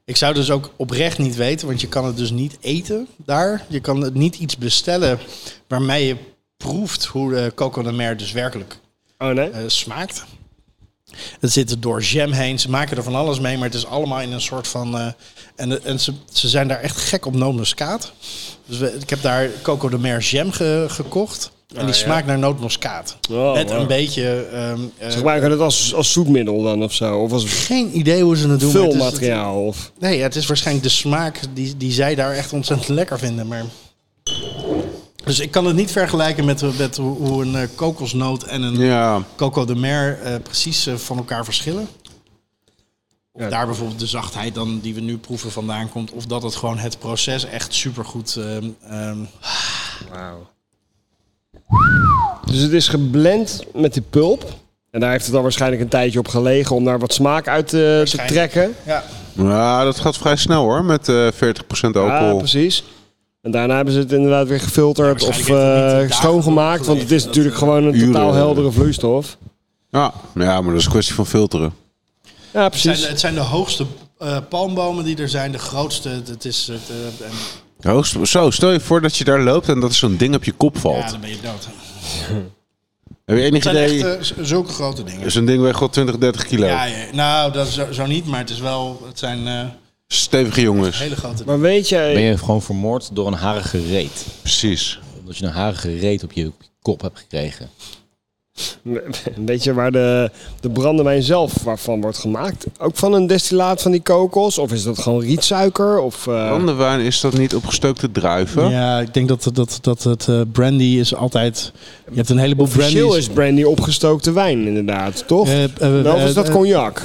Speaker 6: Ik zou dus ook oprecht niet weten, want je kan het dus niet eten daar. Je kan het niet iets bestellen waarmee je proeft hoe de Coco de Mer dus werkelijk
Speaker 4: Oh nee?
Speaker 6: eh, smaakt. Het zit er door jam heen. Ze maken er van alles mee, maar het is allemaal in een soort van... eh, en en ze, ze zijn daar echt gek op nootmuskaat. Dus we- ik heb daar Coco de Mer jam ge- gekocht. En die smaakt naar nootmuskaat.
Speaker 4: Oh,
Speaker 6: Met
Speaker 4: wow.
Speaker 6: een beetje... ehm, eh,
Speaker 4: Ze gebruiken het als, als zoetmiddel dan of zo. Of als
Speaker 6: geen idee hoe ze het doen. maar het is-
Speaker 4: vulmateriaal. Of...
Speaker 6: Nee, ja, het is waarschijnlijk de smaak die, die zij daar echt ontzettend lekker vinden. Maar... Dus ik kan het niet vergelijken met, met hoe- hoe een eh, kokosnoot en een
Speaker 2: Ja,
Speaker 6: coco de mer eh, precies eh, van elkaar verschillen. Of
Speaker 4: Ja.
Speaker 6: daar bijvoorbeeld de zachtheid dan die we nu proeven vandaan komt. Of dat het gewoon het proces echt supergoed... ehm ehm
Speaker 4: Dus het is geblend met die pulp. En daar heeft het dan waarschijnlijk een tijdje op gelegen om daar wat smaak uit eh, te
Speaker 6: Waarschijnlijk.
Speaker 4: trekken.
Speaker 6: ja.
Speaker 2: ja, dat gaat vrij snel hoor, met eh 40%
Speaker 4: Ja,
Speaker 2: alcohol.
Speaker 4: precies. En daarna hebben ze het inderdaad weer gefilterd
Speaker 6: Ja,
Speaker 4: of
Speaker 6: waarschijnlijk heeft het niet
Speaker 4: eh,
Speaker 6: dagen
Speaker 4: schoongemaakt. Want het is
Speaker 6: gelegen,
Speaker 4: natuurlijk gewoon een
Speaker 2: uren.
Speaker 4: totaal heldere vloeistof.
Speaker 2: Ja, ja, maar dat is een kwestie van filteren.
Speaker 4: Ja,
Speaker 6: het, zijn, de-
Speaker 4: precies.
Speaker 6: het zijn de hoogste eh, palmbomen die er zijn. De grootste. Het is, het, eh, en,
Speaker 2: Hoogst, zo, stel je voor dat je daar loopt en dat er zo'n ding op je kop
Speaker 6: ja,
Speaker 2: valt.
Speaker 6: dan ben je dood.
Speaker 2: Heb je enig
Speaker 6: Het zijn echt
Speaker 2: idee?
Speaker 6: eh, z- zulke grote dingen.
Speaker 2: Zo'n ding weegt wel 20, 30 kilo.
Speaker 6: Ja, ja, nou, dat zo, zo niet, maar het is wel, het zijn eh,
Speaker 2: Stevige jongens.
Speaker 6: hele grote.
Speaker 4: Maar
Speaker 11: Ben
Speaker 4: weet jij,
Speaker 11: je gewoon vermoord door een harige reet.
Speaker 2: Precies.
Speaker 11: Omdat je een harige reet op je, op je kop hebt gekregen.
Speaker 4: weet je waar de, de brandewijn zelf waarvan wordt gemaakt? Ook van een destillaat van die kokos? Of is dat gewoon rietsuiker? Of, eh,
Speaker 2: Oh, Brandewijn is dat niet opgestookte druiven?
Speaker 6: Ja, ik denk dat, dat, dat het eh, brandy is altijd. Je hebt een heleboel
Speaker 4: Officieel
Speaker 6: brandy's.
Speaker 4: is brandy opgestookte wijn, inderdaad, toch?
Speaker 6: Eh, eh,
Speaker 4: Nou, of is
Speaker 6: eh,
Speaker 4: dat
Speaker 6: eh,
Speaker 4: cognac?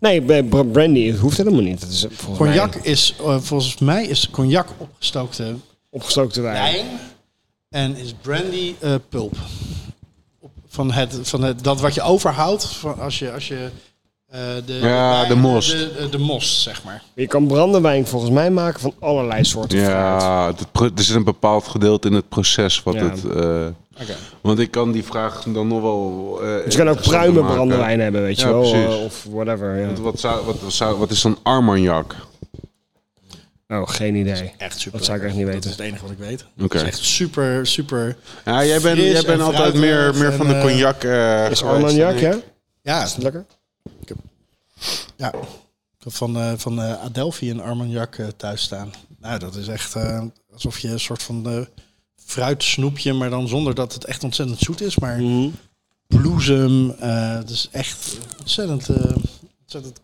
Speaker 4: Nee, bij br- brandy het hoeft helemaal niet. Het is eh, volgens
Speaker 6: Cognac
Speaker 4: mij
Speaker 6: is, eh, volgens mij is cognac opgestookte
Speaker 4: opgestookte wijn.
Speaker 6: wijn. En is brandy eh, pulp. Op- Van, het, van het, dat wat je overhoudt van als je. Als je eh, de,
Speaker 2: Ja,
Speaker 6: wijn-
Speaker 2: de most.
Speaker 6: De, de, de most, zeg maar.
Speaker 4: Je kan brandewijn volgens mij maken van allerlei soorten fruit.
Speaker 2: Ja, het pro- er zit een bepaald gedeelte in het proces wat
Speaker 4: Ja.
Speaker 2: het... eh, Want ik kan die vraag dan nog wel... eh,
Speaker 4: Dus je kan ook
Speaker 2: interessanter
Speaker 4: pruimen
Speaker 2: maken.
Speaker 4: brandewijn hebben, weet je
Speaker 2: Ja,
Speaker 4: wel.
Speaker 2: precies.
Speaker 4: eh, Of whatever. Ja.
Speaker 2: Want Wat, zou, wat, zou, wat is dan Armagnac?
Speaker 4: Nou, geen idee.
Speaker 6: Echt super.
Speaker 4: Dat zou ik echt niet
Speaker 6: Dat is
Speaker 4: weten.
Speaker 6: het enige wat ik weet.
Speaker 2: Oké.
Speaker 6: Het is echt super, super.
Speaker 2: Ja, jij bent, jij
Speaker 6: fris
Speaker 2: bent
Speaker 6: en
Speaker 2: altijd
Speaker 6: fruitig
Speaker 2: meer, meer
Speaker 6: en,
Speaker 2: van de
Speaker 6: eh,
Speaker 2: cognac... eh,
Speaker 4: Is
Speaker 2: geweest.
Speaker 4: Armagnac, hè? Is
Speaker 6: Ja,
Speaker 4: het lekker?
Speaker 6: Ja, ik heb van, eh, van eh, Adelphi en Armagnac eh, thuis staan. Nou, dat is echt eh, alsof je een soort van eh, fruitsnoepje, maar dan zonder dat het echt ontzettend zoet is. Maar
Speaker 2: Mhm.
Speaker 6: bloesem, eh, het is echt ontzettend... eh, ontzettend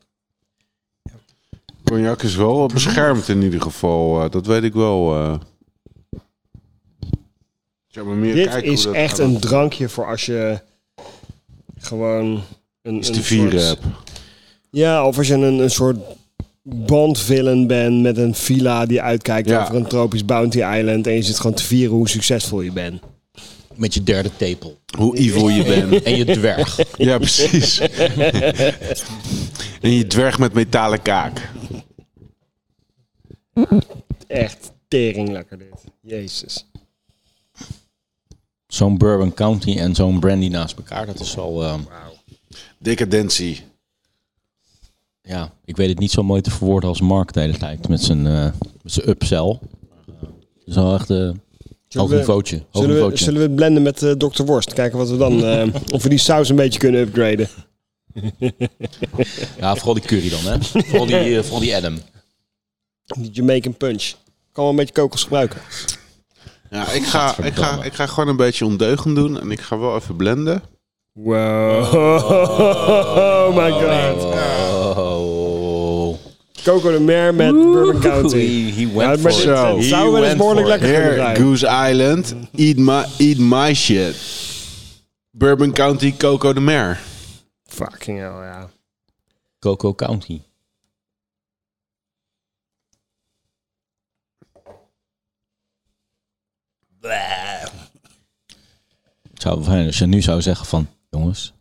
Speaker 2: Cognac is wel
Speaker 4: Mhm.
Speaker 2: beschermd in ieder geval. eh, dat weet ik wel. eh. Ik zou maar meer
Speaker 4: Dit
Speaker 2: kijken hoe
Speaker 4: is
Speaker 2: dat
Speaker 4: echt
Speaker 2: gaat.
Speaker 4: een drankje voor als je gewoon... Een,
Speaker 2: Iets
Speaker 4: een
Speaker 2: te vieren
Speaker 4: soort-
Speaker 2: heb.
Speaker 4: Ja, of als je een, een soort bandvillain bent met een villa die uitkijkt
Speaker 2: Ja.
Speaker 4: over een tropisch bounty island. En je zit gewoon te vieren hoe succesvol je bent.
Speaker 11: Met je derde tepel.
Speaker 2: Hoe evil je bent.
Speaker 11: En je dwerg.
Speaker 2: Ja, precies. en je dwerg met metalen kaak.
Speaker 4: Echt tering lekker dit. Jezus.
Speaker 11: Zo'n Bourbon County en zo'n brandy naast elkaar. Dat is wel... ehm,
Speaker 2: Decadentie.
Speaker 11: ja, ik weet het niet zo mooi te verwoorden als Mark de hele tijd. Met zijn, eh met zijn upsell. Dat is wel echt... eh hoog
Speaker 4: we-
Speaker 11: niveautje. Hoog
Speaker 4: Zullen we,
Speaker 11: niveautje.
Speaker 4: zullen we het blenden met eh Dr. Worst? Kijken wat we dan, eh, of we die saus een beetje kunnen upgraden.
Speaker 11: Ja, vooral die curry dan, hè? vooral, die, eh, vooral die Adam.
Speaker 4: Die Jamaican punch. Kan wel een beetje kokos gebruiken.
Speaker 2: Ja, ik ga, ik, ga, ik ga gewoon een beetje ondeugend doen. En ik ga wel even blenden.
Speaker 4: Wow. Oh my god.
Speaker 11: Oh.
Speaker 4: Coco de Mer met Bourbon
Speaker 11: He,
Speaker 4: County.
Speaker 11: he
Speaker 4: Ja,
Speaker 11: went
Speaker 4: maar
Speaker 11: for it.
Speaker 4: dit-
Speaker 2: Zo.
Speaker 4: dit
Speaker 11: He
Speaker 4: zou wel eens
Speaker 11: went
Speaker 4: behoorlijk
Speaker 11: for it.
Speaker 4: lekker kunnen
Speaker 2: Here,
Speaker 4: zijn.
Speaker 2: Goose Island. Eat my, eat my shit. Bourbon County, Coco de Mer.
Speaker 4: Fucking hell, ja.
Speaker 11: Coco County. Het zou wel fijn als je nu zou zeggen van... Jongens,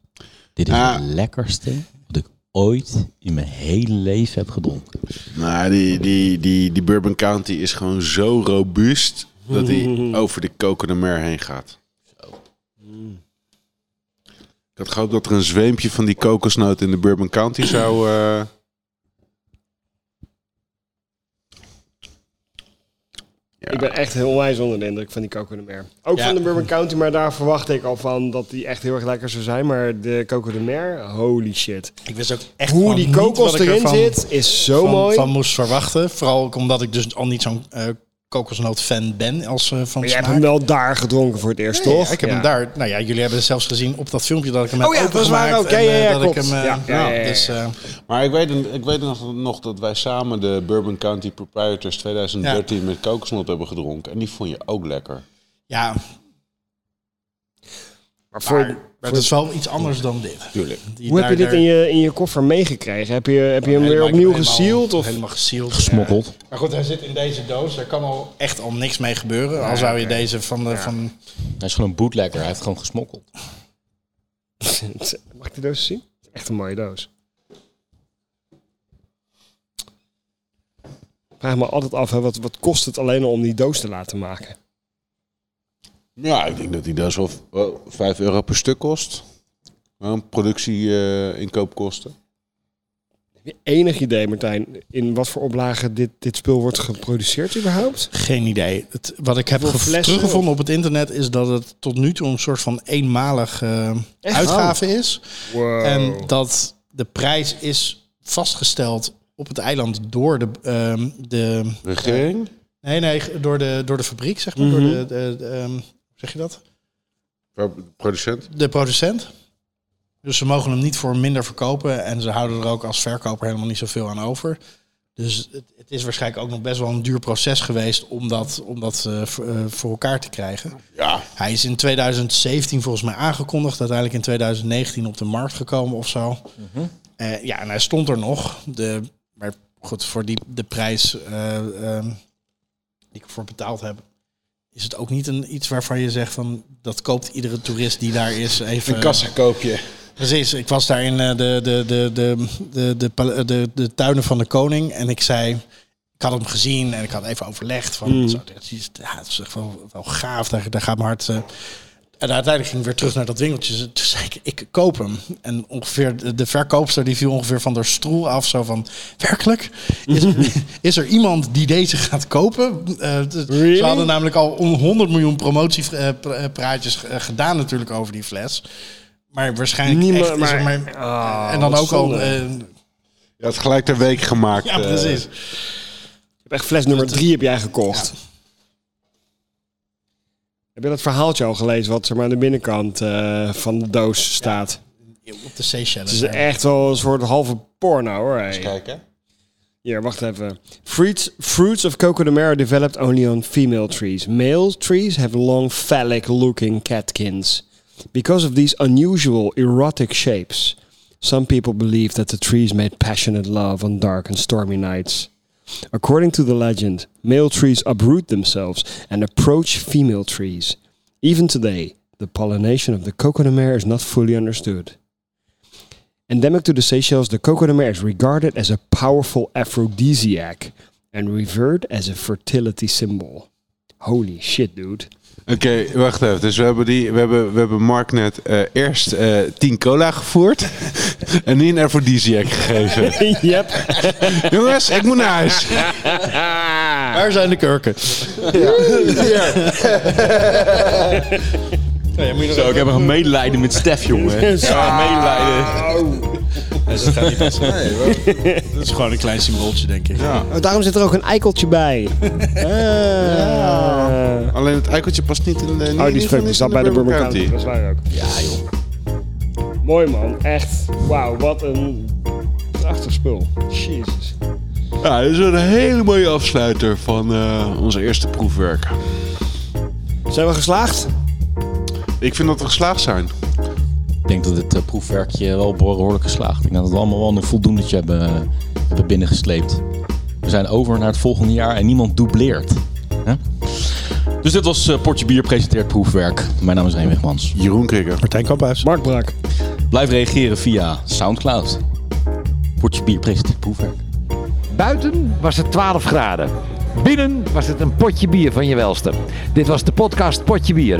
Speaker 11: dit is
Speaker 2: Ah.
Speaker 11: het lekkerste wat ik ooit in mijn hele leven heb gedronken.
Speaker 2: Nou, die, die, die, die Bourbon County is gewoon zo robuust dat hij over de kokende mer heen gaat. Ik had gehoopt dat er een zweempje van die kokosnoot in de Bourbon County zou... eh,
Speaker 4: Ik ben echt heel wijs onder de indruk van die Coco de Mer. Ook van de Bourbon County, maar daar verwacht ik al van dat die echt heel erg lekker zou zijn. Maar de Coco de Mer, holy shit.
Speaker 6: Ik wist ook echt
Speaker 4: Hoe
Speaker 6: gewoon
Speaker 4: die
Speaker 6: niet
Speaker 4: kokos
Speaker 6: wat ik
Speaker 4: erin
Speaker 6: ervan-
Speaker 4: zit, is zo
Speaker 6: van,
Speaker 4: mooi.
Speaker 6: van moest verwachten. Vooral ook omdat ik dus al niet zo'n eh kokosnoot-fan ben als eh, van
Speaker 4: maar jij
Speaker 6: smaak.
Speaker 4: hebt hem wel daar gedronken voor het eerst,
Speaker 6: Nee,
Speaker 4: toch?
Speaker 6: Ik heb hem
Speaker 4: Ja.
Speaker 6: daar. Nou ja, jullie hebben het zelfs gezien op dat filmpje dat ik hem heb
Speaker 4: Oh ja, dat was
Speaker 6: opengemaakt
Speaker 4: waar ook. Ja,
Speaker 6: en,
Speaker 4: ja,
Speaker 6: eh,
Speaker 4: ja,
Speaker 6: dat ik
Speaker 4: klopt.
Speaker 6: hem. eh,
Speaker 4: Ja, ja, ja, ja.
Speaker 6: Dus, eh,
Speaker 2: Maar ik weet, ik weet nog, nog dat wij samen de Bourbon County Proprietors 2013 met kokosnoot hebben gedronken. En die vond je ook lekker.
Speaker 6: ja,
Speaker 4: Maar voor,
Speaker 6: maar het is wel iets anders dan dit.
Speaker 2: Tuurlijk.
Speaker 6: Die
Speaker 4: hoe
Speaker 6: daar-
Speaker 4: heb je dit
Speaker 6: daar-
Speaker 4: in je, in je koffer meegekregen? Heb je, heb je hem weer
Speaker 6: helemaal-
Speaker 4: opnieuw
Speaker 6: helemaal-
Speaker 4: gesield? Of?
Speaker 6: Helemaal gesield.
Speaker 11: Gesmokkeld.
Speaker 6: Ja. Maar goed, hij zit in deze doos. Daar kan al echt al niks mee gebeuren. al zou je deze van de... Van,
Speaker 11: Hij is gewoon een bootlegger. Hij heeft gewoon gesmokkeld.
Speaker 4: Mag ik die doos zien? Echt een mooie doos. Ik Vraag me altijd af, hè, wat, wat kost het alleen al om die doos te laten maken?
Speaker 2: Ja, ik denk dat die dus wel v- wel 5 euro per stuk kost. Een productie eh, inkoopkosten.
Speaker 4: Heb je enig idee, Martijn, in wat voor oplagen dit, dit spul wordt geproduceerd überhaupt?
Speaker 6: geen idee. Het, wat ik heb
Speaker 4: Hoeveel
Speaker 6: gev-
Speaker 4: flessen?
Speaker 6: teruggevonden op het internet... is dat het tot nu toe een soort van eenmalig eh,
Speaker 4: Oh.
Speaker 6: uitgave is.
Speaker 4: Wow.
Speaker 6: En dat de prijs is vastgesteld op het eiland door de... ehm, de
Speaker 2: Regering?
Speaker 6: nee, nee, door de, door de fabriek, zeg maar. Door
Speaker 4: Mhm.
Speaker 6: de... de, de, ehm, hoe zeg je dat?
Speaker 2: Pro- Producent?
Speaker 6: de producent. Dus ze mogen hem niet voor minder verkopen. En ze houden er ook als verkoper helemaal niet zoveel aan over. Dus het, het is waarschijnlijk ook nog best wel een duur proces geweest om dat, om dat eh, v- eh, voor elkaar te krijgen.
Speaker 2: Ja.
Speaker 6: Hij is in 2017 volgens mij aangekondigd, uiteindelijk in 2019 op de markt gekomen of zo.
Speaker 2: Mhm.
Speaker 6: Eh, ja, en hij stond er nog. De, maar goed, voor die, de prijs eh, ehm, die ik ervoor betaald heb, is het ook niet een, iets waarvan je zegt van dat koopt iedere toerist die daar is even.
Speaker 2: Een kassenkoopje.
Speaker 6: Precies, ik was daar in eh, de, de, de, de, de, de, pal- eh, de, de tuinen van de koning en ik zei, ik had hem gezien en ik had even overlegd van,
Speaker 4: Mm.
Speaker 6: zo, dit is, ja, het is echt wel, wel gaaf, daar, daar gaat mijn hart... eh. en uiteindelijk ging ik weer terug naar dat winkeltje. Toen zei ik, ik koop hem. En ongeveer de, de verkoopster die viel ongeveer van haar stoel af. Zo van, werkelijk? Is, is er iemand die deze gaat kopen? Eh, d-
Speaker 4: Really?
Speaker 6: Ze hadden namelijk al on- 100 miljoen eh, promotiepraatjes eh, gedaan natuurlijk over die fles. Maar waarschijnlijk
Speaker 4: Niemand-
Speaker 6: echt is er
Speaker 4: maar-
Speaker 6: maar-
Speaker 4: Ah,
Speaker 6: en dan
Speaker 4: wat
Speaker 6: ook al...
Speaker 4: zonde.
Speaker 6: eh,
Speaker 2: Je had gelijk ter week gemaakt.
Speaker 6: ja,
Speaker 2: eh.
Speaker 6: precies.
Speaker 4: Ik heb echt fles nummer drie heb jij gekocht. Heb je dat verhaaltje al gelezen wat er maar aan de binnenkant eh, van de doos staat?
Speaker 6: Op de Seychelles.
Speaker 4: Het is echt wel een soort halve porno hoor. hey.
Speaker 2: Kijken.
Speaker 4: Hier, wacht even. Fruits, fruits of coco de mer are developed only on female trees. Male trees have long phallic-looking catkins. Because of these unusual erotic shapes, some people believe that the trees made passionate love on dark and stormy nights. According to the legend, male trees uproot themselves and approach female trees. Even today, the pollination of the coco de mer is not fully understood. Endemic to the Seychelles, the coco de mer is regarded as a powerful aphrodisiac and revered as a fertility symbol. Holy shit, dude.
Speaker 2: Oké, wacht even. Dus we hebben, die, we hebben, we hebben Mark net eh, eerst eh 10 cola gevoerd. en nu een aphrodisiac gegeven.
Speaker 4: yep.
Speaker 2: Jongens, ik moet naar huis.
Speaker 6: Waar zijn de kurken?
Speaker 1: Zo, ik heb een medelijden met Stef, jongen. Ja, medelijden.
Speaker 6: Dat is gewoon een klein symbooltje, denk ik.
Speaker 4: Oh, daarom zit er ook een eikeltje bij. Ah.
Speaker 2: Alleen het eikeltje past niet in eh, de.
Speaker 4: Oh, die fuck, die zat bij de Bourbon County. Dat is waar ook. Ja, joh. Mooi man, echt. Wauw, wat een prachtig spul. Jezus.
Speaker 2: Ja, dat is een hele mooie afsluiter van eh, onze eerste proefwerk.
Speaker 4: Zijn we geslaagd?
Speaker 2: Ik vind dat we geslaagd zijn.
Speaker 11: Ik
Speaker 1: denk dat het eh, proefwerkje wel behoorlijk geslaagd. Ik denk dat we allemaal wel een voldoendetje hebben, eh, hebben binnengesleept. We zijn over naar het volgende jaar en niemand dubleert. Hè? Dus dit was eh, Portje Bier presenteert proefwerk. Mijn naam is Reen Wigmans.
Speaker 2: Jeroen Krikker.
Speaker 6: Martijn Kamphuis.
Speaker 4: Mark Braak.
Speaker 1: Blijf reageren via Soundcloud. Portje Bier presenteert proefwerk.
Speaker 12: Buiten was het 12 graden. Binnen was het een potje bier van je welste. Dit was de podcast Potje Bier.